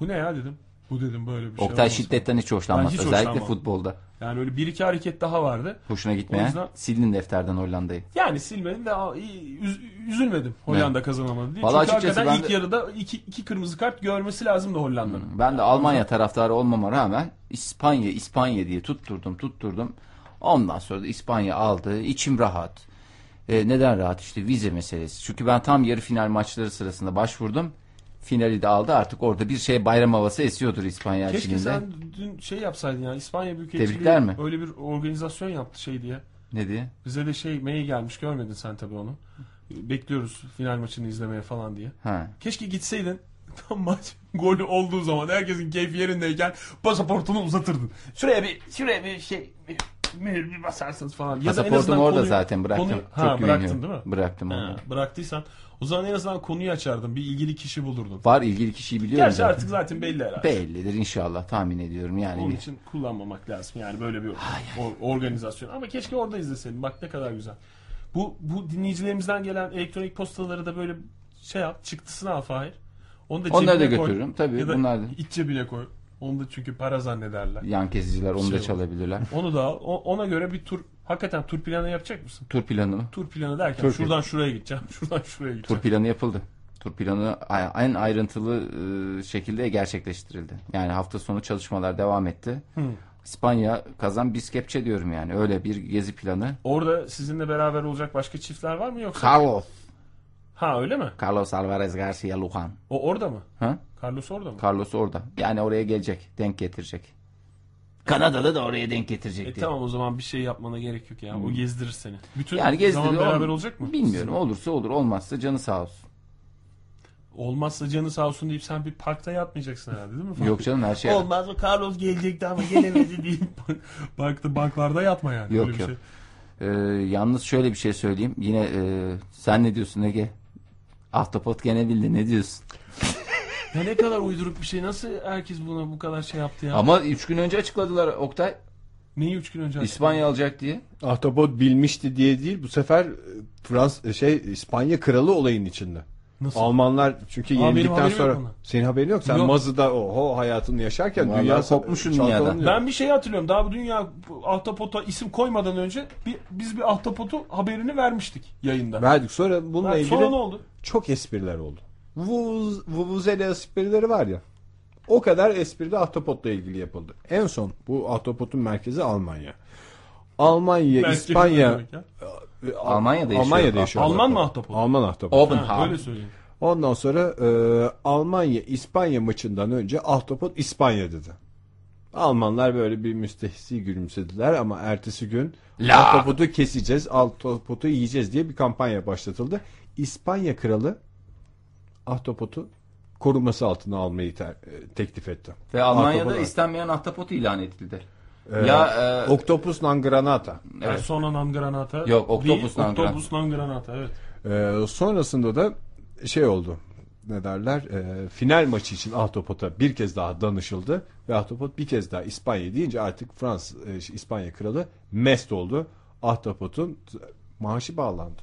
Speaker 2: bu ne ya dedim. Bu dedim böyle bir şey.
Speaker 3: Oktay
Speaker 2: olmaz.
Speaker 3: şiddetten hiç
Speaker 2: Ben
Speaker 3: hoşlanmaz.
Speaker 2: hiç
Speaker 3: Özellikle
Speaker 2: hoşlanmam.
Speaker 3: futbolda.
Speaker 2: Yani öyle bir iki hareket daha vardı.
Speaker 3: Hoşuna
Speaker 2: O
Speaker 3: gitmeyen.
Speaker 2: yüzden-
Speaker 3: Silin defterden Hollanda'yı.
Speaker 2: Yani silmedim de aa, iyi, üz- üzülmedim Hollanda
Speaker 3: Evet.
Speaker 2: kazanamadı diye.
Speaker 3: Vallahi
Speaker 2: Çünkü
Speaker 3: açıkçası
Speaker 2: hakikaten
Speaker 3: ben de- Hmm.
Speaker 2: ilk yarıda iki, iki kırmızı kart görmesi lazımdı Hollanda'nın.
Speaker 3: Ben de Almanya taraftarı olmama rağmen İspanya İspanya diye tutturdum tutturdum. Ondan sonra da İspanya aldı. İçim rahat. E, neden rahat? İşte vize meselesi. Çünkü ben tam yarı final maçları sırasında başvurdum. Finali de aldı. Artık orada bir şey bayram havası esiyordur İspanya
Speaker 2: Keşke
Speaker 3: içinde.
Speaker 2: sen dün şey yapsaydın ya İspanya Büyükelçiliği
Speaker 3: Tebrikler mi?
Speaker 2: öyle bir organizasyon yaptı şey diye.
Speaker 3: Ne diye?
Speaker 2: Bize de şey mail gelmiş görmedin sen tabii onu. Bekliyoruz final maçını izlemeye falan diye.
Speaker 3: Ha.
Speaker 2: Keşke gitseydin. Tam maç golü olduğu zaman herkesin keyfi yerindeyken pasaportunu uzatırdın. Şuraya bir şuraya bir şey bir mühür bir basarsınız falan. Ya da en
Speaker 3: Pasaportum
Speaker 2: azından
Speaker 3: orada
Speaker 2: konuyu-
Speaker 3: zaten, bıraktım.
Speaker 2: konuyu-
Speaker 3: Çok
Speaker 2: ha, bıraktın
Speaker 3: güveniyorum.
Speaker 2: değil mi?
Speaker 3: Bıraktım
Speaker 2: Ha,
Speaker 3: onu.
Speaker 2: bıraktıysan o zaman en azından konuyu açardın. Bir ilgili kişi bulurdun.
Speaker 3: Var ilgili kişiyi biliyorum.
Speaker 2: Gerçi artık zaten belli herhalde.
Speaker 3: Bellidir inşallah tahmin ediyorum yani.
Speaker 2: Onun
Speaker 3: bir-
Speaker 2: için kullanmamak lazım yani böyle bir or- organizasyon. Ama keşke orada izleseydin. Bak ne kadar güzel. Bu bu dinleyicilerimizden gelen elektronik postaları da böyle şey yap, çıktısını al Fahir. Onu da
Speaker 3: Onları
Speaker 2: cebine
Speaker 3: da
Speaker 2: koy.
Speaker 3: götürürüm. Tabii,
Speaker 2: ya da
Speaker 3: bunlar da.
Speaker 2: iç cebine koy. Onu da çünkü para zannederler.
Speaker 3: Yan kesiciler onu
Speaker 2: Şey
Speaker 3: da
Speaker 2: olur.
Speaker 3: çalabilirler.
Speaker 2: Onu da al. O- ona göre bir tur hakikaten tur planı yapacak mısın?
Speaker 3: Tur planı mı?
Speaker 2: Tur planı derken
Speaker 3: Tur-
Speaker 2: şuradan şuraya gideceğim. Şuradan şuraya gideceğim.
Speaker 3: Tur planı yapıldı. Tur planı a- en ayrıntılı e, şekilde gerçekleştirildi. Yani hafta sonu çalışmalar devam etti.
Speaker 2: Hı.
Speaker 3: İspanya kazan biz kepçe diyorum yani. Öyle bir gezi planı.
Speaker 2: Orada sizinle beraber olacak başka çiftler var mı yoksa?
Speaker 3: Carlos.
Speaker 2: Ha öyle mi?
Speaker 3: Carlos Alvarez Garcia Lujan.
Speaker 2: O orada mı?
Speaker 3: Ha?
Speaker 2: Carlos orada mı?
Speaker 3: Carlos orada. Yani oraya gelecek. Denk getirecek. Kanadalı da oraya denk getirecek
Speaker 2: E
Speaker 3: diye.
Speaker 2: tamam o zaman bir şey yapmana gerek yok ya. O
Speaker 3: Hmm.
Speaker 2: gezdirir seni. Bütün
Speaker 3: yani gezdi
Speaker 2: zaman beraber olacak mı?
Speaker 3: Bilmiyorum. Olursa olur. Olmazsa canı sağ olsun.
Speaker 2: Olmazsa canı sağ olsun deyip sen bir parkta yatmayacaksın herhalde değil mi?
Speaker 3: Yok canım, her şey-
Speaker 2: Olmaz mı? Carlos gelecekti ama gelemedi deyip parkta banklarda yatma yani.
Speaker 3: Yok
Speaker 2: Öyle bir
Speaker 3: yok.
Speaker 2: şey.
Speaker 3: Ee, yalnız şöyle bir şey söyleyeyim. Yine e, sen ne diyorsun Ege? Ahtapot gene bildi ne diyorsun?
Speaker 2: Ya ne kadar uyduruk bir şey. Nasıl herkes buna bu kadar şey yaptı ya?
Speaker 3: Ama 3 gün önce açıkladılar Oktay.
Speaker 2: Neyi 3 gün önce
Speaker 3: İspanya alacak diye.
Speaker 1: Ahtapot bilmişti diye değil bu sefer e, Frans şey İspanya kralı olayın içinde.
Speaker 2: Nasıl?
Speaker 1: Almanlar çünkü
Speaker 2: Aa, benim
Speaker 1: yenildikten
Speaker 2: haberim yok
Speaker 1: sonra
Speaker 2: ondan.
Speaker 1: senin haberin yok. Sen
Speaker 2: Yok.
Speaker 1: Mazı'da oho hayatını yaşarken
Speaker 3: Vallahi
Speaker 1: dünya
Speaker 3: kopmuşsun
Speaker 1: çalkalanıyor.
Speaker 3: dünyadan.
Speaker 2: Ben bir şey hatırlıyorum. Daha bu dünya bu ahtapota isim koymadan önce bir, biz bir ahtapotu haberini vermiştik yayında.
Speaker 1: Verdik sonra bununla
Speaker 2: Ver-
Speaker 1: ilgili
Speaker 2: Sonra ne oldu?
Speaker 1: çok espriler oldu. Vuvuz, vuvuzela esprileri var ya. O kadar espri de ahtapotla ilgili yapıldı. En son bu ahtapotun merkezi Almanya. Almanya,
Speaker 2: Merkezi ne
Speaker 1: İspanya,
Speaker 2: demek şey ya?
Speaker 1: e, Al-
Speaker 3: Almanya'da yaşıyor.
Speaker 1: Almanya'da yaşıyor.
Speaker 2: Alman mı ahtapot?
Speaker 1: Alman ahtapot.
Speaker 2: Ha,
Speaker 3: Oppenheim.
Speaker 2: öyle söyleyeyim.
Speaker 1: Ondan sonra e, Almanya İspanya maçından önce Ahtapot İspanya dedi. Almanlar böyle bir müstehsi gülümsediler ama ertesi gün Ahtapot'u keseceğiz, Ahtapot'u yiyeceğiz diye bir kampanya başlatıldı. İspanya kralı Ahtapot'u koruması altına almayı ter- e, teklif etti.
Speaker 3: Ve Almanya'da
Speaker 1: Ahtapot-
Speaker 3: istenmeyen ahtapot ilan edildi.
Speaker 1: Ee,
Speaker 3: ya e,
Speaker 1: Octopus non granata.
Speaker 2: Persona non granata.
Speaker 3: Yok, Octopus
Speaker 2: değil,
Speaker 3: non granata.
Speaker 2: Octopus non granata, evet.
Speaker 1: Ee, sonrasında da şey oldu. Ne derler? Ee, final maçı için Ahtapot'a bir kez daha danışıldı ve Ahtapot bir kez daha İspanya deyince artık Fransız e, şey, İspanya kralı mest oldu. Ahtapot'un t- maaşı bağlandı.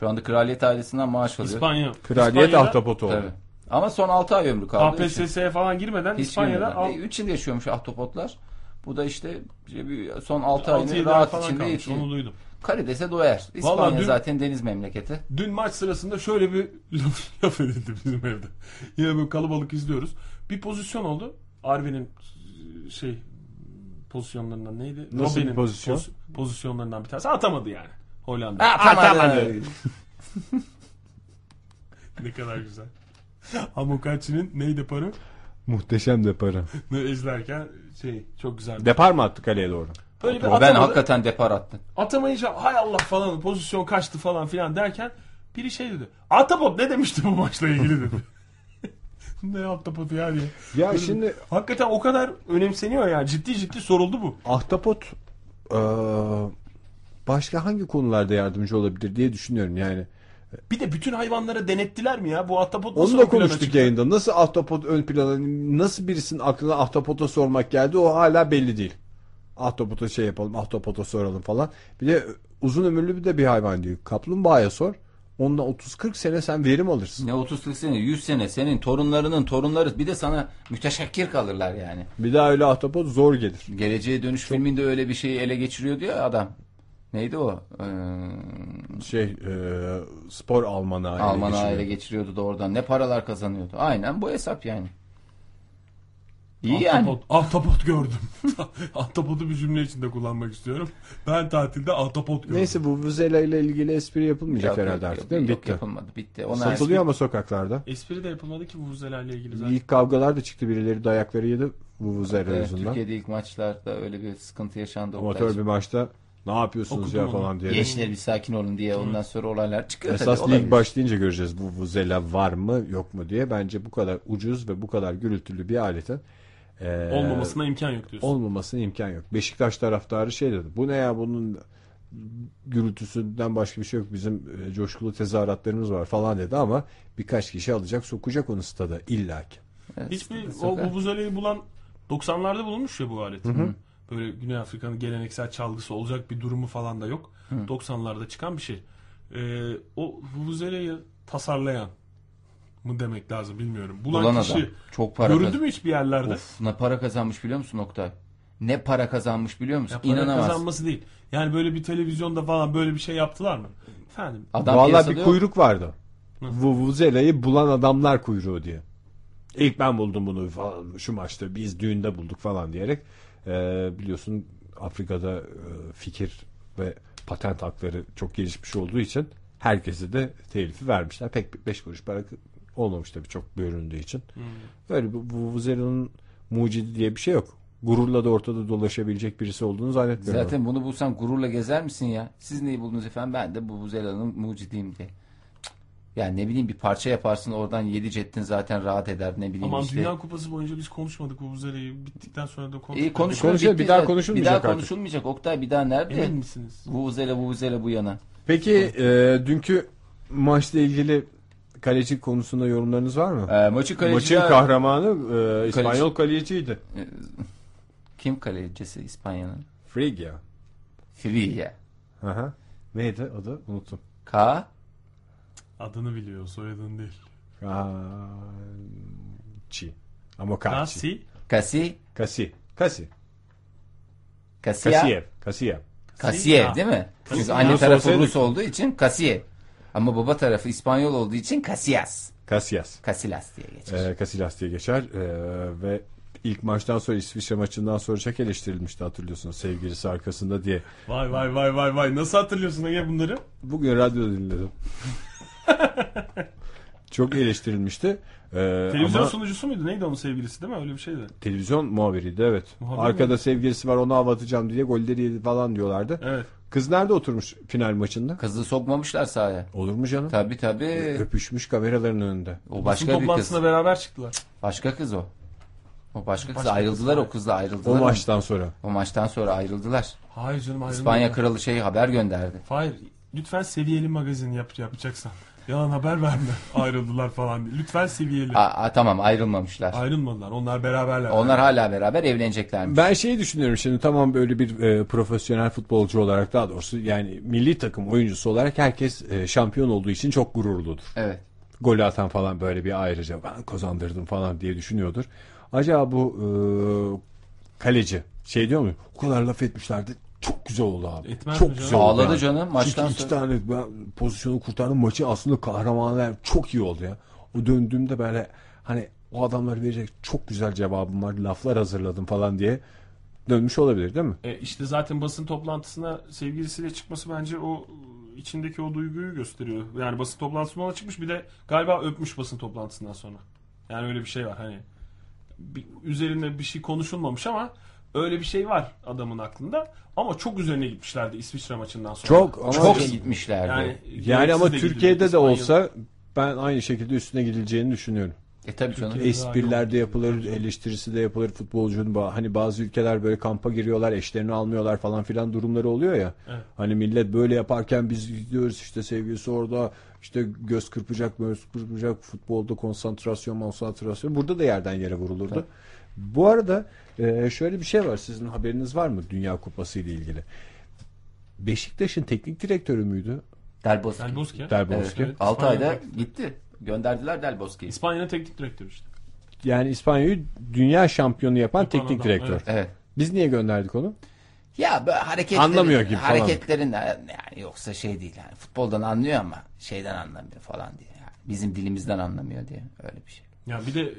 Speaker 3: şu anda kraliyet ailesinden maaş alıyor.
Speaker 2: İspanya.
Speaker 1: Kraliyet
Speaker 2: İspanya'da
Speaker 1: Ahtapot oldu.
Speaker 3: Tabii. Ama son 6 ay ömrü kaldı.
Speaker 2: KPSS'ye falan girmeden
Speaker 3: Hiç
Speaker 2: İspanya'da al-
Speaker 3: 3 yıl yaşıyormuş ahtapotlar. Bu da işte bir- son 6
Speaker 2: 6
Speaker 3: ayını
Speaker 2: yedi ay
Speaker 3: rahat
Speaker 2: falan
Speaker 3: içinde
Speaker 2: kalmış. Onu
Speaker 3: yetiyor.
Speaker 2: duydum.
Speaker 3: Karidese doyar. İspanya
Speaker 2: Vallahi dün-
Speaker 3: zaten deniz memleketi.
Speaker 2: Dün maç sırasında şöyle bir laf, laf edildi bizim evde. Yine böyle kalabalık izliyoruz. Bir pozisyon oldu. Arvin'in e, şey pozisyonlarından neydi?
Speaker 1: Nasıl bir
Speaker 2: Robben'in
Speaker 1: pozisyon?
Speaker 2: poz- pozisyonlarından bir tanesi. Atamadı yani. Hollanda.
Speaker 3: Ah! Atamadı.
Speaker 2: Ne kadar güzel. Amokachi'nin ney deparı?
Speaker 1: Muhteşem depara.
Speaker 2: Ne izlerken şey çok güzel.
Speaker 1: Depar mı attı kaleye doğru?
Speaker 2: Böyle bir
Speaker 3: Ben
Speaker 2: atamadı.
Speaker 3: hakikaten depar attım.
Speaker 2: Atamayınca hay Allah falan pozisyon kaçtı falan filan derken biri şey dedi. Atapot ne demişti bu maçla ilgili dedi. ne Atapot ya diye.
Speaker 1: Ya şimdi
Speaker 2: Hakikaten o kadar önemseniyor ya. Ciddi ciddi soruldu bu.
Speaker 1: Ahtapot e, başka hangi konularda yardımcı olabilir diye düşünüyorum yani.
Speaker 2: Bir de bütün hayvanlara denettiler mi ya? Bu ahtapot nasıl
Speaker 1: Onu da
Speaker 2: ön plana
Speaker 1: konuştuk
Speaker 2: çıktı?
Speaker 1: yayında. Nasıl ahtapot ön plana, nasıl birisinin aklına ahtapota sormak geldi o hala belli değil. Ahtapota şey yapalım, ahtapota soralım falan. Bir de uzun ömürlü bir de bir hayvan diyor. Kaplumbağaya sor. Ondan 30-40 sene sen verim alırsın.
Speaker 3: Ne 30 sene 100 sene senin torunlarının torunları bir de sana müteşekkir kalırlar yani.
Speaker 1: Bir daha öyle ahtapot zor gelir.
Speaker 3: Geleceğe Dönüş filminde öyle bir şeyi ele geçiriyordu ya adam. Neydi o? Ee,
Speaker 1: Şey e, spor Alman'a ele
Speaker 3: Alman
Speaker 1: geçiriyor.
Speaker 3: aile geçiriyordu da oradan. Ne paralar kazanıyordu. Aynen bu hesap yani. İyi yani.
Speaker 2: Ahtapot, ahtapot gördüm. Ahtapotu bir cümle içinde kullanmak istiyorum. Ben tatilde ahtapot gördüm.
Speaker 1: Neyse bu Vuzela ile ilgili espri yapılmayacak
Speaker 3: Yok,
Speaker 1: herhalde
Speaker 3: yok,
Speaker 1: artık
Speaker 3: yok,
Speaker 1: değil mi?
Speaker 3: yok,
Speaker 1: Bitti.
Speaker 3: yapılmadı. Bitti. Ona
Speaker 1: Satılıyor ama sokaklarda.
Speaker 2: Espri de yapılmadı ki bu ile ilgili zaten.
Speaker 1: İlk kavgalar da çıktı. Birileri dayakları yedi Vuvuzela
Speaker 3: Evet,
Speaker 1: yüzünden.
Speaker 3: Türkiye'de ilk maçlarda öyle bir sıkıntı yaşandı.
Speaker 1: Amatör bir maçta ne yapıyorsunuz
Speaker 2: Okudum
Speaker 1: ya
Speaker 2: onu.
Speaker 1: falan diye.
Speaker 3: Gençler bir sakin olun diye ondan sonra olaylar çıkıyor.
Speaker 1: Esas
Speaker 3: tabii,
Speaker 1: lig
Speaker 3: olabilir.
Speaker 1: başlayınca göreceğiz bu vuzela var mı yok mu diye. Bence bu kadar ucuz ve bu kadar gürültülü bir aletin eee,
Speaker 2: Olmamasına imkan yok diyorsun.
Speaker 1: olmamasına imkan yok. Beşiktaş taraftarı şey dedi. Bu ne ya bunun gürültüsünden başka bir şey yok. Bizim e, coşkulu tezahüratlarımız var falan dedi ama birkaç kişi alacak sokacak onu stada illaki.
Speaker 3: Evet,
Speaker 2: Hiçbir
Speaker 3: sıkıntı
Speaker 2: o
Speaker 3: yok.
Speaker 2: vuvuzeleyi bulan 90'larda bulunmuş ya bu alet. Böyle Güney Afrika'nın geleneksel çalgısı olacak bir durumu falan da yok. 90'larda çıkan bir şey. Ee, o vuvuzeleyi tasarlayan mı demek lazım bilmiyorum. Bulan,
Speaker 3: Bulan
Speaker 2: kişi
Speaker 3: adam. Çok para
Speaker 2: görüldü
Speaker 3: kazanmış.
Speaker 2: mü hiçbir yerlerde?
Speaker 3: Of ne para kazanmış biliyor musun Oktay? Ne para kazanmış biliyor musun?
Speaker 2: Ya para
Speaker 3: İnanamazsın.
Speaker 2: kazanması değil. Yani böyle bir televizyonda falan böyle bir şey yaptılar mı? Efendim
Speaker 3: Adam
Speaker 1: Vallahi
Speaker 3: piyasada
Speaker 1: bir
Speaker 3: yok.
Speaker 1: kuyruk vardı. Vuvuzela'yı bulan adamlar kuyruğu diye. İlk ben buldum bunu falan şu maçta biz düğünde bulduk falan diyerek e, biliyorsun Afrika'da e, fikir ve patent hakları çok gelişmiş olduğu için herkese de telifi vermişler. Pek 5 kuruş para olmamış tabii çok bölündüğü için. Böyle bu Vuvuzela'nın mucidi diye bir şey yok. Gururla da ortada dolaşabilecek birisi olduğunu zannetmiyorum.
Speaker 3: Zaten bunu bulsan gururla gezer misin ya? Siz neyi buldunuz efendim? Ben de bu buzelanın mucidiyim diye. Cık. Yani ne bileyim bir parça yaparsın oradan yedi cettin zaten rahat eder ne bileyim
Speaker 2: aman
Speaker 3: işte.
Speaker 2: Dünya Kupası boyunca biz konuşmadık vuvuzeleyi. Bittikten sonra da konuşmadık.
Speaker 3: İyi konuşma
Speaker 1: Konuşuyor,
Speaker 3: bitti
Speaker 1: bir daha
Speaker 3: zaten.
Speaker 1: konuşulmayacak
Speaker 3: Bir daha
Speaker 1: artık.
Speaker 3: konuşulmayacak Oktay bir daha nerede?
Speaker 2: Emin misiniz?
Speaker 3: Vuvuzela vuvuzela bu yana.
Speaker 1: Peki e, dünkü maçla ilgili kaleci konusunda yorumlarınız var mı?
Speaker 4: Ee, maçı kaleci-
Speaker 1: E, Maçın kahramanı e, İspanyol kaleciydi.
Speaker 3: Kim kalecisi İspanya'nın?
Speaker 1: Frigia.
Speaker 3: Frigia.
Speaker 1: Aha. Neydi adı? Unuttum.
Speaker 3: K.
Speaker 2: Adını biliyor, soyadını değil.
Speaker 1: Kaçi. Ama
Speaker 2: Kasi.
Speaker 1: Kaçi.
Speaker 3: Kasi.
Speaker 1: Kasi. Kasi.
Speaker 3: Kasiya.
Speaker 1: Kasiyev. Kasiyev.
Speaker 3: Kasiyev değil mi?
Speaker 1: Kasiyev.
Speaker 3: Çünkü anne
Speaker 1: Rus
Speaker 3: tarafı
Speaker 1: olsaydı-
Speaker 3: Rus olduğu için Kasiyev. Ama baba tarafı İspanyol olduğu için Kasiyas.
Speaker 1: Kasiyas.
Speaker 3: Kasilas diye geçer.
Speaker 1: Ee, E, Casillas diye geçer Ee, ve ilk maçtan sonra İsviçre maçından sonra çok eleştirilmişti hatırlıyorsunuz sevgilisi arkasında diye.
Speaker 2: Vay vay vay vay vay. Nasıl hatırlıyorsun Ege bunları?
Speaker 1: Bugün radyoda dinledim. çok eleştirilmişti. Ee,
Speaker 2: Televizyon
Speaker 1: ama
Speaker 2: sunucusu muydu? Neydi onun sevgilisi değil mi? Öyle bir şeydi.
Speaker 1: televizyon muhabiriydi evet.
Speaker 2: Muhabir
Speaker 1: Arkada
Speaker 2: miydi?
Speaker 1: sevgilisi var onu hava atacağım diye golleri yedi falan diyorlardı.
Speaker 2: Evet.
Speaker 1: Kız nerede oturmuş final maçında?
Speaker 3: Kızı sokmamışlar sahaya.
Speaker 1: Olur mu canım?
Speaker 3: Tabii tabii.
Speaker 1: Öpüşmüş kameraların önünde.
Speaker 3: O
Speaker 2: Basın
Speaker 3: başka bir kız.
Speaker 2: E, toplantısına beraber çıktılar.
Speaker 3: Başka kız o. O başka kız
Speaker 2: Başka
Speaker 3: ayrıldılar o kızla ayrıldılar.
Speaker 1: O
Speaker 3: ama.
Speaker 1: maçtan sonra.
Speaker 3: O maçtan sonra ayrıldılar.
Speaker 2: Hayır canım ayrılmadı.
Speaker 3: İspanya kralı şey haber gönderdi.
Speaker 2: Hayır. Lütfen seviyeli magazin yap, yapacaksan. Yalan haber verme. Ayrıldılar falan diye. Lütfen seviyeli.
Speaker 3: Aa, aa, tamam ayrılmamışlar.
Speaker 2: Ayrılmadılar. Onlar beraberler.
Speaker 3: Onlar hala beraber evleneceklermiş.
Speaker 1: Ben şeyi düşünüyorum şimdi tamam böyle bir e, profesyonel futbolcu olarak daha doğrusu yani milli takım oyuncusu olarak herkes e, şampiyon olduğu için çok gururludur.
Speaker 3: Evet.
Speaker 1: Golü atan falan böyle bir ayrıca ben kazandırdım falan diye düşünüyordur. Acaba bu e, kaleci şey diyor mu? O kadar laf etmişlerdi. Çok güzel oldu abi.
Speaker 2: Etmez
Speaker 1: çok
Speaker 2: mi canım?
Speaker 1: güzel oldu.
Speaker 3: Ağladı
Speaker 1: yani.
Speaker 3: canım, maçtan
Speaker 1: Çünkü iki tane ben pozisyonu kurtardım. Maçı aslında kahramanlar çok iyi oldu ya. O döndüğümde böyle hani o adamlar verecek çok güzel cevabım var. Laflar hazırladım falan diye dönmüş olabilir değil mi?
Speaker 2: E, işte zaten basın toplantısına sevgilisiyle çıkması bence o e, içindeki o duyguyu gösteriyor. Yani basın toplantısına ona çıkmış bir de galiba öpmüş basın toplantısından sonra. Yani öyle bir şey var hani bir- üzerine bir şey konuşulmamış ama öyle bir şey var adamın aklında. Ama çok üzerine gitmişlerdi İsviçre maçından sonra.
Speaker 1: Çok ama
Speaker 3: Çok gitmişlerdi.
Speaker 2: Yani,
Speaker 1: Yani ama
Speaker 2: gereksiz de
Speaker 1: Türkiye'de de
Speaker 2: gidiyor. İspanyol-
Speaker 1: olsa ben aynı şekilde üstüne gidileceğini düşünüyorum.
Speaker 3: E tabii canım.
Speaker 2: Türkiye-
Speaker 1: Espriler de yapılır, eleştirisi de yapılır futbolcunun. ba- Hani bazı ülkeler böyle kampa giriyorlar, eşlerini almıyorlar falan filan durumları oluyor ya.
Speaker 2: Evet.
Speaker 1: Hani millet böyle yaparken biz gidiyoruz işte sevgilisi orada işte göz kırpacak, göz kırpacak futbolda konsantrasyon, konsantrasyon. Burada da yerden yere vurulurdu. Bu arada e, şöyle bir şey var. Sizin haberiniz var mı Dünya Kupası ile ilgili? Beşiktaş'ın teknik direktörü müydü?
Speaker 3: Del Bosque.
Speaker 2: Del Bosque.
Speaker 1: Del Bosque.
Speaker 2: Evet, evet.
Speaker 3: Altı
Speaker 2: İspanya'da-
Speaker 3: ayda gitti. Gönderdiler Del Bosque'yi.
Speaker 2: İspanya'nın teknik direktörü işte.
Speaker 1: Yani İspanya'yı dünya şampiyonu yapan
Speaker 2: Yapan
Speaker 1: teknik
Speaker 2: adam,
Speaker 1: direktör.
Speaker 2: evet.
Speaker 3: Evet.
Speaker 1: Biz niye gönderdik onu?
Speaker 3: Ya böyle hareketlerin,
Speaker 1: Anlamıyor gibi falan.
Speaker 3: hareketlerin de yani yoksa şey değil yani futboldan anlıyor ama şeyden anlamıyor falan diye. Yani bizim dilimizden anlamıyor diye öyle bir şey.
Speaker 2: Ya bir de e,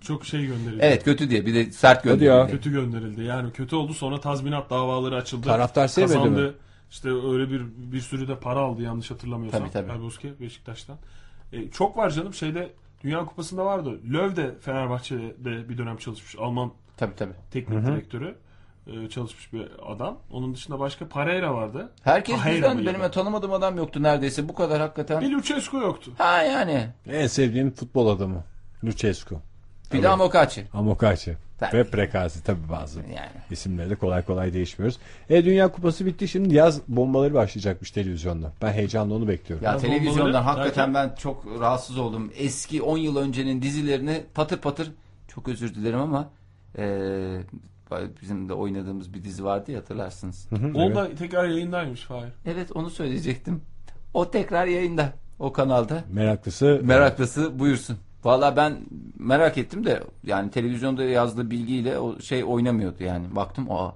Speaker 2: çok şey gönderildi.
Speaker 3: Evet kötü diye bir de sert
Speaker 1: Hadi ya.
Speaker 3: gönderildi.
Speaker 2: Kötü gönderildi. Yani kötü oldu sonra tazminat davaları açıldı.
Speaker 1: Taraftar sevmedi
Speaker 2: Kazandı.
Speaker 1: mi?
Speaker 2: İşte öyle bir bir sürü de para aldı yanlış hatırlamıyorsam.
Speaker 3: Tabii, tabii.
Speaker 2: Erboski Beşiktaş'tan. E, çok var canım şeyde Dünya Kupası'nda vardı. Löw de Fenerbahçe'de bir dönem çalışmış. Alman
Speaker 3: Tabii tabii.
Speaker 2: teknik direktörü e, çalışmış bir adam. Onun dışında başka Pereira vardı.
Speaker 3: Herkes
Speaker 2: Pereira
Speaker 3: bizden
Speaker 2: mıydı?
Speaker 3: benim tanımadığım adam yoktu neredeyse bu kadar hakikaten.
Speaker 2: Bir Lucescu yoktu.
Speaker 3: Ha yani.
Speaker 1: En sevdiğim futbol adamı. Lucescu.
Speaker 3: Bir de Amokachi.
Speaker 1: Amokachi.
Speaker 3: Tabii.
Speaker 1: Ve Prekazi tabii bazı
Speaker 3: Yani.
Speaker 1: isimleri de kolay kolay değişmiyoruz. E Dünya Kupası bitti şimdi yaz bombaları başlayacakmış televizyonda. Ben heyecanla onu bekliyorum.
Speaker 3: Ya
Speaker 2: Ben
Speaker 3: televizyondan
Speaker 2: bombaları
Speaker 3: hakikaten ben çok rahatsız oldum. Eski 10 yıl öncenin dizilerini patır patır çok özür dilerim ama eee, bizim de oynadığımız bir dizi vardı ya hatırlarsınız.
Speaker 2: O da tekrar yayındaymış Fahir.
Speaker 3: Evet onu söyleyecektim. O tekrar yayında o kanalda.
Speaker 1: Meraklısı
Speaker 3: Meraklısı buyursun. Valla ben merak ettim de yani televizyonda yazdığı bilgiyle o şey oynamıyordu yani. Baktım aa.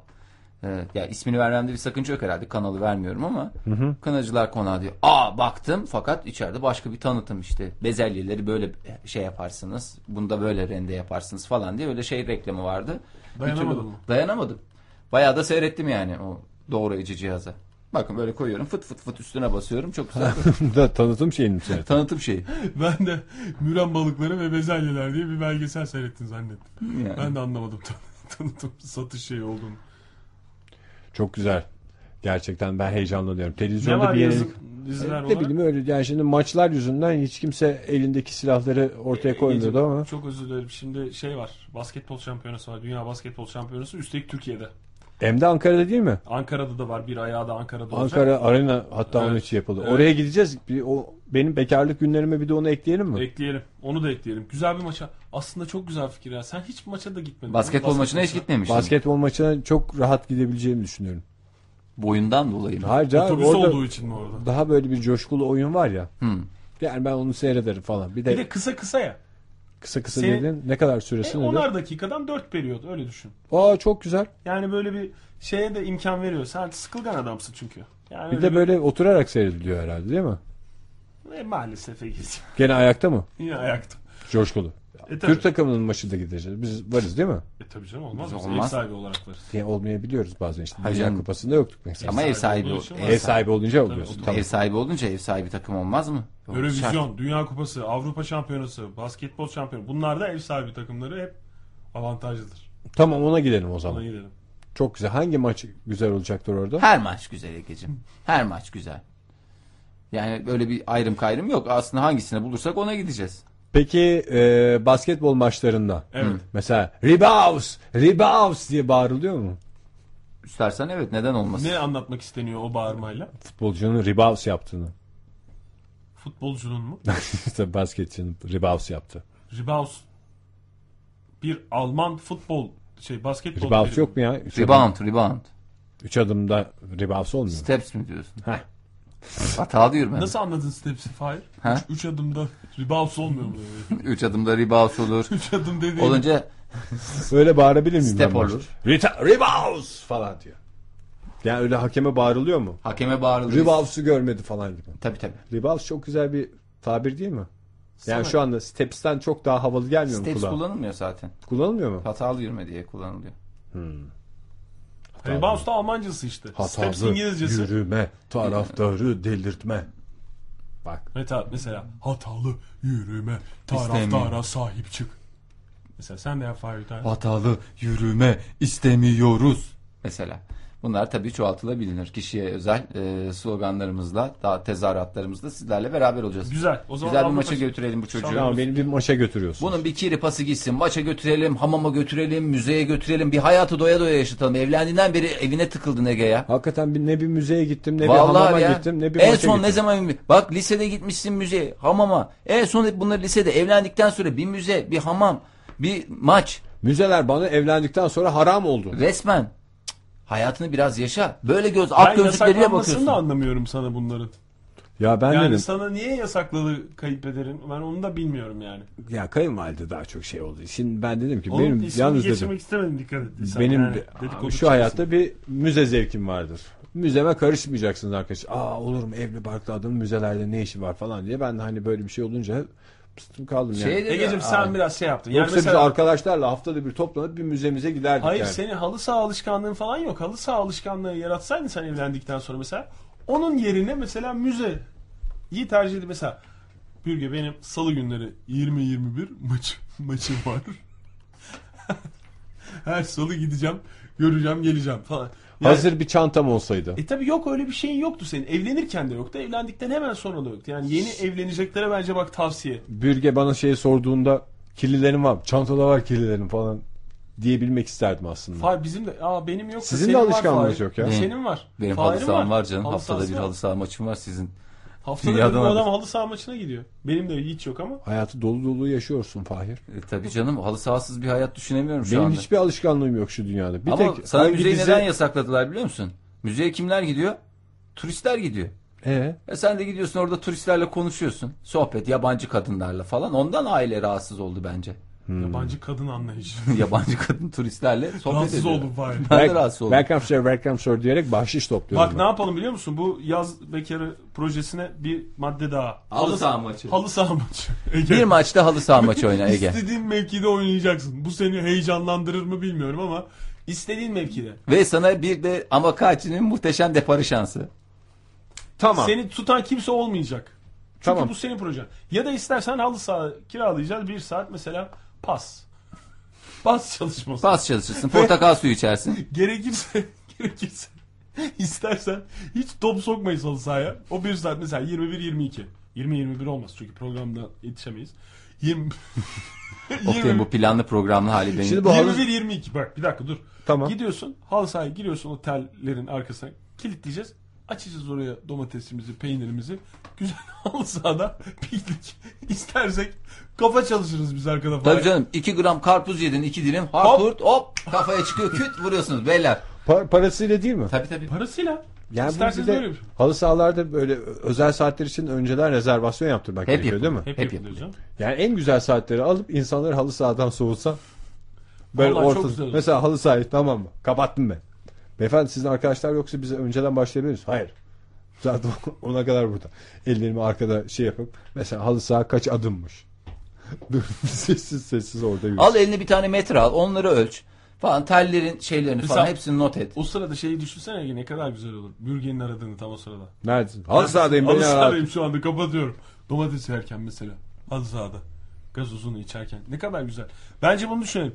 Speaker 3: Evet, ya ismini vermemde bir sakınca yok herhalde kanalı vermiyorum ama Kanacılar Konağı diyor. Aa baktım fakat içeride başka bir tanıtım işte. Bezelyeleri böyle şey yaparsınız. Bunda böyle rende yaparsınız falan diye öyle şey reklamı vardı. Bir türlü-
Speaker 2: Dayanamadın mı?
Speaker 3: Dayanamadım. Bayağı da seyrettim yani o doğrayıcı cihaza. Bakın böyle koyuyorum fıt fıt fıt üstüne basıyorum çok güzel.
Speaker 1: da tanıtım şeyini seyret.
Speaker 3: tanıtım şeyi.
Speaker 2: Ben de Müren Balıkları ve Bezelyeler diye bir belgesel seyrettin zannettim.
Speaker 3: Yani.
Speaker 2: Ben de anlamadım tan- tanıtım satış şeyi olduğunu.
Speaker 1: Çok güzel. Gerçekten ben heyecanlanıyorum.
Speaker 2: Ne
Speaker 1: Televizyonda
Speaker 2: var
Speaker 1: bir yere...
Speaker 2: yazık diziler
Speaker 1: Ne bileyim öyle yani şimdi maçlar yüzünden hiç kimse elindeki silahları
Speaker 2: E,
Speaker 1: ortaya koymuyordu
Speaker 2: Egeciğim,
Speaker 1: ama
Speaker 2: Çok özür dilerim. Şimdi şey var. Basketbol şampiyonası var. Dünya basketbol şampiyonası. Üstelik Türkiye'de.
Speaker 1: hem de Ankara'da değil mi?
Speaker 2: Ankara'da da var. Bir ayağı da Ankara'da olacak.
Speaker 1: Ankara Arena hatta
Speaker 2: Evet.
Speaker 1: onun için yapıldı.
Speaker 2: Evet.
Speaker 1: Oraya gideceğiz. Bir o benim bekarlık günlerime bir de onu ekleyelim mi?
Speaker 2: Ekleyelim. Onu da ekleyelim. Güzel bir maça. Aslında çok güzel fikir ya. Sen hiç maça da gitmedin.
Speaker 3: şey.
Speaker 1: Basketbol maçına çok rahat gidebileceğimi düşünüyorum.
Speaker 4: Boyundan dolayı mı?
Speaker 1: Hayır canım,
Speaker 2: Otobüs
Speaker 1: orada
Speaker 2: olduğu için mi orada?
Speaker 1: Daha böyle bir coşkulu oyun var ya. Yani ben onu seyrederim falan. Bir de,
Speaker 2: Bir de kısa kısa ya.
Speaker 1: kısa kısa
Speaker 2: senin-
Speaker 1: dedin ne kadar
Speaker 2: E,
Speaker 1: süresi nedir?
Speaker 2: onar dakikadan 4 periyot öyle düşün.
Speaker 1: Aa çok güzel.
Speaker 2: Yani böyle bir şeye de imkan veriyor. Sen sıkılgan adamsın çünkü. Yani
Speaker 1: Bir
Speaker 2: öyle
Speaker 1: de böyle oturarak seyrediliyor herhalde değil mi?
Speaker 2: bir- E, maalesef Ege'ciğim.
Speaker 1: Gene ayakta mı?
Speaker 2: Yine ayakta.
Speaker 1: Coşkulu.
Speaker 2: E, tabii.
Speaker 1: Türk takımının maçı da gideceğiz. Biz varız değil mi?
Speaker 2: E tabii canım olmaz.
Speaker 1: Biz
Speaker 2: Biz
Speaker 1: olmaz.
Speaker 2: Ev sahibi olarak varız.
Speaker 1: Yani olmayabiliyoruz bazen işte.
Speaker 3: Hayır
Speaker 1: Dünya
Speaker 3: canım.
Speaker 1: Kupası'nda yoktuk mesela.
Speaker 3: Ama ev sahibi,
Speaker 2: olduğu için
Speaker 3: ol-
Speaker 2: var.
Speaker 1: Ev sahibi olunca
Speaker 3: Tabii,
Speaker 1: oluyorsun.
Speaker 3: o da-
Speaker 1: Tamam.
Speaker 3: Ev sahibi olunca ev sahibi takım olmaz mı? Yok, şart.
Speaker 2: Eurovision, Dünya Kupası, Avrupa Şampiyonası, Basketbol Şampiyonası. Bunlar da ev sahibi takımları hep avantajlıdır.
Speaker 1: Tamam ona gidelim o
Speaker 2: Ona
Speaker 1: zaman.
Speaker 2: gidelim.
Speaker 1: Çok güzel. Hangi maç güzel olacaktır orada?
Speaker 3: Her maç güzel Ege'cim. Her maç güzel. Yani böyle bir ayrım kayrım yok. Aslında hangisine bulursak ona gideceğiz.
Speaker 1: Peki e, basketbol maçlarında
Speaker 2: Evet.
Speaker 1: mesela Rebounds, Rebounds diye bağırılıyor mu?
Speaker 3: İstersen evet neden olmasın?
Speaker 2: Ne anlatmak isteniyor o bağırmayla?
Speaker 1: Futbolcunun Rebounds yaptığını.
Speaker 2: Futbolcunun mu?
Speaker 1: İşte basketçinin Rebounds yaptı.
Speaker 2: Ribaus. Bir Alman futbol şey basketbol.
Speaker 1: Rebounds
Speaker 2: terimi.
Speaker 1: yok mu ya? Üç adım-
Speaker 3: Rebound, rebound.
Speaker 1: üç adımda Rebounds olmuyor. mu?
Speaker 3: Steps mi diyorsun?
Speaker 1: Heh.
Speaker 3: Hata diyorum ben.
Speaker 2: Nasıl anladın steps'i Fahir?
Speaker 3: Ha?
Speaker 2: Üç, üç adımda Ribaus olmuyor mu?
Speaker 3: Üç adımda rebound olur.
Speaker 2: üç adım dediğin.
Speaker 3: Olunca
Speaker 1: Öyle bağırabilir miyim
Speaker 3: Step
Speaker 1: ben maçta?
Speaker 3: olur.
Speaker 1: Rita- Rebounds falan diyor. Yani öyle hakeme bağırılıyor mu?
Speaker 3: hakeme bağırılır.
Speaker 1: Rebounds'u görmedi falan gibi.
Speaker 3: Tabii tabii.
Speaker 1: Rebounds çok güzel bir tabir değil mi? Yani
Speaker 3: Sana-
Speaker 1: şu anda Steps'ten çok daha havalı gelmiyor mu
Speaker 3: Steps
Speaker 1: kulağa?
Speaker 3: kullanılmıyor zaten.
Speaker 1: Kullanılmıyor mu?
Speaker 3: Hatalı yürüme diye kullanılıyor.
Speaker 2: Ribaus da Almancası işte. Steps
Speaker 1: Hatalı
Speaker 2: İngilizcesi.
Speaker 1: yürüme, taraftarı delirtme. Bak
Speaker 2: Meta mesela hatalı yürüme taraftara
Speaker 4: İstemiyor.
Speaker 2: sahip çık. Mesela sen de yap Fahir bir tane.
Speaker 4: Hatalı yürüme istemiyoruz.
Speaker 3: Mesela. Bunlar tabii çoğaltılabilir. Kişiye özel e, sloganlarımızla, daha tezahüratlarımızla sizlerle beraber olacağız.
Speaker 2: Güzel. O zaman
Speaker 3: Güzel bir
Speaker 2: Avrupa-
Speaker 3: maça götürelim bu çocuğu.
Speaker 1: tamam, beni bir maça götürüyorsun.
Speaker 3: Bunun bir kiri pası gitsin. Maça götürelim, hamama götürelim, müzeye götürelim. Bir hayatı doya doya yaşatalım. Evlendiğinden beri evine tıkıldın Ege ya.
Speaker 1: Hakikaten bir, ne bir müzeye gittim, ne bir hamama
Speaker 3: Vallahi ya.
Speaker 1: gittim, ne bir
Speaker 3: en
Speaker 1: maça
Speaker 3: son
Speaker 1: gittim.
Speaker 3: ne zaman bak lisede gitmişsin müzeye, hamama. En son hep bunları lisede evlendikten sonra bir müze, bir hamam, bir maç
Speaker 1: Müzeler bana evlendikten sonra haram oldu.
Speaker 3: resmen. Cık, Hayatını biraz yaşa. Böyle göz
Speaker 2: Ben
Speaker 3: ak gözlükleriyle
Speaker 2: yasaklanmasını
Speaker 3: bakıyorsun.
Speaker 2: da anlamıyorum sana bunların.
Speaker 1: Ya ben
Speaker 2: yani
Speaker 1: dedim,
Speaker 2: sana niye yasakladı kayınpederin? Ben onu da bilmiyorum yani.
Speaker 1: ya kayınvalide daha çok şey oldu. Şimdi ben dedim ki
Speaker 2: Onun
Speaker 1: benim
Speaker 2: ismini
Speaker 1: yalnız
Speaker 2: geçirmek
Speaker 1: dedim.
Speaker 2: istemedim dikkat ettiysen.
Speaker 1: Benim
Speaker 2: Yani
Speaker 1: bir-
Speaker 2: dedikodu
Speaker 1: şu
Speaker 2: çıkmasın.
Speaker 1: hayatta bir müze zevkim vardır. Müzeme karışmayacaksınız arkadaşlar. Aa olur mu evli barklı adamın müzelerde ne işi var falan diye. Ben de hani böyle bir şey olunca pıstım kaldım yani.
Speaker 3: Şey dedi,
Speaker 2: Egeciğim sen biraz şey yaptın. Yani
Speaker 1: Yoksa
Speaker 2: mesela-
Speaker 1: biz arkadaşlarla haftada bir toplanıp bir müzemize giderdik
Speaker 2: Hayır
Speaker 1: yani.
Speaker 2: senin halı saha alışkanlığın falan yok. Halı saha alışkanlığı yaratsaydın sen evlendikten sonra mesela onun yerine mesela müze iyi tercih edip mesela Bürge benim salı günleri 20-21 maç, maçım var. Her salı gideceğim, göreceğim, geleceğim falan. Yani-
Speaker 1: Hazır bir çantam olsaydı.
Speaker 2: E tabi yok öyle bir şeyin yoktu senin. Evlenirken de yoktu, evlendikten hemen sonra da yoktu. Yani yeni evleneceklere bence bak tavsiye.
Speaker 1: Bürge bana şeyi sorduğunda kirlilerim var. Çantada var kirlilerim falan diyebilmek isterdim aslında.
Speaker 2: Fahir bizim de aa benim yok.
Speaker 1: Sizin de alışkanlığınız yok ya.
Speaker 2: Senin var.
Speaker 4: Benim
Speaker 2: Fahir'in
Speaker 4: halı saham var canım.
Speaker 2: Halı
Speaker 4: Haftada
Speaker 2: sahası
Speaker 4: bir
Speaker 2: var.
Speaker 4: halı saha maçım var sizin.
Speaker 2: Haftada bir
Speaker 4: Dünyadan
Speaker 2: bu
Speaker 4: haklısın.
Speaker 2: adam halı saha maçına gidiyor. Benim de hiç yok ama.
Speaker 1: Hayatı dolu dolu yaşıyorsun Fahir.
Speaker 4: E, tabii canım halı sahasız bir hayat düşünemiyorum şu
Speaker 1: Benim
Speaker 4: anda.
Speaker 1: hiçbir alışkanlığım yok şu dünyada. Bir
Speaker 4: Ama
Speaker 1: tek
Speaker 4: sana
Speaker 1: hangi
Speaker 4: müzeyi
Speaker 1: dizi-
Speaker 4: neden yasakladılar biliyor musun? Müzeye kimler gidiyor? Turistler gidiyor.
Speaker 1: Ee,
Speaker 4: E sen de gidiyorsun orada turistlerle konuşuyorsun. Sohbet yabancı kadınlarla falan. Ondan aile rahatsız oldu bence.
Speaker 1: Hmm.
Speaker 2: Yabancı kadın anlayışı.
Speaker 4: yabancı kadın turistlerle sohbet
Speaker 2: Rahatsız
Speaker 4: ediyor.
Speaker 2: oldum Fahir.
Speaker 4: Ben de
Speaker 1: Welcome-
Speaker 4: rahatsız oldum.
Speaker 1: Welcome sir, welcome sir diyerek bahşiş topluyorum.
Speaker 2: Bak
Speaker 1: ben.
Speaker 2: ne yapalım biliyor musun? Bu yaz bekarı projesine bir madde daha.
Speaker 4: Halı saha maçı.
Speaker 2: Halı saha maçı. Ege.
Speaker 4: Bir maçta halı saha maçı oyna Ege.
Speaker 2: İstediğin mevkide oynayacaksın. Bu seni heyecanlandırır mı bilmiyorum ama istediğin mevkide.
Speaker 4: Ve sana bir de Amakachi'nin muhteşem deparı şansı.
Speaker 1: Tamam.
Speaker 2: Seni tutan kimse olmayacak. Çünkü
Speaker 1: Tamam.
Speaker 2: bu senin projen. Ya da istersen halı saha kiralayacağız. Bir saat mesela pas. Pas çalışması.
Speaker 4: Pas çalışırsın, portakal suyu içersin.
Speaker 2: Gerekirse gerekirse istersen hiç top sokmayız halı sahaya. O bir saat mesela 21-22. 20-21 olmaz çünkü programda yetişemeyiz. 20
Speaker 4: Oktay'ın bu planlı programlı hali benim.
Speaker 1: Şimdi bu halı-
Speaker 2: 21-22 bak bir dakika dur.
Speaker 1: Tamam.
Speaker 2: Gidiyorsun halı sahaya giriyorsun o tellerin arkasına kilitleyeceğiz. Açacağız oraya domatesimizi, peynirimizi. Güzel halı sahada piknik istersek kafa çalışırız biz arkada falan.
Speaker 3: Tabii canım 2 gram karpuz yedin 2 dilim harpurt hop kafaya çıkıyor küt vuruyorsunuz beyler.
Speaker 1: Pa- parasıyla değil mi?
Speaker 3: Tabii tabii.
Speaker 2: Parasıyla.
Speaker 1: Yani bu
Speaker 2: İsterseniz
Speaker 1: bize
Speaker 2: öyle bir şey.
Speaker 1: halı sahalarda böyle özel saatler için önceden rezervasyon yaptırmak
Speaker 3: Hep
Speaker 1: gerekiyor değil mi?
Speaker 3: yapılıyor, hep Hep yapılıyor
Speaker 2: yapılıyor.
Speaker 1: Yani en güzel saatleri alıp insanları halı sahadan soğutsa böyle
Speaker 2: Vallahi çok
Speaker 1: orta,
Speaker 2: güzel olur.
Speaker 1: mesela halı sahayı tamam mı? Kapattım ben. Beyefendi sizin arkadaşlar yoksa bize önceden başlayabiliriz. Hayır. Zaten ona kadar burada. Ellerimi arkada şey yapıp mesela halı saha kaç adımmış. Dur, sessiz sessiz orada yürü.
Speaker 3: Al eline bir tane metre al onları ölç falan tellerin şeylerini
Speaker 2: Mesela-
Speaker 3: falan hepsini not et.
Speaker 2: O sırada şeyi düşünsene ne kadar güzel olur. Bürgenin aradığını tam o sırada.
Speaker 1: Neredesin? Halı sahadayım.
Speaker 2: Halı
Speaker 1: beni ara.
Speaker 2: sahadayım şu anda kapatıyorum. Domates yerken mesela. Halı sahada. Gazozunu içerken. Ne kadar güzel. Bence bunu düşünelim.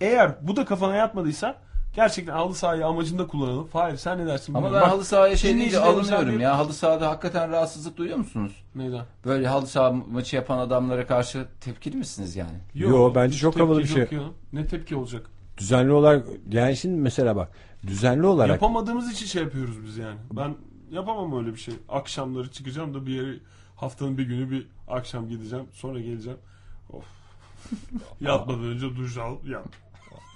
Speaker 2: Eğer bu da kafana yatmadıysa gerçekten halı sahayı amacında kullanalım. Fahir sen ne dersin?
Speaker 3: Ama ben
Speaker 2: bilmiyorum. Bak,
Speaker 3: halı sahaya şey deyince
Speaker 2: dinleyicilerimizden
Speaker 3: alınıyorum
Speaker 2: bir-
Speaker 3: ya. Halı sahada hakikaten rahatsızlık duyuyor musunuz?
Speaker 2: Neyden?
Speaker 3: Böyle halı saha maçı yapan adamlara karşı tepkili misiniz yani?
Speaker 1: Yo, Yo, bence çok
Speaker 2: tepki
Speaker 1: havalı bir şey.
Speaker 2: yok ya. Ne tepki olacak?
Speaker 1: Düzenli olarak yani şimdi mesela bak düzenli olarak
Speaker 2: Yapamadığımız için şey yapıyoruz biz yani. Ben yapamam öyle bir şey. Akşamları çıkacağım da bir yere haftanın bir günü bir akşam gideceğim. Sonra geleceğim. Of. Yatmadan önce duş al yat.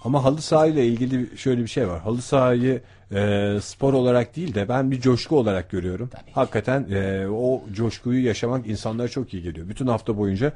Speaker 1: Ama halı sahayla ilgili şöyle bir şey var. Halı sahayı e, spor olarak değil de ben bir coşku olarak görüyorum. Hakikaten e, o coşkuyu yaşamak insanlara çok iyi geliyor. Bütün hafta boyunca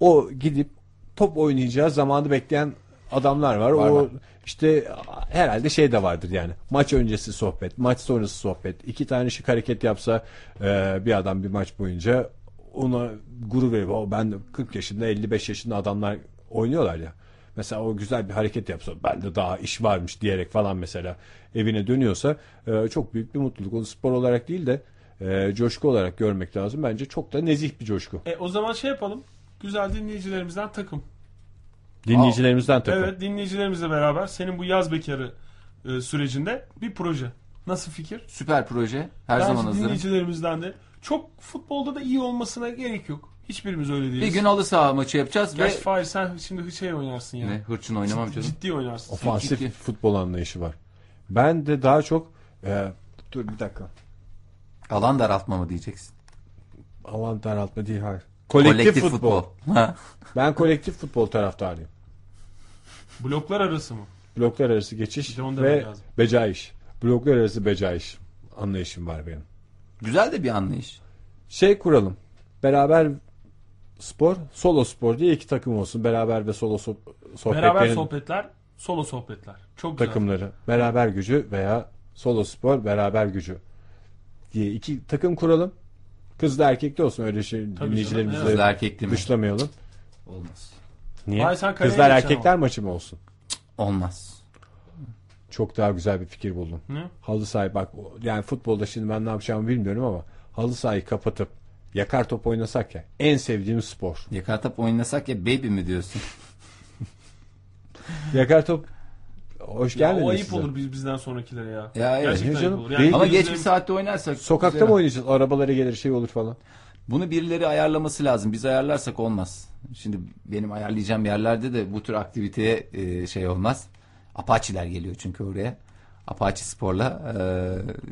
Speaker 1: o gidip top oynayacağı zamanı bekleyen adamlar var.
Speaker 3: Var,
Speaker 1: o
Speaker 3: var.
Speaker 1: işte herhalde şey de vardır yani. Maç öncesi sohbet, maç sonrası sohbet. İki tane şık hareket yapsa e, bir adam bir maç boyunca ona gurur veriyor. O ben de 40 yaşında 55 yaşında adamlar oynuyorlar ya. Mesela o güzel bir hareket yapsa ben de daha iş varmış diyerek falan mesela evine dönüyorsa e, çok büyük bir mutluluk. Onu spor olarak değil de e, coşku olarak görmek lazım. Bence çok da nezih bir coşku.
Speaker 2: E, o zaman şey yapalım. Güzel dinleyicilerimizden takım.
Speaker 1: Dinleyicilerimizden takım.
Speaker 2: Evet dinleyicilerimizle beraber senin bu yaz bekarı e, sürecinde bir proje. Nasıl fikir?
Speaker 12: Süper proje. Her
Speaker 2: Bence
Speaker 12: zaman hazırım.
Speaker 2: Dinleyicilerimizden de çok futbolda da iyi olmasına gerek yok. Hiçbirimiz öyle değiliz.
Speaker 3: Bir gün halı saha maçı yapacağız
Speaker 2: Gerçi
Speaker 3: ve
Speaker 2: Fahir sen şimdi şey oynarsın yani.
Speaker 3: Ne? Hırçın oynamam canım.
Speaker 2: Ciddi oynarsın.
Speaker 1: Ofansif futbol anlayışı var. Ben de daha çok e, dur bir dakika.
Speaker 12: Alan daraltma mı diyeceksin?
Speaker 1: Alan daraltma değil hayır. Kolektif,
Speaker 12: Kolektif
Speaker 1: futbol.
Speaker 12: futbol. Ha.
Speaker 1: ben kolektif futbol taraftarıyım.
Speaker 2: Bloklar arası mı?
Speaker 1: Bloklar arası geçiş
Speaker 2: John
Speaker 1: ve
Speaker 2: demek lazım.
Speaker 1: becaiş. Bloklar arası becaiş anlayışım var benim.
Speaker 3: güzel de bir anlayış.
Speaker 1: Şey kuralım. Beraber spor, solo spor diye iki takım olsun. Beraber ve solo so- sohbetlerin
Speaker 2: Beraber sohbetler, solo sohbetler. Çok güzel.
Speaker 1: takımları. Beraber gücü veya solo spor beraber gücü diye iki takım kuralım. Kızlı erkekli olsun öyle şey
Speaker 2: canım,
Speaker 1: dinleyicilerimizi
Speaker 2: evet.
Speaker 1: de
Speaker 3: Kızlı erkekli mi?
Speaker 1: dışlamayalım.
Speaker 3: Olmaz.
Speaker 1: Niye?
Speaker 2: Vay, sen kaleye
Speaker 1: Kızlar
Speaker 2: geçeceksin
Speaker 1: erkekler maçı mı olsun?
Speaker 3: Olmaz.
Speaker 1: Çok daha güzel bir fikir buldum.
Speaker 2: Ne?
Speaker 1: Halı sahayı bak o- yani futbolda şimdi ben ne yapacağımı bilmiyorum ama halı sahayı kapatıp yakar top oynasak ya en sevdiğim spor.
Speaker 3: Yakartap oynasak ya baby mi diyorsun?
Speaker 1: Yakar top hoş
Speaker 2: Ya
Speaker 1: gelmedi
Speaker 2: o ayıp
Speaker 1: size.
Speaker 2: olur biz bizden sonrakilere ya.
Speaker 3: Ya evet.
Speaker 2: Gerçekten
Speaker 1: Niye canım?
Speaker 2: ayıp olur.
Speaker 1: Değil.
Speaker 3: Ama geç bir
Speaker 2: dinleyicilerim-
Speaker 3: saatte oynarsak.
Speaker 1: Sokakta
Speaker 3: güzel.
Speaker 1: mı oynayacağız? Arabalara gelir şey olur falan.
Speaker 3: Bunu birileri ayarlaması lazım. Biz ayarlarsak olmaz. Şimdi benim ayarlayacağım yerlerde de bu tür aktiviteye e, şey olmaz. Apaçiler geliyor çünkü oraya. Apache sporla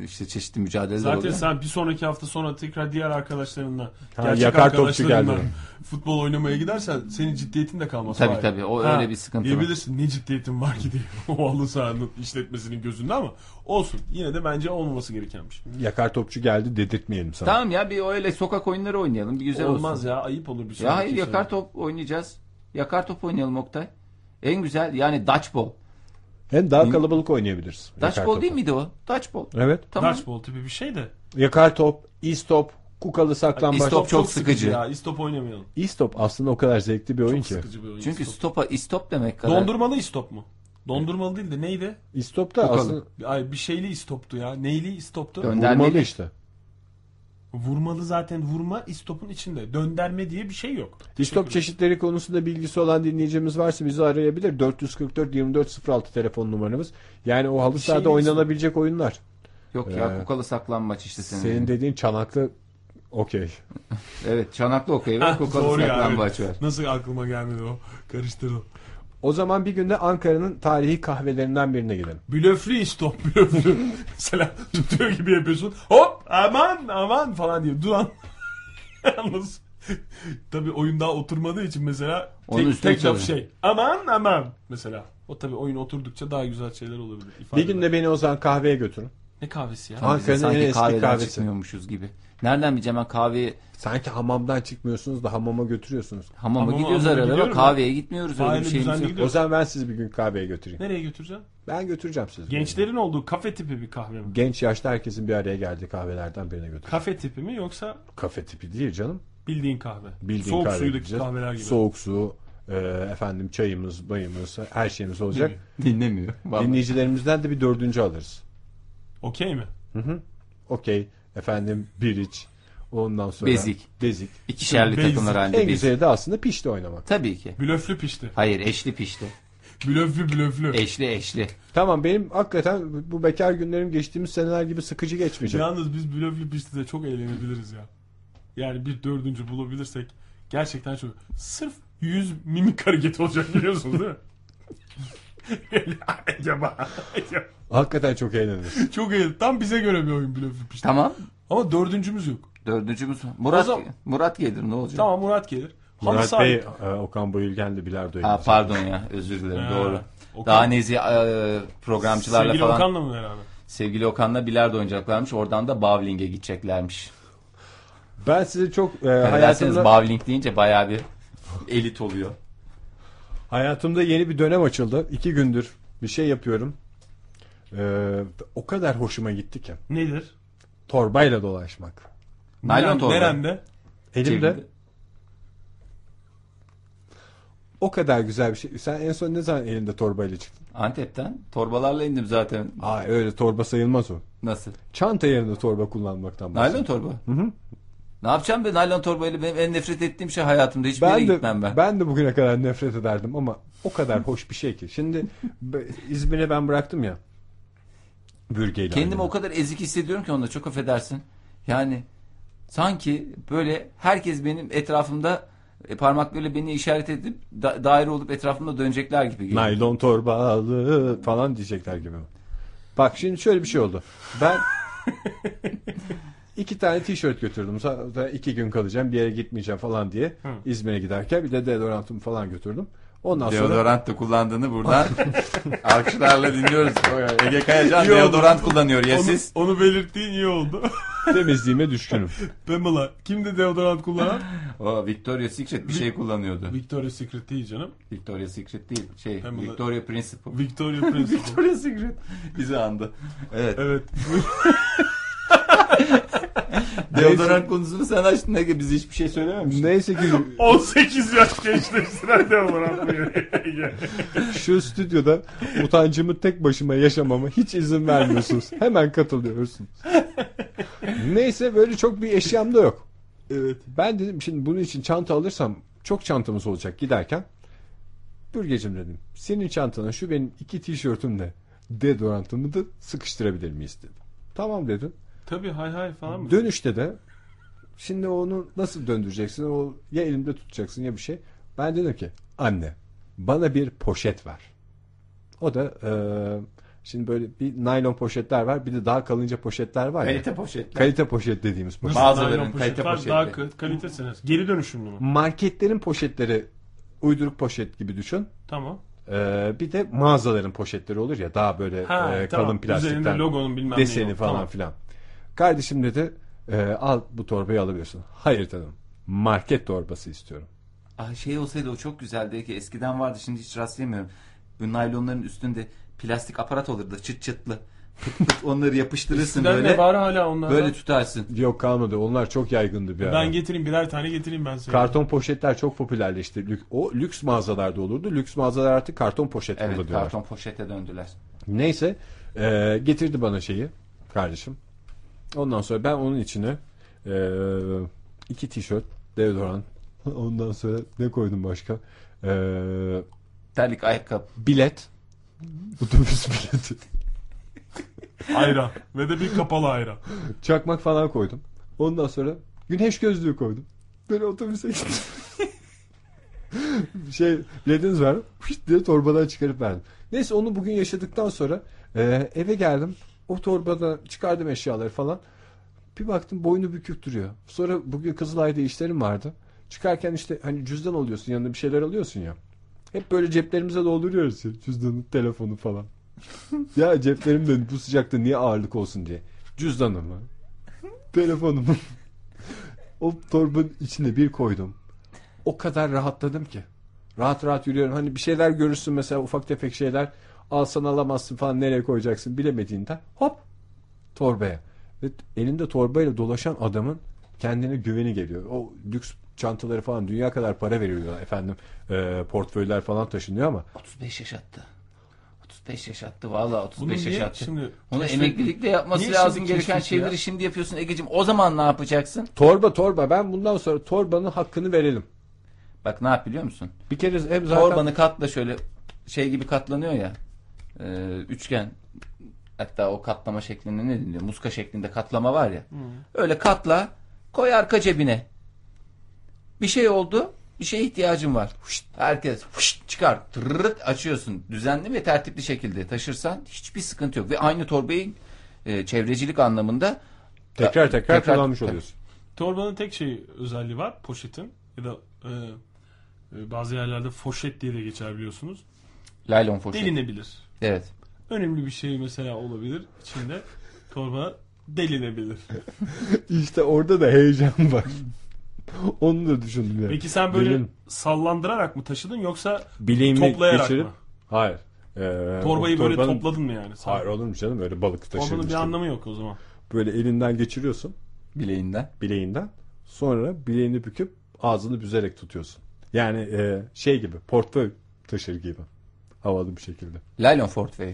Speaker 3: e, işte çeşitli mücadeleler
Speaker 2: Zaten
Speaker 3: oluyor.
Speaker 2: sen bir sonraki hafta sonra tekrar diğer arkadaşlarınla,
Speaker 1: Ha,
Speaker 2: gerçek
Speaker 1: yakar topçu
Speaker 2: arkadaşlarınla
Speaker 1: geldi.
Speaker 2: futbol oynamaya gidersen senin ciddiyetin de kalmaz.
Speaker 3: Tabii
Speaker 2: Hayır.
Speaker 3: tabii, o öyle bir sıkıntı var.
Speaker 2: Diyebilirsin ne ciddiyetin var ki diye o halı sahanın işletmesinin gözünde ama olsun. Yine de bence olmaması gerekenmiş.
Speaker 1: Yakar topçu geldi dedirtmeyelim sana.
Speaker 3: Tamam ya bir öyle sokak oyunları oynayalım. Bir güzel
Speaker 2: Olmaz
Speaker 3: olsun.
Speaker 2: ya ayıp olur bir şey.
Speaker 3: Ya hayır yakar top oynayacağız. Yakar top oynayalım Oktay. En güzel yani dutch ball.
Speaker 1: Hem daha kalabalık oynayabiliriz.
Speaker 3: Dutch
Speaker 1: yakar
Speaker 3: ball
Speaker 1: topu.
Speaker 3: değil miydi o? Dutch ball.
Speaker 1: Evet.
Speaker 3: Tamam.
Speaker 2: Dodgeball tipi bir şey de.
Speaker 1: Yakar top, istop, kukalı saklambaç.
Speaker 3: İstop çok sıkıcı.
Speaker 2: Ya istop oynamayalım.
Speaker 1: İstop aslında o kadar zevkli bir oyun
Speaker 2: Çok
Speaker 1: ki.
Speaker 2: sıkıcı bir oyun.
Speaker 3: Çünkü
Speaker 2: istop.
Speaker 3: stopa istop demek kadar.
Speaker 2: Dondurmalı istop mu? Dondurmalı değil de neydi?
Speaker 1: İstop da
Speaker 3: Kukalı.
Speaker 1: aslında
Speaker 2: Ay bir şeyli istoptu ya. Neyli istoptu?
Speaker 3: Döndermeli.
Speaker 1: vurmalı işte.
Speaker 2: Vurmalı zaten vurma istopun içinde. Dönderme diye bir şey yok.
Speaker 1: İstop çeşitleri konusunda bilgisi olan dinleyicimiz varsa bizi arayabilir. 444 2406 telefon numaramız. Yani o halı sahada
Speaker 2: değil
Speaker 1: oynanabilecek oyunlar.
Speaker 3: Yok
Speaker 1: Ee,
Speaker 3: ya kukalı saklanmaç işte senin.
Speaker 1: Senin dediğin çanaklı okey.
Speaker 3: Evet çanaklı okey var kukalı
Speaker 2: Doğru ya,
Speaker 3: saklanmaç var.
Speaker 2: evet. Nasıl aklıma gelmedi o? Karıştırdım.
Speaker 1: O zaman bir günde Ankara'nın tarihi kahvelerinden birine gidelim.
Speaker 2: Blöflü iş top blöflü. Mesela tutuyor gibi yapıyorsun. Hop aman aman falan diye. Duran. Yalnız tabii oyun daha oturmadığı için mesela
Speaker 3: Onun
Speaker 2: tek,
Speaker 3: üstüne
Speaker 2: tek laf
Speaker 3: çalıyor.
Speaker 2: şey. Aman aman mesela. O tabii oyun oturdukça daha güzel şeyler olabilir. İfade
Speaker 1: Bir günde beni o zaman kahveye götürün.
Speaker 2: Ne kahvesi ya?
Speaker 1: Ankara'nın
Speaker 3: Bize sanki
Speaker 1: en eski
Speaker 3: kahveden
Speaker 1: kahvesi.
Speaker 3: çıkmıyormuşuz gibi. Nereden bileceğim ben kahveyi?
Speaker 1: Sanki hamamdan çıkmıyorsunuz da hamama götürüyorsunuz.
Speaker 3: Hamama Hamama- gidiyoruz hamama arada ama gidiyorum kahveye ben. gitmiyoruz, öyle bir Aynı şeyimiz düzenli yok.
Speaker 1: O
Speaker 3: gidiyoruz.
Speaker 1: zaman ben sizi bir gün kahveye götüreyim.
Speaker 2: Nereye götüreceğim?
Speaker 1: Ben götüreceğim sizi.
Speaker 2: Gençlerin olduğu kafe tipi bir kahve mi?
Speaker 1: Genç yaşta herkesin bir araya geldiği kahvelerden birine götür.
Speaker 2: Kafe tipi mi yoksa
Speaker 1: Kafe tipi değil canım.
Speaker 2: bildiğin kahve?
Speaker 1: Bildiğin
Speaker 2: Soğuk
Speaker 1: kahve
Speaker 2: suyudaki
Speaker 1: gideceğiz.
Speaker 2: kahveler gibi.
Speaker 1: Soğuk su, e, efendim çayımız, bayımız, her şeyimiz olacak.
Speaker 3: Dinlemiyor. Vallahi.
Speaker 1: Dinleyicilerimizden de bir dördüncü alırız.
Speaker 2: Okey mi?
Speaker 1: Hı hı. Okey. Efendim bir iç. Ondan sonra
Speaker 3: Bezik.
Speaker 1: Bezik.
Speaker 3: İkişerli
Speaker 1: Bezik.
Speaker 3: takımlar halinde
Speaker 1: En
Speaker 3: bezik.
Speaker 1: güzeli de aslında pişti oynamak.
Speaker 3: Tabii ki.
Speaker 2: Blöflü pişti.
Speaker 3: Hayır eşli pişti.
Speaker 2: Blöflü blöflü.
Speaker 3: Eşli eşli.
Speaker 1: Tamam benim hakikaten bu bekar günlerim geçtiğimiz seneler gibi sıkıcı geçmeyecek.
Speaker 2: Yalnız biz blöflü pişti de çok eğlenebiliriz ya. Yani bir dördüncü bulabilirsek gerçekten çok. Sırf yüz mimik hareketi olacak biliyorsunuz değil mi? Acaba.
Speaker 1: Hakikaten çok eğleniriz.
Speaker 2: çok iyi. Tam bize göre bir oyun blöflü pişti.
Speaker 3: Tamam.
Speaker 2: Ama dördüncümüz yok.
Speaker 3: Dördüncümüz var.
Speaker 2: O
Speaker 3: Murat,
Speaker 2: zaman-
Speaker 3: Murat gelir ne olacak?
Speaker 2: Tamam Murat gelir. Halı
Speaker 1: Murat
Speaker 2: saha-
Speaker 1: Bey, e, Okan Bayülgen de bilardo
Speaker 3: Ha,
Speaker 1: oynayacak.
Speaker 3: pardon ya özür dilerim
Speaker 2: Ha,
Speaker 3: doğru.
Speaker 2: Okan-
Speaker 3: Daha nezi e, programcılarla
Speaker 2: Sevgili
Speaker 3: falan.
Speaker 2: Okan'la mı beraber?
Speaker 3: Sevgili Okan'la bilardo oynayacaklarmış. Oradan da bowling'e gideceklermiş.
Speaker 1: Ben sizi çok
Speaker 3: Hani
Speaker 1: e,
Speaker 3: Hayatınız
Speaker 1: hayatımda,
Speaker 3: bowling deyince bayağı bir elit oluyor.
Speaker 1: hayatımda yeni bir dönem açıldı. İki gündür bir şey yapıyorum. E, o kadar hoşuma gitti ki.
Speaker 2: Nedir?
Speaker 1: Torbayla dolaşmak.
Speaker 3: Naylon
Speaker 2: Neren-
Speaker 3: torba.
Speaker 2: Nerende?
Speaker 1: Elimde
Speaker 3: Cebinde.
Speaker 1: o kadar güzel bir şey. Sen en son ne zaman elinde torbayla çıktın?
Speaker 3: Antep'ten torbalarla indim zaten.
Speaker 1: Aa öyle torba sayılmaz o.
Speaker 3: Nasıl?
Speaker 1: Çanta yerine torba kullanmaktan
Speaker 3: Naylon
Speaker 1: bahsediyorum.
Speaker 3: torba.
Speaker 1: Hı hı.
Speaker 3: Ne yapacağım ben naylon torbayla benim en nefret ettiğim şey hayatımda hiçbir yere
Speaker 1: Ben de,
Speaker 3: gitmem ben.
Speaker 1: ben de bugüne kadar nefret ederdim ama o kadar hoş bir şey ki. Şimdi be- İzmir'e ben bıraktım ya. Bürgeyle.
Speaker 3: Kendimi o
Speaker 1: aynı.
Speaker 3: kadar ezik hissediyorum ki onda çok affedersin. Yani sanki böyle herkes benim etrafımda e, parmaklarıyla beni işaret edip da- daire olup etrafımda dönecekler gibi geliyor.
Speaker 1: Naylon torbalı falan diyecekler gibi. Bak şimdi şöyle bir şey oldu. Ben iki tane tişört götürdüm. Zaten iki gün kalacağım bir yere gitmeyeceğim falan diye. İzmir'e giderken bir de deodorantımı falan götürdüm. Ondan sonra
Speaker 3: Deodorant da kullandığını buradan alkışlarla dinliyoruz. Ege Kayacan
Speaker 2: İyi oldu.
Speaker 3: deodorant kullanıyor ya
Speaker 2: Onu-
Speaker 3: siz.
Speaker 2: Onu, belirttiğin iyi oldu.
Speaker 1: temizliğime düşkünüm.
Speaker 2: Pamela. Kimdi deodorant kullanan?
Speaker 3: O Victoria's Secret bir şey kullanıyordu.
Speaker 2: Victoria's Secret değil canım.
Speaker 3: Victoria's Secret değil şey
Speaker 2: Pamela-
Speaker 3: Victoria Principle.
Speaker 2: Victoria Principle.
Speaker 3: Victoria's Secret bizi andı. Evet.
Speaker 2: evet.
Speaker 3: Deodorant konusunu sen açtın Ege biz hiçbir şey söylememiştik.
Speaker 1: Neyse ki
Speaker 2: 18 yaş geçti üstüne deodorant buyuruyor.
Speaker 1: şu stüdyoda utancımı tek başıma yaşamama hiç izin vermiyorsunuz. Hemen katılıyorsunuz. Neyse böyle çok bir eşyam da yok.
Speaker 2: evet.
Speaker 1: Ben dedim şimdi bunun için çanta alırsam çok çantamız olacak giderken. Bürgecim dedim senin çantana şu benim iki tişörtümle deodorantımı da sıkıştırabilir miyiz dedim. Tamam dedim.
Speaker 2: Tabii hay hay falan mı?
Speaker 1: Dönüşte de şimdi onu nasıl döndüreceksin? O ya elimde tutacaksın ya bir şey. Ben dedim ki anne bana bir poşet ver. O da eee, şimdi böyle bir naylon poşetler var. Bir de daha kalınca poşetler var ya.
Speaker 3: Kalite poşetler.
Speaker 1: Kalite poşet dediğimiz poşet.
Speaker 3: Bazılarının
Speaker 2: Naylon
Speaker 3: kalite
Speaker 2: poşetler
Speaker 3: poşetli.
Speaker 2: Daha ka- kalitesiniz. Geri dönüşümlü mü?
Speaker 1: Marketlerin poşetleri uyduruk poşet gibi düşün.
Speaker 2: Tamam.
Speaker 1: Eee, bir de mağazaların poşetleri olur ya daha böyle
Speaker 2: Ha,
Speaker 1: eee,
Speaker 2: tamam.
Speaker 1: Ee, kalın
Speaker 2: Üzerinde
Speaker 1: plastikten.
Speaker 2: logonun bilmem neyi
Speaker 1: deseni
Speaker 2: yok.
Speaker 1: falan
Speaker 2: Tamam.
Speaker 1: filan. Kardeşim dedi "E, al bu torbayı alabiliyorsun. Hayır dedim. Market torbası istiyorum.
Speaker 3: Ah şey olsaydı o çok güzeldi ki eskiden vardı şimdi hiç rastlayamıyorum. Bu naylonların üstünde plastik aparat olurdu çıt çıtlı. Pıt pıt onları yapıştırırsın
Speaker 2: Sizden ne
Speaker 3: böyle.
Speaker 2: var hala onlarda?
Speaker 3: Böyle tutarsın.
Speaker 1: Yok kalmadı. Onlar çok yaygındı bir ara.
Speaker 2: Ben getireyim birer tane getireyim ben size.
Speaker 1: Karton poşetler çok popülerleşti. Lük- O lüks mağazalarda olurdu. Lüks mağazalar artık karton poşet
Speaker 3: Evet
Speaker 1: kullanıyorlar.
Speaker 3: karton poşete döndüler.
Speaker 1: Neyse e, getirdi bana şeyi kardeşim. Ondan sonra ben onun içine e, iki tişört, deodorant. Ondan sonra ne koydum başka? E,
Speaker 3: Terlik ayakkabı.
Speaker 1: bilet. Otobüs bileti.
Speaker 2: Ayran. Ve de bir kapalı ayran.
Speaker 1: Çakmak falan koydum. Ondan sonra güneş gözlüğü koydum. Böyle otobüse gittim. şey lediniz var. Pişt diye torbadan çıkarıp verdim. Neyse onu bugün yaşadıktan sonra e, eve geldim. O torbadan çıkardım eşyaları falan. Bir baktım boynu bükük duruyor. Sonra bugün Kızılay'da işlerim vardı. Çıkarken işte hani cüzdan alıyorsun yanında bir şeyler alıyorsun ya. Hep böyle ceplerimize dolduruyoruz ya, cüzdanı, telefonu falan. ya ceplerimde bu sıcakta niye ağırlık olsun diye. Cüzdanımı, telefonumu o torbanın içine bir koydum. O kadar rahatladım ki. Rahat rahat yürüyorum. Hani bir şeyler görürsün mesela ufak tefek şeyler. Alsan alamazsın falan nereye koyacaksın bilemediğinden. Hop torbaya. Ve elinde torbayla dolaşan adamın kendine güveni geliyor. O lüks çantaları falan dünya kadar para veriyorlar efendim. Ee, portföyler falan taşınıyor ama
Speaker 3: 35 yaş attı. 35 yaş attı valla 35
Speaker 2: Bunu
Speaker 3: yaş
Speaker 2: niye
Speaker 3: attı.
Speaker 2: şimdi
Speaker 3: Onu
Speaker 2: keşfet-
Speaker 3: emeklilikle yapması
Speaker 2: Niye şimdi
Speaker 3: lazım gereken
Speaker 2: keşfetti ya?
Speaker 3: şeyleri şimdi yapıyorsun Egeciğim. O zaman ne yapacaksın?
Speaker 1: Torba torba ben bundan sonra torbanın hakkını verelim.
Speaker 3: Bak ne yap biliyor musun?
Speaker 1: Bir kere hem zaten
Speaker 3: Torbanı katla şöyle şey gibi katlanıyor ya. e, üçgen hatta o katlama şeklinde ne deniyor? Muska şeklinde katlama var ya.
Speaker 2: Hmm.
Speaker 3: Öyle katla koy arka cebine. Bir şey oldu. Bir şeye ihtiyacın var. Huşt, herkes huşt, çıkar. Tırırt açıyorsun. Düzenli ve tertipli şekilde taşırsan hiçbir sıkıntı yok. Ve aynı torbayı e, çevrecilik anlamında
Speaker 1: tekrar tekrar kullanmış
Speaker 3: tabii.
Speaker 1: oluyorsun.
Speaker 2: Torbanın tek şey özelliği var poşetin ya da e, e, bazı yerlerde foşet diye de geçer biliyorsunuz.
Speaker 3: Laylon poşet.
Speaker 2: Delinebilir.
Speaker 3: Evet.
Speaker 2: Önemli bir şey mesela olabilir içinde torba delinebilir.
Speaker 1: İşte orada da heyecan var. Onu da düşündüm. yani.
Speaker 2: Peki sen böyle
Speaker 1: Benim
Speaker 2: sallandırarak mı taşıdın yoksa
Speaker 1: bileğimi
Speaker 2: toplayarak
Speaker 1: geçirip-
Speaker 2: mı?
Speaker 1: Hayır. Ee,
Speaker 2: Torbayı
Speaker 1: o
Speaker 2: böyle
Speaker 1: torbanın-
Speaker 2: topladın mı yani? Sen-
Speaker 1: Hayır olur mu canım öyle balık
Speaker 2: Torbanın
Speaker 1: taşırmış
Speaker 2: bir
Speaker 1: gibi.
Speaker 2: anlamı yok o zaman.
Speaker 1: Böyle elinden geçiriyorsun
Speaker 3: Bileğinden.
Speaker 1: bileğinden. Sonra bileğini büküp ağzını büzerek tutuyorsun. Yani e, şey gibi portföy taşır gibi. Havalı bir şekilde.
Speaker 3: Laylon portföy.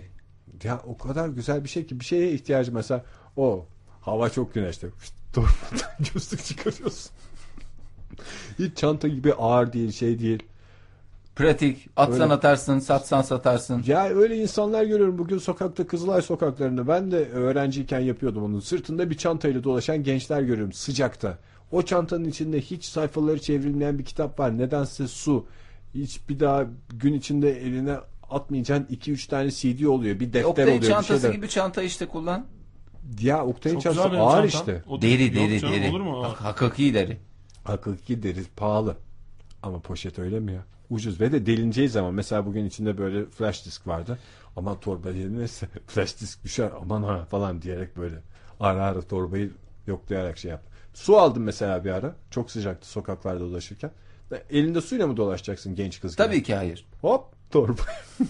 Speaker 1: Ya o kadar güzel bir şey ki bir şeye ihtiyacı mesela o hava çok güneşli. Fışt, Torbadan gözlük çıkarıyorsun. Hiç çanta gibi ağır değil şey değil.
Speaker 3: Pratik. Atsan
Speaker 1: Öyle.
Speaker 3: atarsın, satsan satarsın.
Speaker 1: Ya öyle insanlar görüyorum bugün sokakta Kızılay sokaklarında. Ben de öğrenciyken yapıyordum onu. Sırtında bir çantayla dolaşan gençler görüyorum sıcakta. O çantanın içinde hiç sayfaları çevrilmeyen bir kitap var. Nedense su. Hiç bir daha gün içinde eline atmayacağın 2-3 tane CD oluyor. Bir defter
Speaker 3: Oktay'ın
Speaker 1: oluyor. bir şey
Speaker 3: çantası
Speaker 1: şeyler.
Speaker 3: gibi çanta işte kullan.
Speaker 1: Ya Oktay'ın
Speaker 2: Çok güzel
Speaker 1: çantası
Speaker 2: benim
Speaker 1: ağır
Speaker 2: çantam.
Speaker 1: işte.
Speaker 2: O-
Speaker 3: Deri
Speaker 2: Yok
Speaker 3: deri
Speaker 2: canım,
Speaker 3: deri.
Speaker 2: Olur mu?
Speaker 3: Hak- hakiki deri.
Speaker 1: Hakiki deri pahalı. Ama poşet öyle mi ya? Ucuz ve de delineceği zaman mesela bugün içinde böyle flash disk vardı. Aman torba yenilirse flash disk düşer aman ha falan diyerek böyle ara ara torbayı yoklayarak şey yaptı. Su aldım mesela bir ara. Çok sıcaktı sokaklarda dolaşırken. Elinde suyla mı dolaşacaksın genç kız gibi?
Speaker 3: Tabii ki hayır.
Speaker 1: Hop torba.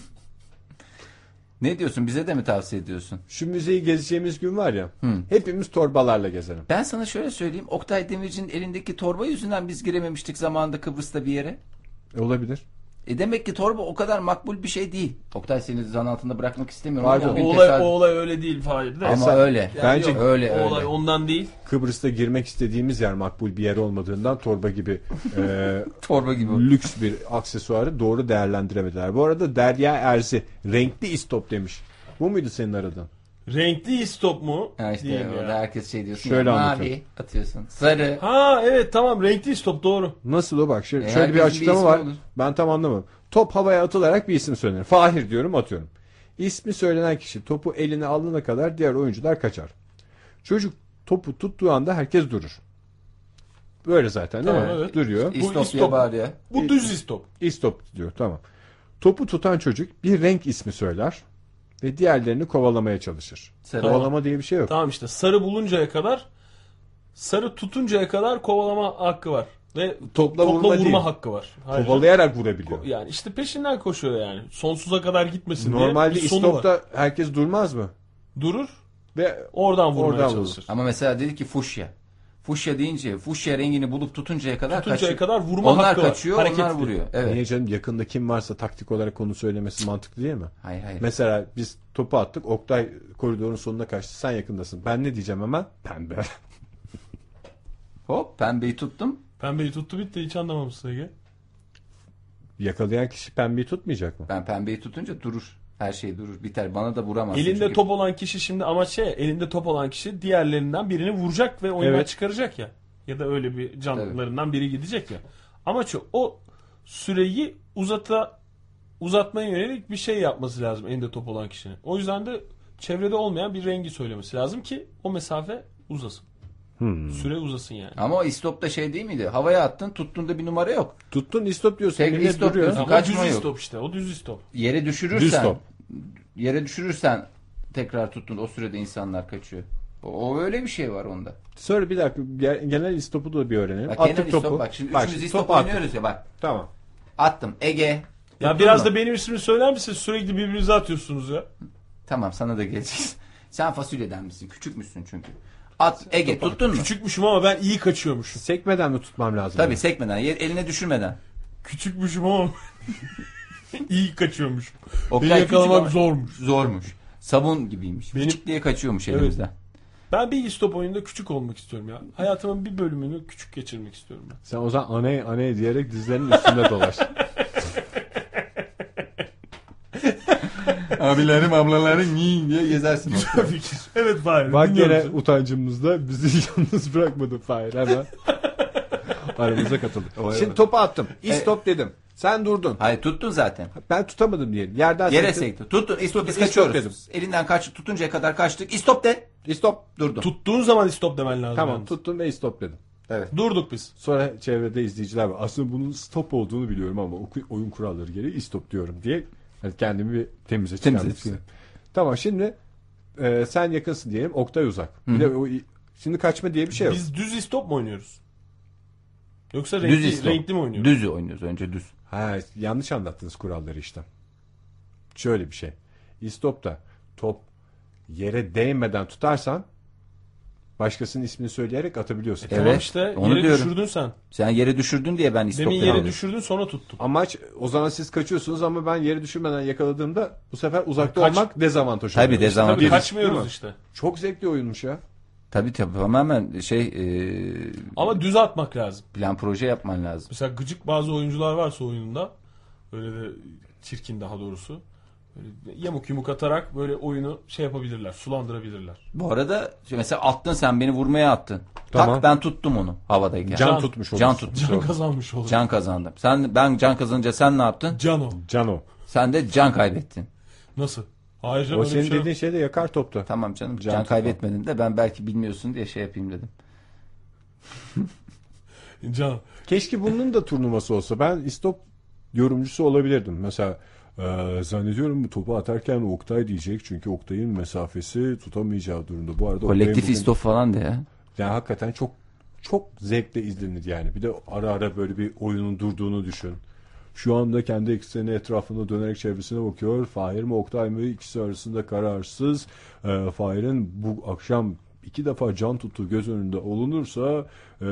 Speaker 3: Ne diyorsun bize de mi tavsiye ediyorsun?
Speaker 1: Şu müzeyi gezeceğimiz gün var ya. Hepimiz torbalarla gezelim.
Speaker 3: Ben sana şöyle söyleyeyim. Oktay Demirci'nin elindeki torba yüzünden biz girememiştik zamanında Kıbrıs'ta bir yere.
Speaker 1: E, olabilir.
Speaker 3: E demek ki torba o kadar makbul bir şey değil. Oktay seni zan altında bırakmak istemiyorum.
Speaker 1: Pardon,
Speaker 3: ama
Speaker 2: O
Speaker 3: bugün
Speaker 2: olay,
Speaker 3: tesadüf-
Speaker 2: o olay öyle değil Fahir de.
Speaker 3: Ama öyle.
Speaker 1: Bence
Speaker 2: yok,
Speaker 3: öyle,
Speaker 2: o olay
Speaker 3: öyle.
Speaker 2: ondan değil.
Speaker 1: Kıbrıs'ta girmek istediğimiz yer makbul bir yer olmadığından torba gibi e,
Speaker 3: Torba gibi.
Speaker 1: lüks bir aksesuarı doğru değerlendiremediler. Bu arada Derya Erzi renkli istop demiş. Bu muydu senin aradığın?
Speaker 2: Renkli istop mu?
Speaker 3: Ha işte
Speaker 2: Değil mi
Speaker 3: orada
Speaker 2: ya?
Speaker 3: herkes şey diyorsun.
Speaker 1: Şöyle
Speaker 3: ya,
Speaker 1: anlatıyorum.
Speaker 3: mavi atıyorsun. Sarı.
Speaker 2: Ha evet tamam renkli istop doğru.
Speaker 1: Nasıl o bak şöyle,
Speaker 3: E,
Speaker 1: şöyle bir
Speaker 3: herkesin bir
Speaker 1: açıklama
Speaker 3: ismi
Speaker 1: var.
Speaker 3: olur.
Speaker 1: Ben tam anlamadım. Top havaya atılarak bir isim söylenir. Fahir diyorum atıyorum. İsmi söylenen kişi topu eline alana kadar diğer oyuncular kaçar. Çocuk topu tuttuğu anda herkes durur. Böyle zaten değil
Speaker 2: Tamam,
Speaker 1: mi?
Speaker 2: evet.
Speaker 1: Duruyor.
Speaker 3: İstop diye
Speaker 2: istop.
Speaker 3: bağırıyor.
Speaker 2: Bu düz istop.
Speaker 1: İstop diyor tamam. Topu tutan çocuk bir renk ismi söyler ve diğerlerini kovalamaya çalışır.
Speaker 3: Sarı.
Speaker 1: Kovalama diye bir şey yok.
Speaker 2: Tamam işte sarı buluncaya kadar sarı tutuncaya kadar kovalama hakkı var. Ve
Speaker 1: Topla
Speaker 2: topla
Speaker 1: vurma
Speaker 2: vurma,
Speaker 1: değil.
Speaker 2: hakkı var. Hayır.
Speaker 1: Kovalayarak vurabiliyor.
Speaker 2: Yani işte peşinden koşuyor yani. Sonsuza kadar gitmesin
Speaker 1: Normalde
Speaker 2: diye bir sonu var.
Speaker 1: istopta herkes durmaz mı?
Speaker 2: Durur.
Speaker 1: Ve
Speaker 2: Oradan vurmaya
Speaker 1: Oradan vurur.
Speaker 2: çalışır.
Speaker 3: Ama mesela dedi ki fuşya. Fuşya deyince fuşya rengini bulup tutuncaya kadar
Speaker 2: Tutuncaya
Speaker 3: kaçıyor.
Speaker 2: kadar vurma
Speaker 3: onlar
Speaker 2: hakkı var.
Speaker 3: kaçıyor, onlar
Speaker 2: Hareketli.
Speaker 3: vuruyor. Evet.
Speaker 1: niye canım yakında kim varsa taktik olarak onu söylemesi mantıklı değil mi?
Speaker 3: Hayır hayır.
Speaker 1: Mesela biz topu attık. Oktay koridorun sonuna kaçtı. Sen yakındasın. Ben ne diyeceğim hemen? Pembe.
Speaker 3: Hop pembeyi tuttum.
Speaker 2: Pembeyi tuttu bitti hiç anlamamışsın Ege.
Speaker 1: Yakalayan kişi pembeyi tutmayacak mı?
Speaker 3: Ben pembeyi tutunca durur. Her şey durur. Biter. Bana da vuramaz.
Speaker 2: Elinde top olan kişi şimdi amaç şey elinde top olan kişi diğerlerinden birini vuracak ve oyundan
Speaker 1: Evet.
Speaker 2: çıkaracak ya. Ya da öyle bir canlarından biri gidecek ya. Amaç o. O süreyi uzata uzatmaya yönelik bir şey yapması lazım elinde top olan kişinin. O yüzden de çevrede olmayan bir rengi söylemesi lazım ki o mesafe uzasın.
Speaker 3: Hmm.
Speaker 2: Süre uzasın yani.
Speaker 3: Ama o istopta şey değil miydi? Havaya attın tuttuğunda bir numara yok.
Speaker 1: Tuttun istop diyorsun.
Speaker 3: Tek
Speaker 2: Millet
Speaker 3: istop
Speaker 2: duruyor.
Speaker 3: diyorsun.
Speaker 2: Ama
Speaker 3: Kaçma
Speaker 2: düz
Speaker 3: yok.
Speaker 2: istop işte. O düz istop.
Speaker 3: Yere
Speaker 1: Düz
Speaker 3: düşürürsen
Speaker 1: top.
Speaker 3: yere düşürürsen tekrar tuttun o sürede insanlar kaçıyor. O, o öyle bir şey var onda.
Speaker 1: Söyle bir dakika ge- genel istopu da bir öğrenelim.
Speaker 3: Bak,
Speaker 1: attık
Speaker 3: genel
Speaker 1: topu.
Speaker 3: istop bak şimdi üçümüz
Speaker 1: şimdi
Speaker 3: istop
Speaker 1: topu attık.
Speaker 3: oynuyoruz ya bak.
Speaker 1: Tamam.
Speaker 3: Attım Ege.
Speaker 2: Ya
Speaker 3: Tuttun
Speaker 2: biraz
Speaker 3: mu?
Speaker 2: da benim ismimi söyler misiniz? Sürekli birbirinize atıyorsunuz ya.
Speaker 3: Tamam sana da geleceğiz. Sen fasulyeden misin? Küçük müsün çünkü. At Ege tuttun mu?
Speaker 2: Küçükmüşüm ama ben iyi kaçıyormuşum.
Speaker 1: Sekmeden mi tutmam lazım?
Speaker 3: Tabii sekmeden, ye- eline düşürmeden.
Speaker 2: Küçükmüşüm ama iyi kaçıyormuşum.
Speaker 3: Oktay
Speaker 2: Beni
Speaker 3: küçük ama-
Speaker 2: yakalamak zormuş.
Speaker 3: Zormuş. Sabun gibiymiş.
Speaker 2: Benim-
Speaker 3: Küçük diye kaçıyormuş
Speaker 2: Evet.
Speaker 3: elimizden.
Speaker 2: Ben bir istop oyununda küçük olmak istiyorum ya. Hayatımın bir bölümünü küçük geçirmek istiyorum ben.
Speaker 1: Sen o zaman aney aney diyerek dizlerinin üstünde dolaş.
Speaker 3: Abilerim ablalarım yiyin diye gezersin. ortada.
Speaker 2: Fikir. Evet Fahir.
Speaker 1: Bak
Speaker 2: dinliyorum
Speaker 1: gene
Speaker 2: seni.
Speaker 1: utancımızda bizi yalnız bırakmadı Fahir hemen. Aramıza katıldı. Şimdi topu attım. İstop dedim. Sen durdun.
Speaker 3: Hayır tuttun zaten.
Speaker 1: E- Ben tutamadım diyelim. Yerden
Speaker 3: Yere
Speaker 1: sektim.
Speaker 3: sekti. Tuttun. İstop biz
Speaker 1: İstop
Speaker 3: kaçıyoruz.
Speaker 1: dedim.
Speaker 3: Elinden kaç tutuncaya kadar kaçtık. İstop de.
Speaker 1: İstop.
Speaker 3: Durdun.
Speaker 2: Tuttuğun zaman istop demen lazım.
Speaker 1: Tamam
Speaker 2: yalnız.
Speaker 1: tuttum ve istop dedim.
Speaker 2: Durduk biz.
Speaker 1: Sonra çevrede izleyiciler var. Aslında bunun stop olduğunu biliyorum ama oku- oyun kuralları gereği istop diyorum diye yani kendimi bir temize çıkarmıştım.
Speaker 3: çıkar.
Speaker 1: Tamam şimdi e, sen yakınsın diyelim. Oktay uzak. Bir de o, şimdi kaçma diye bir şey yok.
Speaker 2: Biz düz istop mu oynuyoruz? Yoksa renkli,
Speaker 3: Düz istop.
Speaker 2: renkli mi oynuyoruz?
Speaker 3: Düz oynuyoruz önce düz.
Speaker 1: Ha, yanlış anlattınız kuralları işte. Şöyle bir şey. İstopta top yere değmeden tutarsan başkasının ismini söyleyerek atabiliyorsun.
Speaker 3: Evet.
Speaker 2: Tamam işte
Speaker 3: onu
Speaker 2: yere
Speaker 3: diyorum.
Speaker 2: düşürdün sen.
Speaker 3: Sen yere düşürdün diye ben istop
Speaker 2: Demin yere
Speaker 3: demedim.
Speaker 2: düşürdün sonra tuttun.
Speaker 1: Amaç o zaman siz kaçıyorsunuz ama ben yere düşürmeden yakaladığımda bu sefer uzakta
Speaker 2: Kaç-
Speaker 1: olmak dezavantaj
Speaker 3: Tabii
Speaker 1: oluyor.
Speaker 3: dezavantaj.
Speaker 2: Tabii
Speaker 3: Birisi,
Speaker 2: kaçmıyoruz işte.
Speaker 1: Çok zevkli oyunmuş ya.
Speaker 3: Tabii tabii tamamen şey e,
Speaker 2: Ama düz atmak lazım.
Speaker 3: plan proje yapman lazım.
Speaker 2: Mesela gıcık bazı oyuncular varsa oyununda öyle de çirkin daha doğrusu. Böyle yamuk yumuk atarak böyle oyunu şey yapabilirler, sulandırabilirler.
Speaker 3: Bu arada mesela attın sen beni vurmaya attın.
Speaker 1: Tamam.
Speaker 3: Tak ben tuttum onu havadayken.
Speaker 1: Can,
Speaker 2: Can-
Speaker 1: tutmuş olursun.
Speaker 3: Can tutmuş.
Speaker 2: Can
Speaker 3: Can,
Speaker 2: kazanmış olur.
Speaker 3: can kazandım. Sen ben can kazanınca sen ne yaptın?
Speaker 2: Cano.
Speaker 1: Cano.
Speaker 3: Sen de can kaybettin.
Speaker 2: Nasıl? Hayır canım
Speaker 1: O
Speaker 2: öyle bir
Speaker 1: senin
Speaker 2: şey yok.
Speaker 1: dediğin şey de yakar toptu.
Speaker 3: Tamam canım
Speaker 1: Can
Speaker 3: can,
Speaker 1: tutma.
Speaker 3: kaybetmedin de ben belki bilmiyorsun diye şey yapayım dedim.
Speaker 2: Can.
Speaker 1: Keşke bunun da turnuvası olsa. Ben istop yorumcusu olabilirdim. Mesela e, zannediyorum bu topu atarken Oktay diyecek. Çünkü Oktay'ın mesafesi tutamayacağı durumda. Bu arada Oktay'ın
Speaker 3: Kolektif
Speaker 1: bugün-
Speaker 3: istof falan de ya.
Speaker 1: Yani hakikaten çok çok zevkle izlenir yani. Bir de ara ara böyle bir oyunun durduğunu düşün. Şu anda kendi ekseni etrafında dönerek çevresine bakıyor. Fahir mi Oktay mı ikisi arasında kararsız. Ee, Fahir'in bu akşam iki defa can tuttuğu göz önünde olunursa e,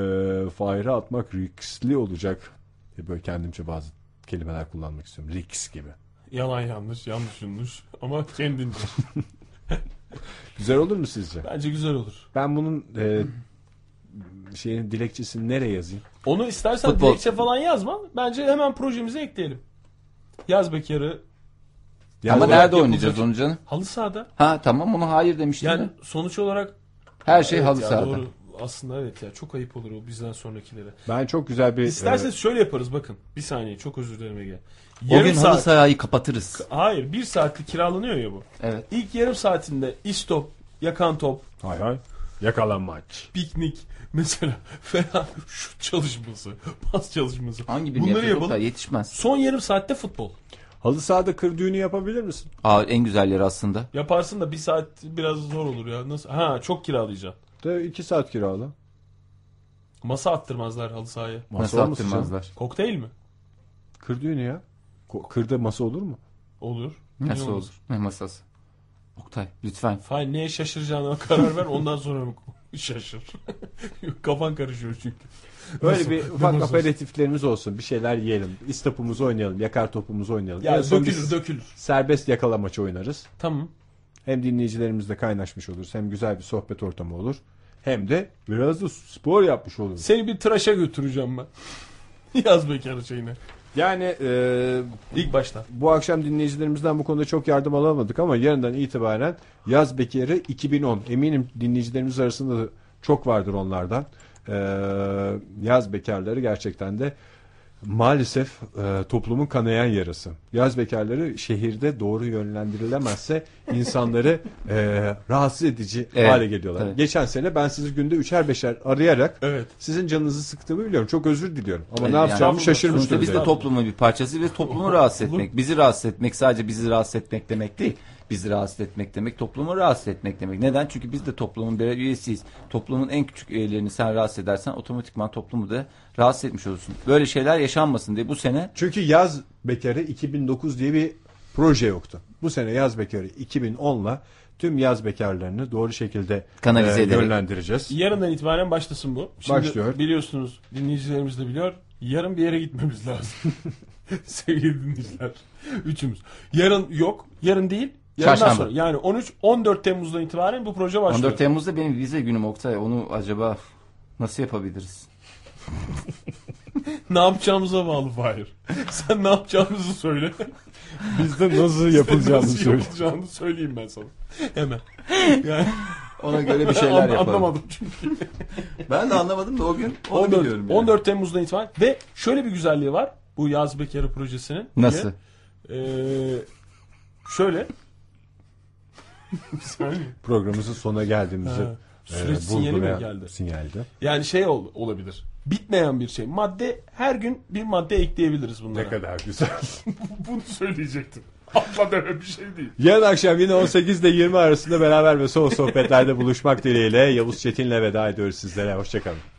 Speaker 1: Fahir'e atmak riskli olacak. E, Böyle kendimce bazı kelimeler kullanmak istiyorum. Risk gibi.
Speaker 2: Yalan yanlış, yanlış yanlış. Ama kendince.
Speaker 1: Güzel olur mu sizce?
Speaker 2: Bence güzel olur.
Speaker 1: Ben bunun e, şeyin dilekçesini nereye yazayım?
Speaker 2: Onu istersen
Speaker 3: Futbol.
Speaker 2: dilekçe falan yazma. Bence hemen projemize ekleyelim. Yaz bekarı.
Speaker 3: Ama
Speaker 1: Yani-
Speaker 3: nerede
Speaker 2: yapılacak.
Speaker 3: oynayacağız onu canım?
Speaker 2: Halı sahada.
Speaker 3: Ha tamam onu hayır demiştin
Speaker 2: Yani
Speaker 3: de.
Speaker 2: sonuç olarak
Speaker 3: Her şey
Speaker 2: Evet
Speaker 3: halı
Speaker 2: ya,
Speaker 3: sahada.
Speaker 2: Doğru. Aslında evet ya çok ayıp olur o bizden sonrakilere.
Speaker 1: Ben çok güzel bir... e,
Speaker 2: İsterseniz şöyle yaparız bakın. Bir saniye çok özür dilerim Ege.
Speaker 3: O
Speaker 2: Yarım
Speaker 3: gün halı
Speaker 2: saat.
Speaker 3: sahayı kapatırız.
Speaker 2: Hayır bir saatlik kiralanıyor ya bu.
Speaker 3: Evet.
Speaker 2: İlk yarım saatinde istop, yakan top,
Speaker 1: e, hay hay. Yakalanmaç.
Speaker 2: piknik mesela falan şut çalışması, pas çalışması.
Speaker 3: Hangi birini
Speaker 2: Bunları
Speaker 3: yapıyoruz?
Speaker 2: yapalım.
Speaker 3: Oktay? Yetişmez.
Speaker 2: Son yarım saatte futbol.
Speaker 1: Halı sahada kır düğünü yapabilir misin?
Speaker 3: Aa, en güzel yer aslında.
Speaker 2: Yaparsın da bir saat biraz zor olur ya. Nasıl? Ha çok kiralayacaksın.
Speaker 1: De iki saat kirala.
Speaker 2: Masa attırmazlar halı sahaya.
Speaker 3: Nasıl
Speaker 1: olmasın
Speaker 3: attırmazlar?
Speaker 2: Kokteyl mi?
Speaker 1: canım? Kır düğünü ya. Ko- Kırda masa olur mu?
Speaker 2: Olur.
Speaker 3: Nasıl
Speaker 2: Niye
Speaker 3: olur? Ne masası? Oktay lütfen.
Speaker 2: Fay neye şaşıracağına karar ver ondan sonra mı şaşır. Kafan karışıyor çünkü.
Speaker 1: Böyle
Speaker 2: Nasıl?
Speaker 1: bir
Speaker 2: Ne
Speaker 1: ufak
Speaker 2: masası?
Speaker 1: aperatiflerimiz olsun. Bir şeyler yiyelim. İstopumuzu oynayalım. Yakar topumuzu oynayalım.
Speaker 2: Ya
Speaker 1: En son
Speaker 2: dökülür
Speaker 1: biz
Speaker 2: dökülür.
Speaker 1: Serbest yakalamaç oynarız.
Speaker 2: Tamam.
Speaker 1: Hem dinleyicilerimizle kaynaşmış oluruz. Hem güzel bir sohbet ortamı olur. Hem de biraz da spor yapmış oluruz.
Speaker 2: Seni bir tıraşa götüreceğim ben. Yaz bekarı şeyine.
Speaker 1: Yani e,
Speaker 2: İlk başta.
Speaker 1: bu akşam dinleyicilerimizden bu konuda çok yardım alamadık ama yarından itibaren Yaz Bekeri 2010. Eminim dinleyicilerimiz arasında da çok vardır onlardan. Ee, yaz bekarları gerçekten de maalesef e, toplumun kanayan yarası. Yaz bekarları şehirde doğru yönlendirilemezse insanları e, rahatsız edici
Speaker 3: Evet,
Speaker 1: hale geliyorlar.
Speaker 3: evet.
Speaker 1: Geçen sene ben sizi günde üçer beşer arayarak sizin canınızı sıktığımı biliyorum. Çok özür diliyorum. Ama ne
Speaker 3: Yani
Speaker 1: yapacağımı
Speaker 3: sonuçta
Speaker 1: şaşırmıştım.
Speaker 3: Biz de toplumun bir parçası ve toplumu rahatsız etmek. Bizi rahatsız etmek sadece bizi rahatsız etmek demek değil. Bizi rahatsız etmek demek toplumu rahatsız etmek demek. Neden? Çünkü biz de toplumun birer üyesiyiz. Toplumun en küçük üyelerini sen rahatsız edersen otomatikman toplumu da rahatsız etmiş olursun. Böyle şeyler yaşanmasın diye bu sene
Speaker 1: Çünkü yaz bekarı 2009 diye bir proje yoktu. Bu sene yaz bekarı 2010'la tüm yaz bekarlarını doğru şekilde
Speaker 3: Kanalize
Speaker 1: e,
Speaker 3: ederek.
Speaker 1: yönlendireceğiz.
Speaker 2: Yarından itibaren başlasın bu. Şimdi
Speaker 1: Başlıyor.
Speaker 2: Biliyorsunuz dinleyicilerimiz de biliyor. Yarın bir yere gitmemiz lazım. Sevgili dinleyiciler. Üçümüz. Yarın yok. Yarın değil. Yarından
Speaker 3: Çarşamba.
Speaker 2: sonra. Yani 13-14 Temmuz'dan itibaren bu proje başlıyor.
Speaker 3: 14 Temmuz'da benim vize günüm Oktay. Onu acaba nasıl yapabiliriz?
Speaker 2: ne yapacağımıza bağlı Fahir. Sen ne yapacağımızı söyle.
Speaker 1: Biz de nasıl yapılacağını
Speaker 2: Nasıl
Speaker 1: söyle.
Speaker 2: yapılacağını söyleyeyim ben sana. Hemen. Yani...
Speaker 3: Ona göre bir şeyler
Speaker 2: An-
Speaker 3: yapalım.
Speaker 2: Anlamadım çünkü.
Speaker 3: Ben de anlamadım da o gün onu
Speaker 2: 14,
Speaker 3: biliyorum yani.
Speaker 2: 14 Temmuz'dan itibaren ve şöyle bir güzelliği var bu Yaz Bekarı projesinin.
Speaker 3: Nasıl?
Speaker 2: Ee, şöyle. Bir saniye.
Speaker 1: Programımızın sonuna geldiğimizi
Speaker 2: Ha, süreç sinyali mi
Speaker 1: vurgulayan
Speaker 2: geldi?
Speaker 1: Sinyaldi.
Speaker 2: Yani şey ol- olabilir. Bitmeyen bir şey. Madde her gün bir madde ekleyebiliriz bunlara.
Speaker 1: Ne kadar güzel.
Speaker 2: Bunu söyleyecektim. Atla deme bir şey değil.
Speaker 1: Yarın akşam yine 18 ile 20 arasında beraber ve son sohbetlerde buluşmak dileğiyle Yavuz Çetin'le veda ediyoruz sizlere. Hoşçakalın.